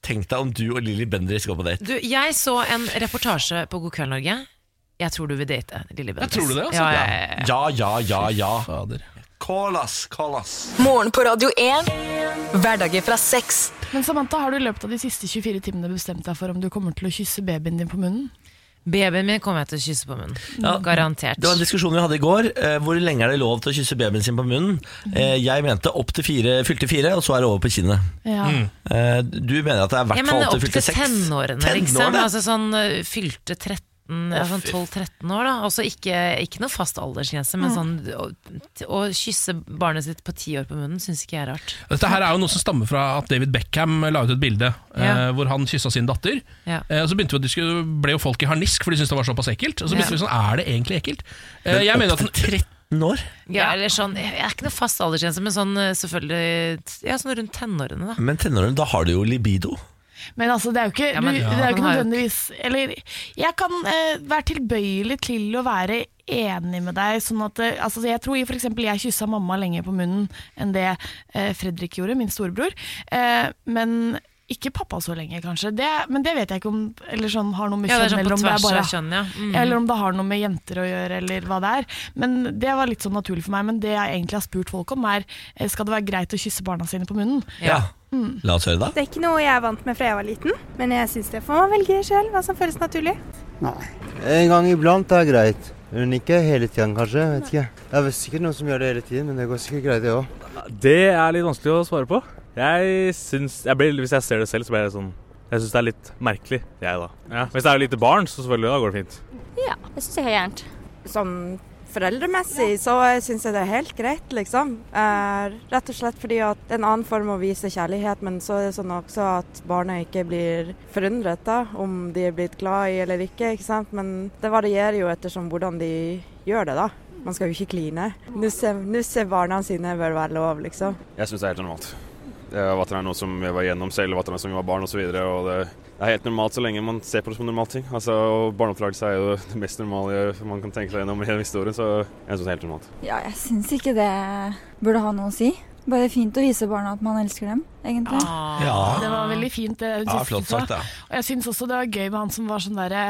S1: tenk deg om du og Lilly Bendris går på date.
S2: Du, jeg så en reportasje på God kveld, Norge. Jeg tror du vil date Lille Bendriss.
S1: tror du det, altså?
S2: Ja, ja, ja, ja.
S1: Ja, ja, ja, ja. Call us, call us.
S4: Morgen på Radio 1. Hverdager fra seks.
S15: Men Samantha, har du i løpet av de siste 24 timene bestemt deg for om du kommer til å kysse babyen din på munnen?
S2: Babyen min kommer jeg til å kysse på munnen. Garantert.
S1: Det var en diskusjon vi hadde i går. eh, Hvor lenge er det lov til å kysse babyen sin på munnen? Eh, Jeg mente opp til fire, fylte fire, og så er det over på kinnet.
S2: Ja. Mm.
S1: Eh, Du mener at det er i
S2: Jeg
S1: hvert fall
S2: mener
S1: opp
S2: opp
S1: til fylte
S2: til
S1: seks?
S2: tenårene, liksom.
S1: Tenårene?
S2: Altså sånn ø, fylte 13 ja,
S1: Å,
S2: sånn
S1: fy.
S2: 12-13 år, da. Altså ikke, ikke noe fast aldersgrense,
S1: Mm.
S2: men sånn å, å kysse barnet sitt på 10 år på munnen syns ikke jeg er rart.
S3: Dette her er jo noe som stammer fra at David Beckham la ut et bilde
S2: Ja.
S3: eh, hvor han kyssa sin datter.
S2: Ja.
S3: Eh, og så begynte vi å diskutere, ble jo folk i harnisk, for de syntes det var såpass ekkelt. Og så begynte
S2: Ja.
S3: vi sånn, er det egentlig ekkelt? Eh,
S1: Men
S3: jeg
S1: opp
S3: mener at den,
S1: 13 år?
S2: Ja, eller sånn, jeg er ikke noe fast aldersgrense, men sånn ø, selvfølgelig t- Ja, sånn rundt tenårene, da.
S1: Men tenårene, da har du jo libido.
S15: Men altså, det er jo ikke,
S2: Ja, men-
S15: du,
S2: Ja.
S15: det er jo
S2: Man
S15: ikke
S2: har jo-
S15: nødvendigvis Eller jeg kan eh, være tilbøyelig til å være enig med deg. Sånn at, eh, altså, jeg tror for eksempel jeg kyssa mamma lenger på munnen enn det eh, Fredrik gjorde, min storebror. Eh, men Ikke pappa så lenge, kanskje. Det, men det vet jeg ikke om eller sånn, har noe med
S2: Ja,
S15: kjønn
S2: det er sånn
S15: eller
S2: på
S15: om det er
S2: tvers
S15: bare,
S2: av kjønn, ja. Mhm.
S15: Eller om det har noe med jenter å gjøre, eller hva det er. Men Det var litt sånn naturlig for meg. Men det jeg egentlig har spurt folk om, er eh, skal det være greit å kysse barna sine på munnen.
S1: Ja.
S15: Mm.
S1: La oss høre, da.
S16: Det er ikke noe jeg er vant med fra jeg var liten, men jeg syns det får man velge selv hva som føles naturlig.
S17: Nei. En gang iblant er greit. Men ikke hele tiden, kanskje. vet ikke. Det er vel sikkert noen som gjør det hele tiden, men det går sikkert greit, det òg.
S18: Det er litt vanskelig å svare på. Jeg syns, jeg blir, Hvis jeg ser det selv, så blir jeg sånn Jeg syns det er litt merkelig, jeg, da. Hvis det er lite barn, så selvfølgelig, da går det fint.
S19: Ja, jeg syns det er helt gærent.
S20: Som foreldremessig så syns jeg det er helt greit, liksom. Eh, rett og slett fordi at det er en annen form å vise kjærlighet, men så er det sånn også at barna ikke blir forundret da, om de er blitt glad i eller ikke, ikke sant. Men det varierer jo ettersom hvordan de gjør det, da. Man skal jo ikke kline. Nusse, nusse barna sine bør være lov, liksom.
S21: Jeg syns det er helt normalt. Det er Vattnet er noe som jeg var igjennom selv, vattnet er som jeg var barn osv. Det, det er helt normalt så lenge man ser på det som en normal ting. Altså, og Barneoppdragelse er jo det mest normale man kan tenke seg gjennom i historien, så jeg syns det er helt normalt.
S22: Ja, jeg syns ikke det burde ha noe å si. Bare fint å vise barna at man elsker dem, egentlig.
S1: Ja.
S15: Det var veldig fint det du
S1: Ja,
S15: siste
S1: flott
S15: sa.
S1: sagt, ja.
S15: Og jeg syns også det var gøy med han som var sånn derre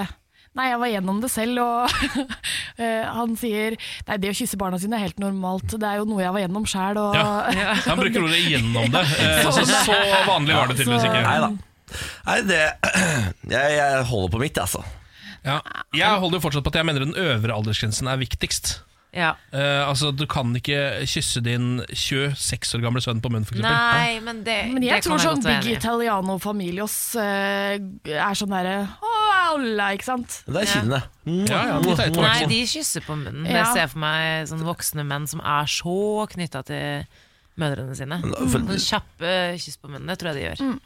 S15: Nei, jeg var gjennom det selv, og eh, han sier Nei, det å kysse barna sine er helt normalt, det er jo noe jeg var gjennom sjæl, og
S3: Ja, han bruker ordet 'gjennom det'. Eh, Så, så vanlig var det tydeligvis ikke.
S1: Nei da. Nei, det jeg, jeg holder på mitt, altså.
S3: Ja. Jeg holder jo fortsatt på at jeg mener den øvre aldersgrensen er viktigst.
S2: Ja.
S3: Eh, altså, Du kan ikke kysse din 26 år gamle sønn på munnen, f.eks.
S2: Nei, men det,
S15: Men jeg
S2: det kan
S15: tror
S2: jeg
S15: sånn
S2: godt være
S15: Big
S2: enig i.
S15: Italiano Familios eh, er sånn derre Å, alla, ikke sant?
S1: Det er kinnene.
S2: Nei, de kysser på munnen. Men
S15: Ja.
S2: Jeg ser for meg sånne voksne menn som er så knytta til mødrene sine.
S1: for-
S2: Sånn kjappe kyss på munnen, det tror jeg de gjør.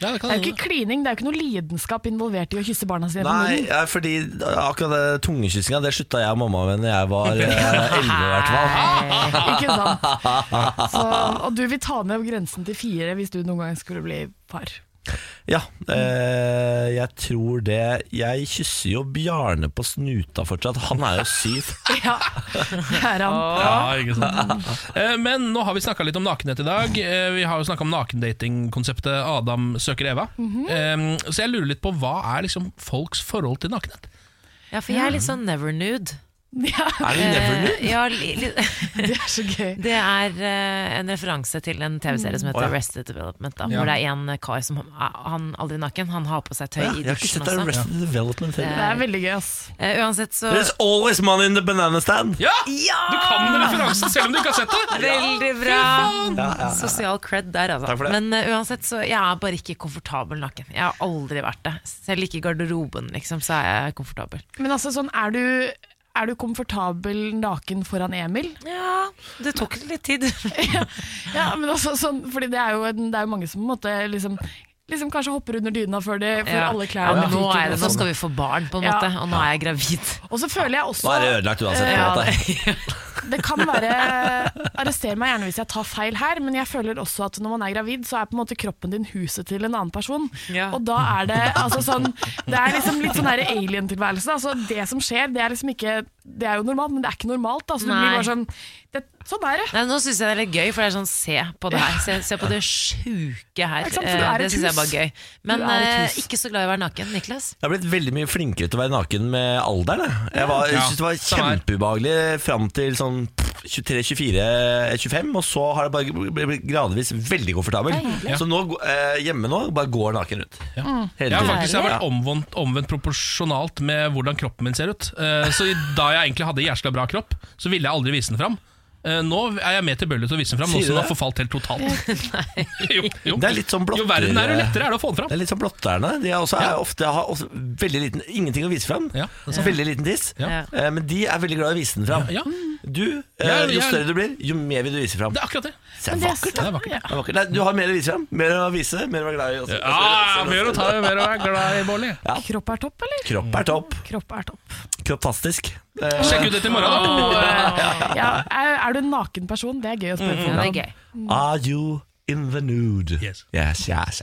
S3: det,
S15: er jo ikke klining, det er jo ikke noe lidenskap involvert i å kysse barna sine på
S1: Nei,
S15: munnen.
S1: ja, fordi akkurat det tungekyssinga Det slutta jeg og mamma med Når jeg var eh, 11 i hvert fall.
S15: Ikke sant? Så, og du vil ta ned grensen til fire hvis du noen gang skulle bli par.
S1: Ja, eh, jeg tror det Jeg kysser jo Bjarne på snuta fortsatt. Han er jo syv.
S15: Ja, det er han.
S3: Ja, ikke sant Eh, Men nå har vi snakka litt om nakenhet i dag. Eh, Vi har jo snakka om nakendatingkonseptet Adam søker Eva.
S2: Mhm.
S3: Eh, Så jeg lurer litt på hva er liksom folks forhold til nakenhet?
S2: Ja, for jeg er litt sånn never nude.
S3: Er du never nude?
S2: Eh, ja, li, li, det
S15: er så gøy.
S2: Det er eh, en referanse til en TV-serie som
S1: Mm.
S2: heter
S1: Å, ja.
S2: Arrested Development. Da,
S1: Ja.
S2: Hvor det er en kar som han aldri er naken, han har på seg tøy
S1: Ja, altså.
S2: i
S1: jeg har ikke
S2: dusjen
S1: sett Arrested Development
S2: Det
S1: heller.
S2: er
S15: veldig gøy, ass.
S2: Eh, uansett så
S1: There's always money in the banana stand.
S3: Ja!
S2: Du
S3: kan den referansen selv om du ikke har sett det!
S2: Veldig
S3: Ja,
S2: bra!
S3: fy faen.
S1: Ja, ja, ja.
S2: Sosial cred der, altså.
S1: Takk for det.
S2: Men eh, uansett, så jeg er bare ikke komfortabel naken. Jeg har aldri vært det. Selv ikke i garderoben, liksom, så er jeg komfortabel.
S15: Men altså, sånn, er du, er du komfortabel naken foran Emil?
S2: Ja, det tok litt tid.
S15: ja, men altså, sånn, fordi det er jo, en, det er jo mange som på en måte liksom, liksom kanskje hopper under dyna før de får
S2: Ja.
S15: alle
S2: Ja,
S15: klærne.
S2: men nå, er det, nå skal vi
S15: få
S2: få barn, på en
S15: sånn. Ja.
S2: måte, og nå er jeg gravid.
S15: Og så føler jeg også
S1: Nå er det ødelagt uansett.
S15: Eh,
S1: på en måte.
S15: Det kan være Arrester meg gjerne hvis jeg tar feil her, men jeg føler også at når man er gravid, så er på en måte kroppen din huset til en annen person. Og da er det altså sånn Det er liksom litt sånn her alien-tilværelse. Altså, det som skjer, det er liksom ikke Det er jo normalt, men det er ikke normalt. Altså, du
S2: Nei.
S15: blir bare sånn det, Sånn er det.
S2: Nei, nå syns jeg det er litt gøy, for det er sånn se på det her. Se, se på det sjuke her.
S15: Ikke sant, for du
S2: Eh,
S15: er et
S2: Det syns jeg er
S15: hus.
S2: bare gøy. Men
S15: Du er et
S2: eh,
S15: hus.
S2: ikke så glad i å være naken, Niklas.
S1: Jeg har blitt veldig mye flinkere til å være naken med alderen. Jeg, jeg, var, jeg
S3: Ja,
S1: synes det var
S3: samme her.
S1: kjempeubehagelig fram til sånn 23-24-25, og så har jeg bare blitt gradvis veldig komfortabel.
S3: Ja.
S1: Så nå, eh, hjemme nå bare går naken rundt.
S3: Ja.
S1: Hele
S3: Jeg har
S1: tiden.
S3: faktisk jeg har vært
S1: Ja.
S3: omvendt, omvendt proporsjonalt med hvordan kroppen min ser ut. Eh, Så i- da jeg egentlig hadde jævla bra kropp, så ville jeg aldri vise den fram. Eh, Nå er jeg mer tilbøyelig til å vise den fram, nå
S1: Sier du
S3: som den har
S1: det?
S3: forfalt helt totalt. jo, jo.
S1: Det er litt sånn blotter,
S3: Jo verre den er, jo lettere er det å få den fram.
S1: Det er litt sånn blotterne. De er også, er ofte, har også veldig liten, ingenting å vise fram. Veldig liten tiss. Eh, Men de er veldig glad i å vise den fram. Du, eh,
S3: Ja,
S1: jo
S3: jeg-
S1: større du blir, jo mer vil du vise fram.
S3: Det er akkurat det.
S1: Så det er vakkert, da.
S3: vakkert.
S1: Det er vakkert. Nei, du har mer å vise fram. Mer å vise, mer å være glad i. også.
S3: Ja, mer å ta i, mer å være glad i, Bolli.
S15: Kropp er topp, eller?
S1: Kropp er topp. Eh,
S15: Kropp er topp.
S1: Kroppfastisk.
S3: Sjekk ut dette i morgen, da.
S15: Ja, er, er du en naken person? Det er gøy å spørre
S1: Mm,
S15: folk
S1: ja.
S15: om.
S1: Are you in the nude. Yes, yes, yes.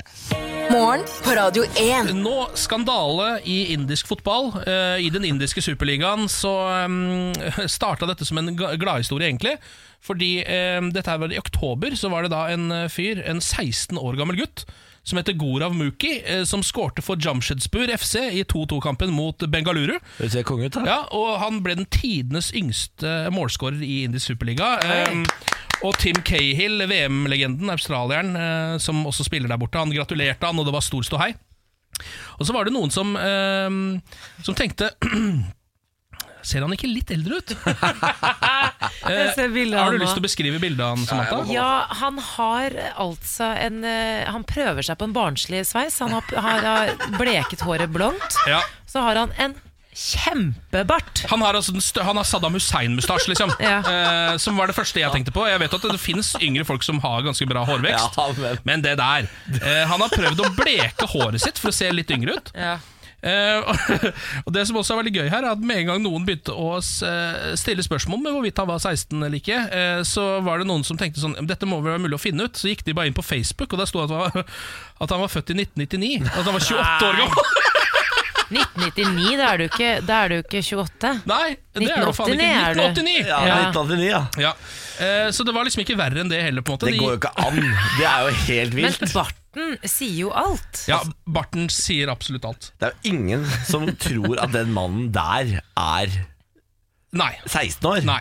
S4: Morgen på Radio 1.
S3: Nå skandale i indisk fotball. Eh, I den indiske superligaen så um, starta dette som en ga- gladhistorie, egentlig. Fordi eh, dette her var i oktober, så var det da en eh, fyr, en 16 år gammel gutt, som heter Gorav Muki, eh, som skårte for Jamshedspur FC i 2-2-kampen mot Bengaluru.
S1: Det ser konge ut, da.
S3: Ja, og han ble den tidenes yngste målskårer i indisk superliga.
S1: Hei.
S3: Um, og Tim Cahill, VM-legenden, australieren, eh, som også spiller der borte, han gratulerte han, og det var stor ståhei. Og så var det noen som, eh, som tenkte Ser han ikke litt eldre ut?
S2: Jeg ser bildet av
S3: har du
S2: han nå.
S3: lyst til å beskrive bildet av han, Samantha?
S2: Ja, han har altså en eh, Han prøver seg på en barnslig sveis. Han har, har, har bleket håret blondt.
S3: Ja.
S2: Så har han en kjempebart.
S3: Han har, altså den stø- han har Saddam Hussein-mustasje, liksom. eh, som var det første jeg tenkte på. Jeg vet at det finnes yngre folk som har ganske bra hårvekst, men. det der eh, Han har prøvd å bleke håret sitt for å se litt yngre ut. Eh, og, og Det som også er veldig gøy her, er at med en gang noen begynte å s- eh, stille spørsmål med hvorvidt han var 16 eller ikke, eh, så var det noen som tenkte sånn Dette må vel være mulig å finne ut. Så gikk de bare inn på Facebook, og der sto det at, han var- at han var født i 1999. At han var 28 år gammel.
S2: 1999, da er du ikke, da er du ikke 28.
S3: Nei, Det er det faen ikke. 1989!
S2: Ja,
S1: Ja.
S3: 1989 ja. Eh, Så det var liksom ikke verre enn det heller. på en måte
S1: Det går jo ikke an. Det er jo helt
S2: Men
S1: vilt.
S2: barten sier jo alt.
S3: Ja, Barten sier absolutt alt.
S1: Det er jo ingen som tror at den mannen der er 16 år.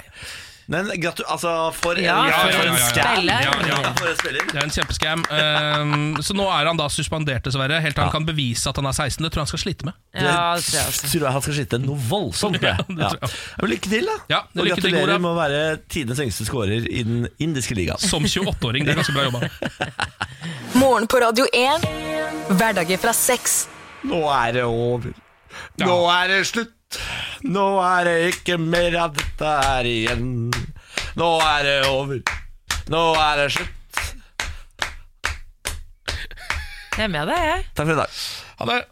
S1: Men gratu... Altså, for en,
S3: Ja, ja,
S1: for
S3: ja, ja,
S1: en
S3: ja.
S1: skam.
S3: Ja, ja.
S1: For en spiller.
S3: Det er en kjempeskam. Eh, så nå er han da suspendert, dessverre. Helt til han kan bevise at han er 16. Det tror jeg han skal slite med.
S1: det tror jeg han skal sitte noe voldsomt med. Ja, Men Lykke til, da.
S3: Ja,
S1: Og
S3: lykke til,
S1: gratulerer
S3: Goran.
S1: med å være tidenes yngste skårer i den indiske ligaen.
S3: Som 28-åring. Det er ganske bra jobba.
S4: Morgen på Radio 1. Hverdager fra seks.
S1: Nå er det over. Nå er det slutt. Nå er det ikke mer av dette her igjen. Nå er det over. Nå er det slutt.
S2: Jeg er med deg, jeg.
S1: Takk for i dag.
S3: Ha det.